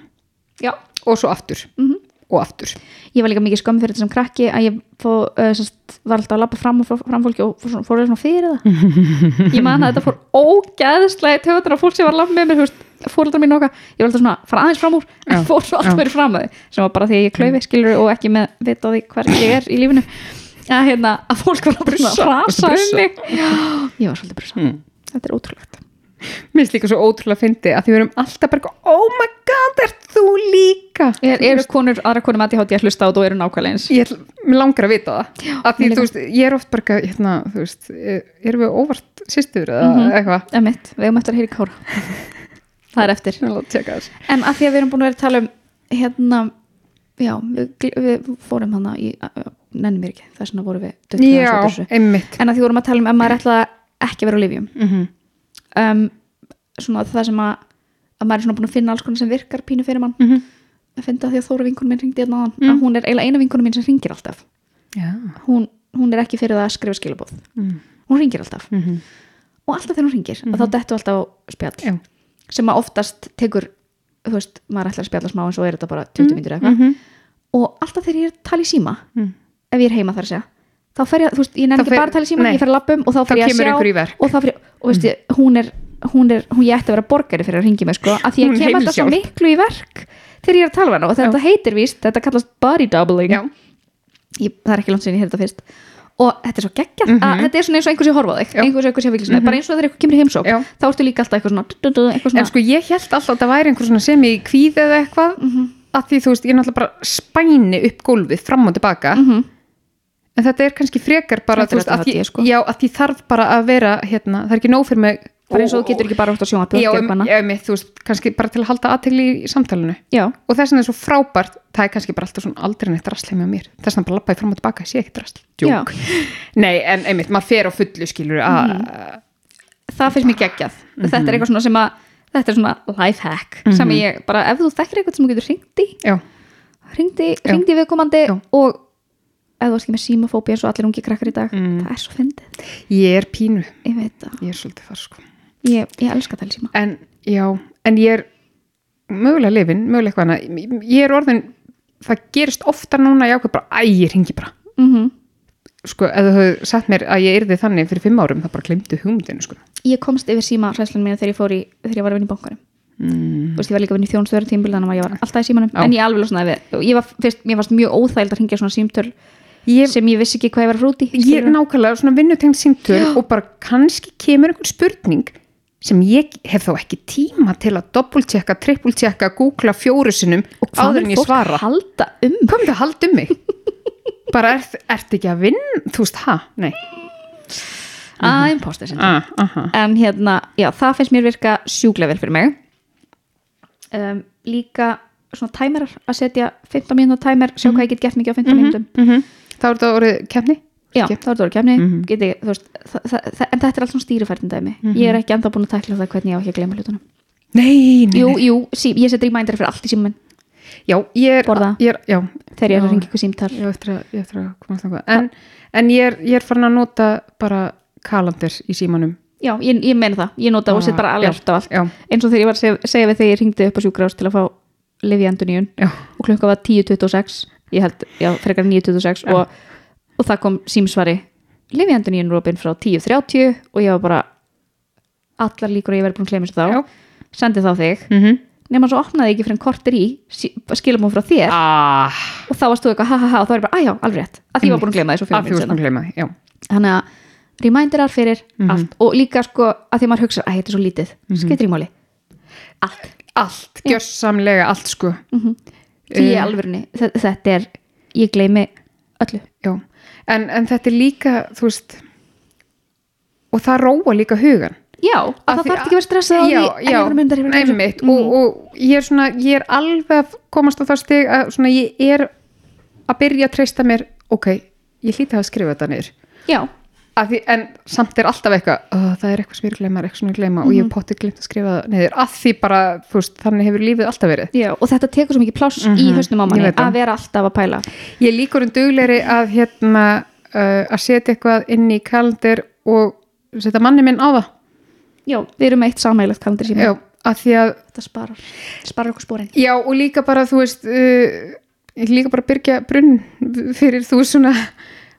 Speaker 2: já
Speaker 1: og svo aftur
Speaker 2: Mhm.
Speaker 1: og aftur
Speaker 2: ég var líka mikið skömm fyrir þetta sem krakki að ég fó, uh, sest, var alltaf að lappa fram og frá- fram fólki og fór, svona- fór svona fyrir það
Speaker 1: (laughs)
Speaker 2: ég man að þetta fór ógæðslega töðunar á fólk sem var að lappa með mér þú veist, fóröldar mín okkar, ég var alltaf svona að fara aðeins fram úr
Speaker 1: Já,
Speaker 2: en fór svo alltaf
Speaker 1: já.
Speaker 2: verið fram að þau sem var bara því að ég klaufi skilur og ekki með veit á því hver ég er í lífinu að, hérna, að fólk var að brusa,
Speaker 1: Brussa, varstu
Speaker 2: frasa um
Speaker 1: brussa?
Speaker 2: mig Já, ég var svolítið brusa
Speaker 1: Mm.
Speaker 2: þetta er ótrúlegt
Speaker 1: Mér finnst líka svo ótrúlega fyndi að því við erum alltaf bara eitthvað, oh my god, er þú líka
Speaker 2: er, eru konur, aðra konur með ADHD að hlusta á þú eru nákvæmlega eins
Speaker 1: ég ætl- mig langar að vita það að því,
Speaker 2: mér líka.
Speaker 1: þú veist, ég er oft bara eitthvað, hérna, þú veist, er- erum við óvart sýstur eða
Speaker 2: Mhm.
Speaker 1: eitthvað
Speaker 2: Emitt, við erum eftir að heyra í
Speaker 1: (laughs)
Speaker 2: kára það er eftir
Speaker 1: Ég ætla að tékka þessu.
Speaker 2: En að því að við erum búin að vera að tala um hérna, já, við, gl- við fórum hana í, nenni mér ekki, þess vegna vorum við duttum aðeins út úr
Speaker 1: Já,
Speaker 2: þessu.
Speaker 1: einmitt
Speaker 2: En að því vorum að tala um að maður ætla ekki að vera á lifjum.
Speaker 1: mm
Speaker 2: Um, svona það sem að, að maður er svona búin að finna alls konar sem virkar pínu fyrir mann.
Speaker 1: Mhm.
Speaker 2: Að finna því að Þóra vinkunum minn ringdi hérna á hann,
Speaker 1: Mm.
Speaker 2: að hún er eiginlega eina vinkunum minn sem ringir alltaf.
Speaker 1: Já
Speaker 2: Hún, hún er ekki fyrir það að skrifa skilabóð.
Speaker 1: mm
Speaker 2: Hún ringir alltaf.
Speaker 1: -hmm.
Speaker 2: Og alltaf þegar hún ringir, mm þá dettu alltaf á spjall
Speaker 1: Mhm. Já
Speaker 2: sem að oftast tekur þú veist, maður ætlar að spjalla smá en svo er þetta bara 20 mm. eða eitthvað
Speaker 1: Mhm.
Speaker 2: og alltaf þegar ég er að tala í síma
Speaker 1: Mm.
Speaker 2: ef ég er heima þar að segja þá fer ég, þú veist, ég nefn
Speaker 1: Þá
Speaker 2: ekki
Speaker 1: fer-
Speaker 2: bara að tala í síma
Speaker 1: nei.
Speaker 2: ég fer að lappum og þá
Speaker 1: Þá
Speaker 2: fer ég að
Speaker 1: kemur einhver í Mm. verk.
Speaker 2: sjá og, þá fer ég, og veist, ég, hún er hún er, hún ég ætti að vera borgari fyrir að ringi mig sko, að því
Speaker 1: Hún
Speaker 2: ég
Speaker 1: er
Speaker 2: kem alltaf svo
Speaker 1: heimshjálp.
Speaker 2: miklu í verk þegar ég er að tala við hana og þetta heitir víst, þetta kallast body doubling
Speaker 1: Já
Speaker 2: ég, það er ekki langt sinni, ég heyrði þetta fyrst og þetta er svo geggjað,
Speaker 1: Mhm.
Speaker 2: að þetta er svona eins og einhvers ég horfa á þig,
Speaker 1: Já. Mhm.
Speaker 2: einhvers og einhvers ég fylgis mm bara eins og þegar einhver kemur í heimsók,
Speaker 1: Já.
Speaker 2: þá ertu líka alltaf eitthvað svona, eitthvað svona
Speaker 1: En sko ég held alltaf að það væri einhver svona sem ég kvíði eða eitthvað
Speaker 2: Mm. Mhm.
Speaker 1: að því þú veist, ég er náttúrulega bara spæni upp gólfið fram og tilbaka
Speaker 2: Mhm.
Speaker 1: en þetta er kannski frekar bara
Speaker 2: Þetta er
Speaker 1: þú veist, að
Speaker 2: ADHD,
Speaker 1: ég,
Speaker 2: sko.
Speaker 1: já, að því þarf bara að vera hérna, það er ekki nóg fyrir mig
Speaker 2: bara eins og þú getur ekki bara út á sjónvarpið
Speaker 1: já,
Speaker 2: og
Speaker 1: um,
Speaker 2: gegnana.
Speaker 1: já, um, þú veist, kannski bara til að halda aðtegli í samtalinu
Speaker 2: já,
Speaker 1: og þess vegna er svo frábært, það er kannski bara alltaf svona aldrei neitt drasli með mér, þess vegna bara labbaði fram og tilbaka, ég sé ekki drasli, djók nei, en einmitt, maður fer á fullu skilur að,
Speaker 2: Mm. það finnst mér geggjað
Speaker 1: Mhm.
Speaker 2: þetta er eitthvað svona sem að þetta er svona life hack sem ég bara ef þú þekkir eitthvað sem þú getur hringt í
Speaker 1: já,
Speaker 2: hringdi,
Speaker 1: Já.
Speaker 2: hringdi viðkomandi
Speaker 1: Já.
Speaker 2: og ef þú ert ekki með símafóbi eins og allir ungi krakkar í dag það er svo fyndið,
Speaker 1: ég er pínu
Speaker 2: ég veit það
Speaker 1: Mhm. ég er svolítið þar sko
Speaker 2: ég, ég elska það síma
Speaker 1: en já, en ég er mögulega lifin, mögulega eitthvað annað ég er orðin, það gerist ofta núna ég ákveð bara, æ, ég ringi bara
Speaker 2: mm
Speaker 1: sko, ef þú hefur sagt mér að ég yrði þannig fyrir fimm árum, það bara glemdu hugmyndinu sko.
Speaker 2: ég komst yfir síma hræslan mína þegar ég, fór í, þegar ég var að vinna í bankanum
Speaker 1: mm.
Speaker 2: Þú veist, ég var líka að vinna í þjónustöður tímbil þannig að ég var alltaf í símanum
Speaker 1: Já.
Speaker 2: en ég alveg losnaði við, ég var fyrst, mér varst mjög óþægild að hringja svona símtöl
Speaker 1: ég,
Speaker 2: sem ég vissi ekki hvað ég var að frúti
Speaker 1: ég nákvæmlega svona vinnutengt símtöl og bara kannski kemur einhver spurning sem ég hef þá ekki tíma til að doppultjekka, trippultjekka, googla fjóru sinnum áður en ég svara
Speaker 2: halda um
Speaker 1: hvað er það að halda um mig? bara ert, ert ekki að vinna þú veist, ha? Nei,
Speaker 2: að imposter
Speaker 1: ah,
Speaker 2: syndrome.
Speaker 1: aha
Speaker 2: en hérna, já, það finnst mér virka sjúklega vel fyrir mig um, líka svona tæmerar að setja 15 mínútur tæmer sjá
Speaker 1: Mhm.
Speaker 2: hvað ég get gert mikið á 15 mm mínútum
Speaker 1: mm -hmm. þá er þetta orðið keppni
Speaker 2: já,
Speaker 1: Skip.
Speaker 2: þá er það orðið kemni
Speaker 1: Mhm.
Speaker 2: geti, þú veist, það, það, það, en þetta er allt svona stýrifærtin dæmi ég er ekki enda búin að tækla það hvernig ég á ekki að gleyma hlutunum
Speaker 1: nei, Mhm. nei,
Speaker 2: jú,
Speaker 1: nei.
Speaker 2: jú, sí, ég set reminder fyrir allt í símum minn
Speaker 1: já, ég er,
Speaker 2: Borða.
Speaker 1: ég er já,
Speaker 2: þegar ég er
Speaker 1: Já.
Speaker 2: að ringa ykkur símtar
Speaker 1: ég eftir að, ég eftir að komast þangað en, en ég, er, ég er farin að nota bara kalandir í símanum
Speaker 2: já, ég, ég meina það, ég nota og set bara
Speaker 1: Ah,
Speaker 2: alveg allt á allt
Speaker 1: já,
Speaker 2: eins og þegar ég var að segja, segja við þegar ég ringdi upp á sjúkrás til að fá lifi enduníun
Speaker 1: já,
Speaker 2: og klukka var 10.26 ég held, já, frekar 9.26 og, og það kom símsvari Lifi endur nýjum Robin frá 10.30 og ég var bara allar líkur að ég verið búin að klemja
Speaker 1: já.
Speaker 2: þessu þá sendi þá þig,
Speaker 1: Mm -hmm.
Speaker 2: nema svo opnaði ég ekki fyrir en kortir í, skilum hún frá þér
Speaker 1: ah,
Speaker 2: og þá varst þú eitthvað ha ha ha og þá var ég bara, aðjá, alveg rétt að því ég var búin að glemja þessu
Speaker 1: að
Speaker 2: fyrir
Speaker 1: því
Speaker 2: minn
Speaker 1: þú
Speaker 2: senna
Speaker 1: skulum gleyma Mhm. því, já
Speaker 2: þannig að reminderar fyrir allt og líka sko að því maður hugsa að þetta er svo lítið,
Speaker 1: Mhm.
Speaker 2: mm í máli allt,
Speaker 1: allt, gjörsamlega allt sko
Speaker 2: því í
Speaker 1: Um.
Speaker 2: alvörunni þe- þetta er, ég gleymi öllu
Speaker 1: já, en, en þetta er líka þú veist og það róa líka hugan
Speaker 2: Já, að
Speaker 1: Af
Speaker 2: það
Speaker 1: því
Speaker 2: þarf ekki að vera stressað á því
Speaker 1: já,
Speaker 2: en
Speaker 1: já,
Speaker 2: ég var myndar, ég var myndar
Speaker 1: einmitt og, og ég er svona, ég er alveg að komast á það stig að svona ég er að byrja að treysta mér ok, ég hlýta að skrifa þetta niður
Speaker 2: Já,
Speaker 1: Af því, en samt er alltaf eitthvað "Ó, það er eitthvað sem ég glemma, eitthvað sem ég glemma og ég hef pottið glemt að skrifa það niður að því bara, þú veist, þannig hefur lífið alltaf verið
Speaker 2: já, og þetta tekur svo mikið pláss í
Speaker 1: Mhm,
Speaker 2: hausnum á
Speaker 1: ég
Speaker 2: manni
Speaker 1: veit það.
Speaker 2: að vera alltaf að pæla
Speaker 1: Ég er líkur um dugleiri að hérna uh, að setja eitthvað inn í kaldir og setja manni minn á það
Speaker 2: Já, við erum með eitt samægilegt kalendir síma
Speaker 1: já, að því að,
Speaker 2: Þetta sparar, sparar okkur spórin
Speaker 1: já og líka bara þú veist, uh, ég líka bara byrja brunn fyrir þú veist, svona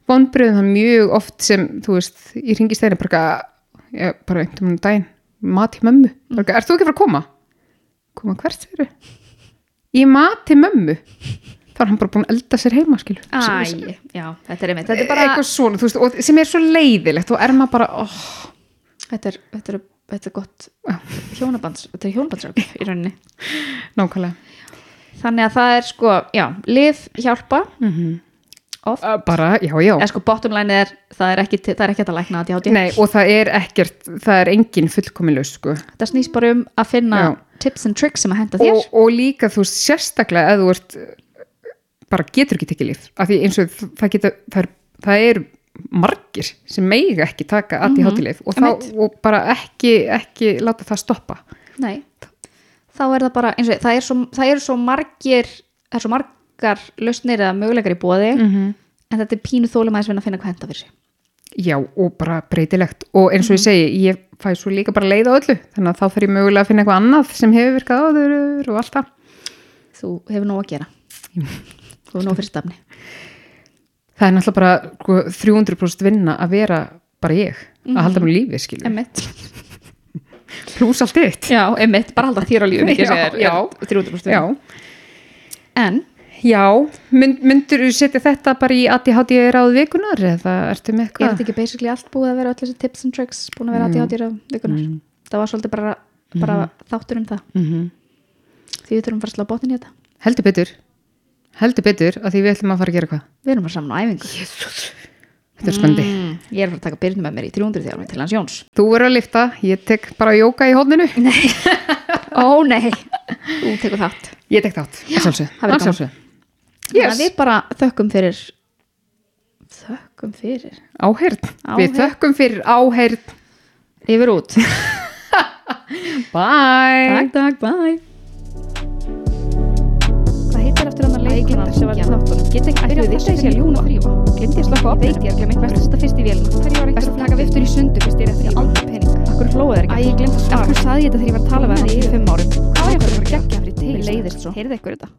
Speaker 1: vonbröðum það er mjög oft sem þú veist, ég ringi stæðin bara, eitthvað, já, bara einhvern veginn daginn, mat í mömmu mm. bara, ert þú ekki að fara að koma? koma hvert þeirri? ég mat til mömmu þá er hann bara búin að elda sér heima skilu
Speaker 2: Æ, eh, já, þetta er einmitt Þetta er bara,
Speaker 1: eitthvað svona, þú veist, og sem er svo leiðilegt og er maður bara, oh,
Speaker 2: þetta er, þetta er, þetta er gott
Speaker 1: Já.
Speaker 2: hjónabands, þetta er hjónabandsrögg í rauninni
Speaker 1: nákvæmlega
Speaker 2: Þannig að það er sko, já, lif hjálpa Mhm. oft,
Speaker 1: Uh, bara, já, já
Speaker 2: en sko bottom line er það er ekki, það er ekki hægt að lækna að ég
Speaker 1: Nei, og það er ekkert, það er engin fullkominlaus sko.
Speaker 2: Þetta snýst bara um að finna
Speaker 1: Já.
Speaker 2: tips and tricks sem að henda þér
Speaker 1: og, og líka þú veist, sérstaklega eða þú ert uh, bara getur ekki tekið líf af því eins og það geta það er, það er margir sem meiga ekki taka
Speaker 2: Mhm.
Speaker 1: að því hátilif og, þá, og bara ekki, ekki láta það stoppa
Speaker 2: Nei, þá er það bara eins og það er svo, það er svo margir það er svo margar lausnir eða möguleikar í bóði
Speaker 1: -hmm.
Speaker 2: en þetta er pínu þólum aðeins að finna hvað henda fyrir sig
Speaker 1: Já, og bara breytilegt og eins
Speaker 2: Mhm.
Speaker 1: og ég segi, ég fæ svo líka bara leið á öllu þannig að þá þarf ég mögulega að finna eitthvað annað sem hefur virkað áður og allt það
Speaker 2: þú hefur nóg að gera þú hefur nóg fyrir
Speaker 1: (laughs)
Speaker 2: stafni
Speaker 1: Það er náttúrulega bara sko, 300% vinna að vera bara ég,
Speaker 2: Mhm.
Speaker 1: að halda mér lífið skilur
Speaker 2: Emmitt,
Speaker 1: pluss allt þitt
Speaker 2: já, emmitt, bara halda þér á
Speaker 1: (laughs)
Speaker 2: lífi
Speaker 1: Já, já.
Speaker 2: 300%
Speaker 1: Já,
Speaker 2: En,
Speaker 1: já mynd, myndur þú setja þetta bara í ADHD ráð vikunar eða ertu með
Speaker 2: er
Speaker 1: eitthvað?
Speaker 2: þetta ekki basically allt búið að vera öll þessi tips and tricks búin að vera aðið hátir á vikunar það var svolítið bara, bara þáttur um það
Speaker 1: Mm. Mm -hmm.
Speaker 2: því við þurfum að fara að slá bóttin í þetta
Speaker 1: Heldur betur, heldur betur að því við ætlum að fara að gera hvað
Speaker 2: við erum að saman á æfingu
Speaker 1: Þetta er spöndi.
Speaker 2: Mm, ég er að fara að taka byrnu með mér í 300 þjálfum til hans Jóns.
Speaker 1: Þú verður að lifta, ég tek bara jóka í hóðninu.
Speaker 2: Ó nei, þú tekur þátt.
Speaker 1: Ég tek þátt, að sjálfsögðu.
Speaker 2: það verður
Speaker 1: Að
Speaker 2: gaman.
Speaker 1: sjálfsögðu.
Speaker 2: Þannig að
Speaker 1: Yes.
Speaker 2: Við bara þökkum fyrir, þökkum fyrir,
Speaker 1: Áheyrn.
Speaker 2: Áheyrn.
Speaker 1: Við þökkum fyrir áheyrn.
Speaker 2: yfir út.
Speaker 1: Bye.
Speaker 2: takk, takk, bye.
Speaker 3: Hvað heitir eftir hann að
Speaker 2: Æ, ég gleymdi
Speaker 3: leikona
Speaker 2: að
Speaker 3: sem var í
Speaker 2: hringja hana.
Speaker 3: þáttunum? Get ekki
Speaker 2: Byrja
Speaker 3: byrjað
Speaker 2: á
Speaker 3: þess
Speaker 2: þessu
Speaker 3: að ég ljúna þrýfa. Glemdi ég slökka á
Speaker 2: Veit
Speaker 3: opninu. Ég glemdi best að setja fyrst í vélina. Hverju var
Speaker 2: Best
Speaker 3: eitthvað
Speaker 2: að
Speaker 3: að
Speaker 2: taka
Speaker 3: taka viftur í sundu fyrst ég er að þrýfa? Aldrei pening. Akkur hlóðu þeir
Speaker 2: ekki?
Speaker 3: ekki? Æ, ég glemdi að svara.
Speaker 2: Af hverju
Speaker 3: sagði ég þetta þegar ég var að tala
Speaker 2: við hana í fimm
Speaker 3: árum? Hvað var ég að fara að gegja fyrir
Speaker 2: Mér
Speaker 3: teil?
Speaker 2: leiðist svo.
Speaker 3: Heyrðu ykkur þetta?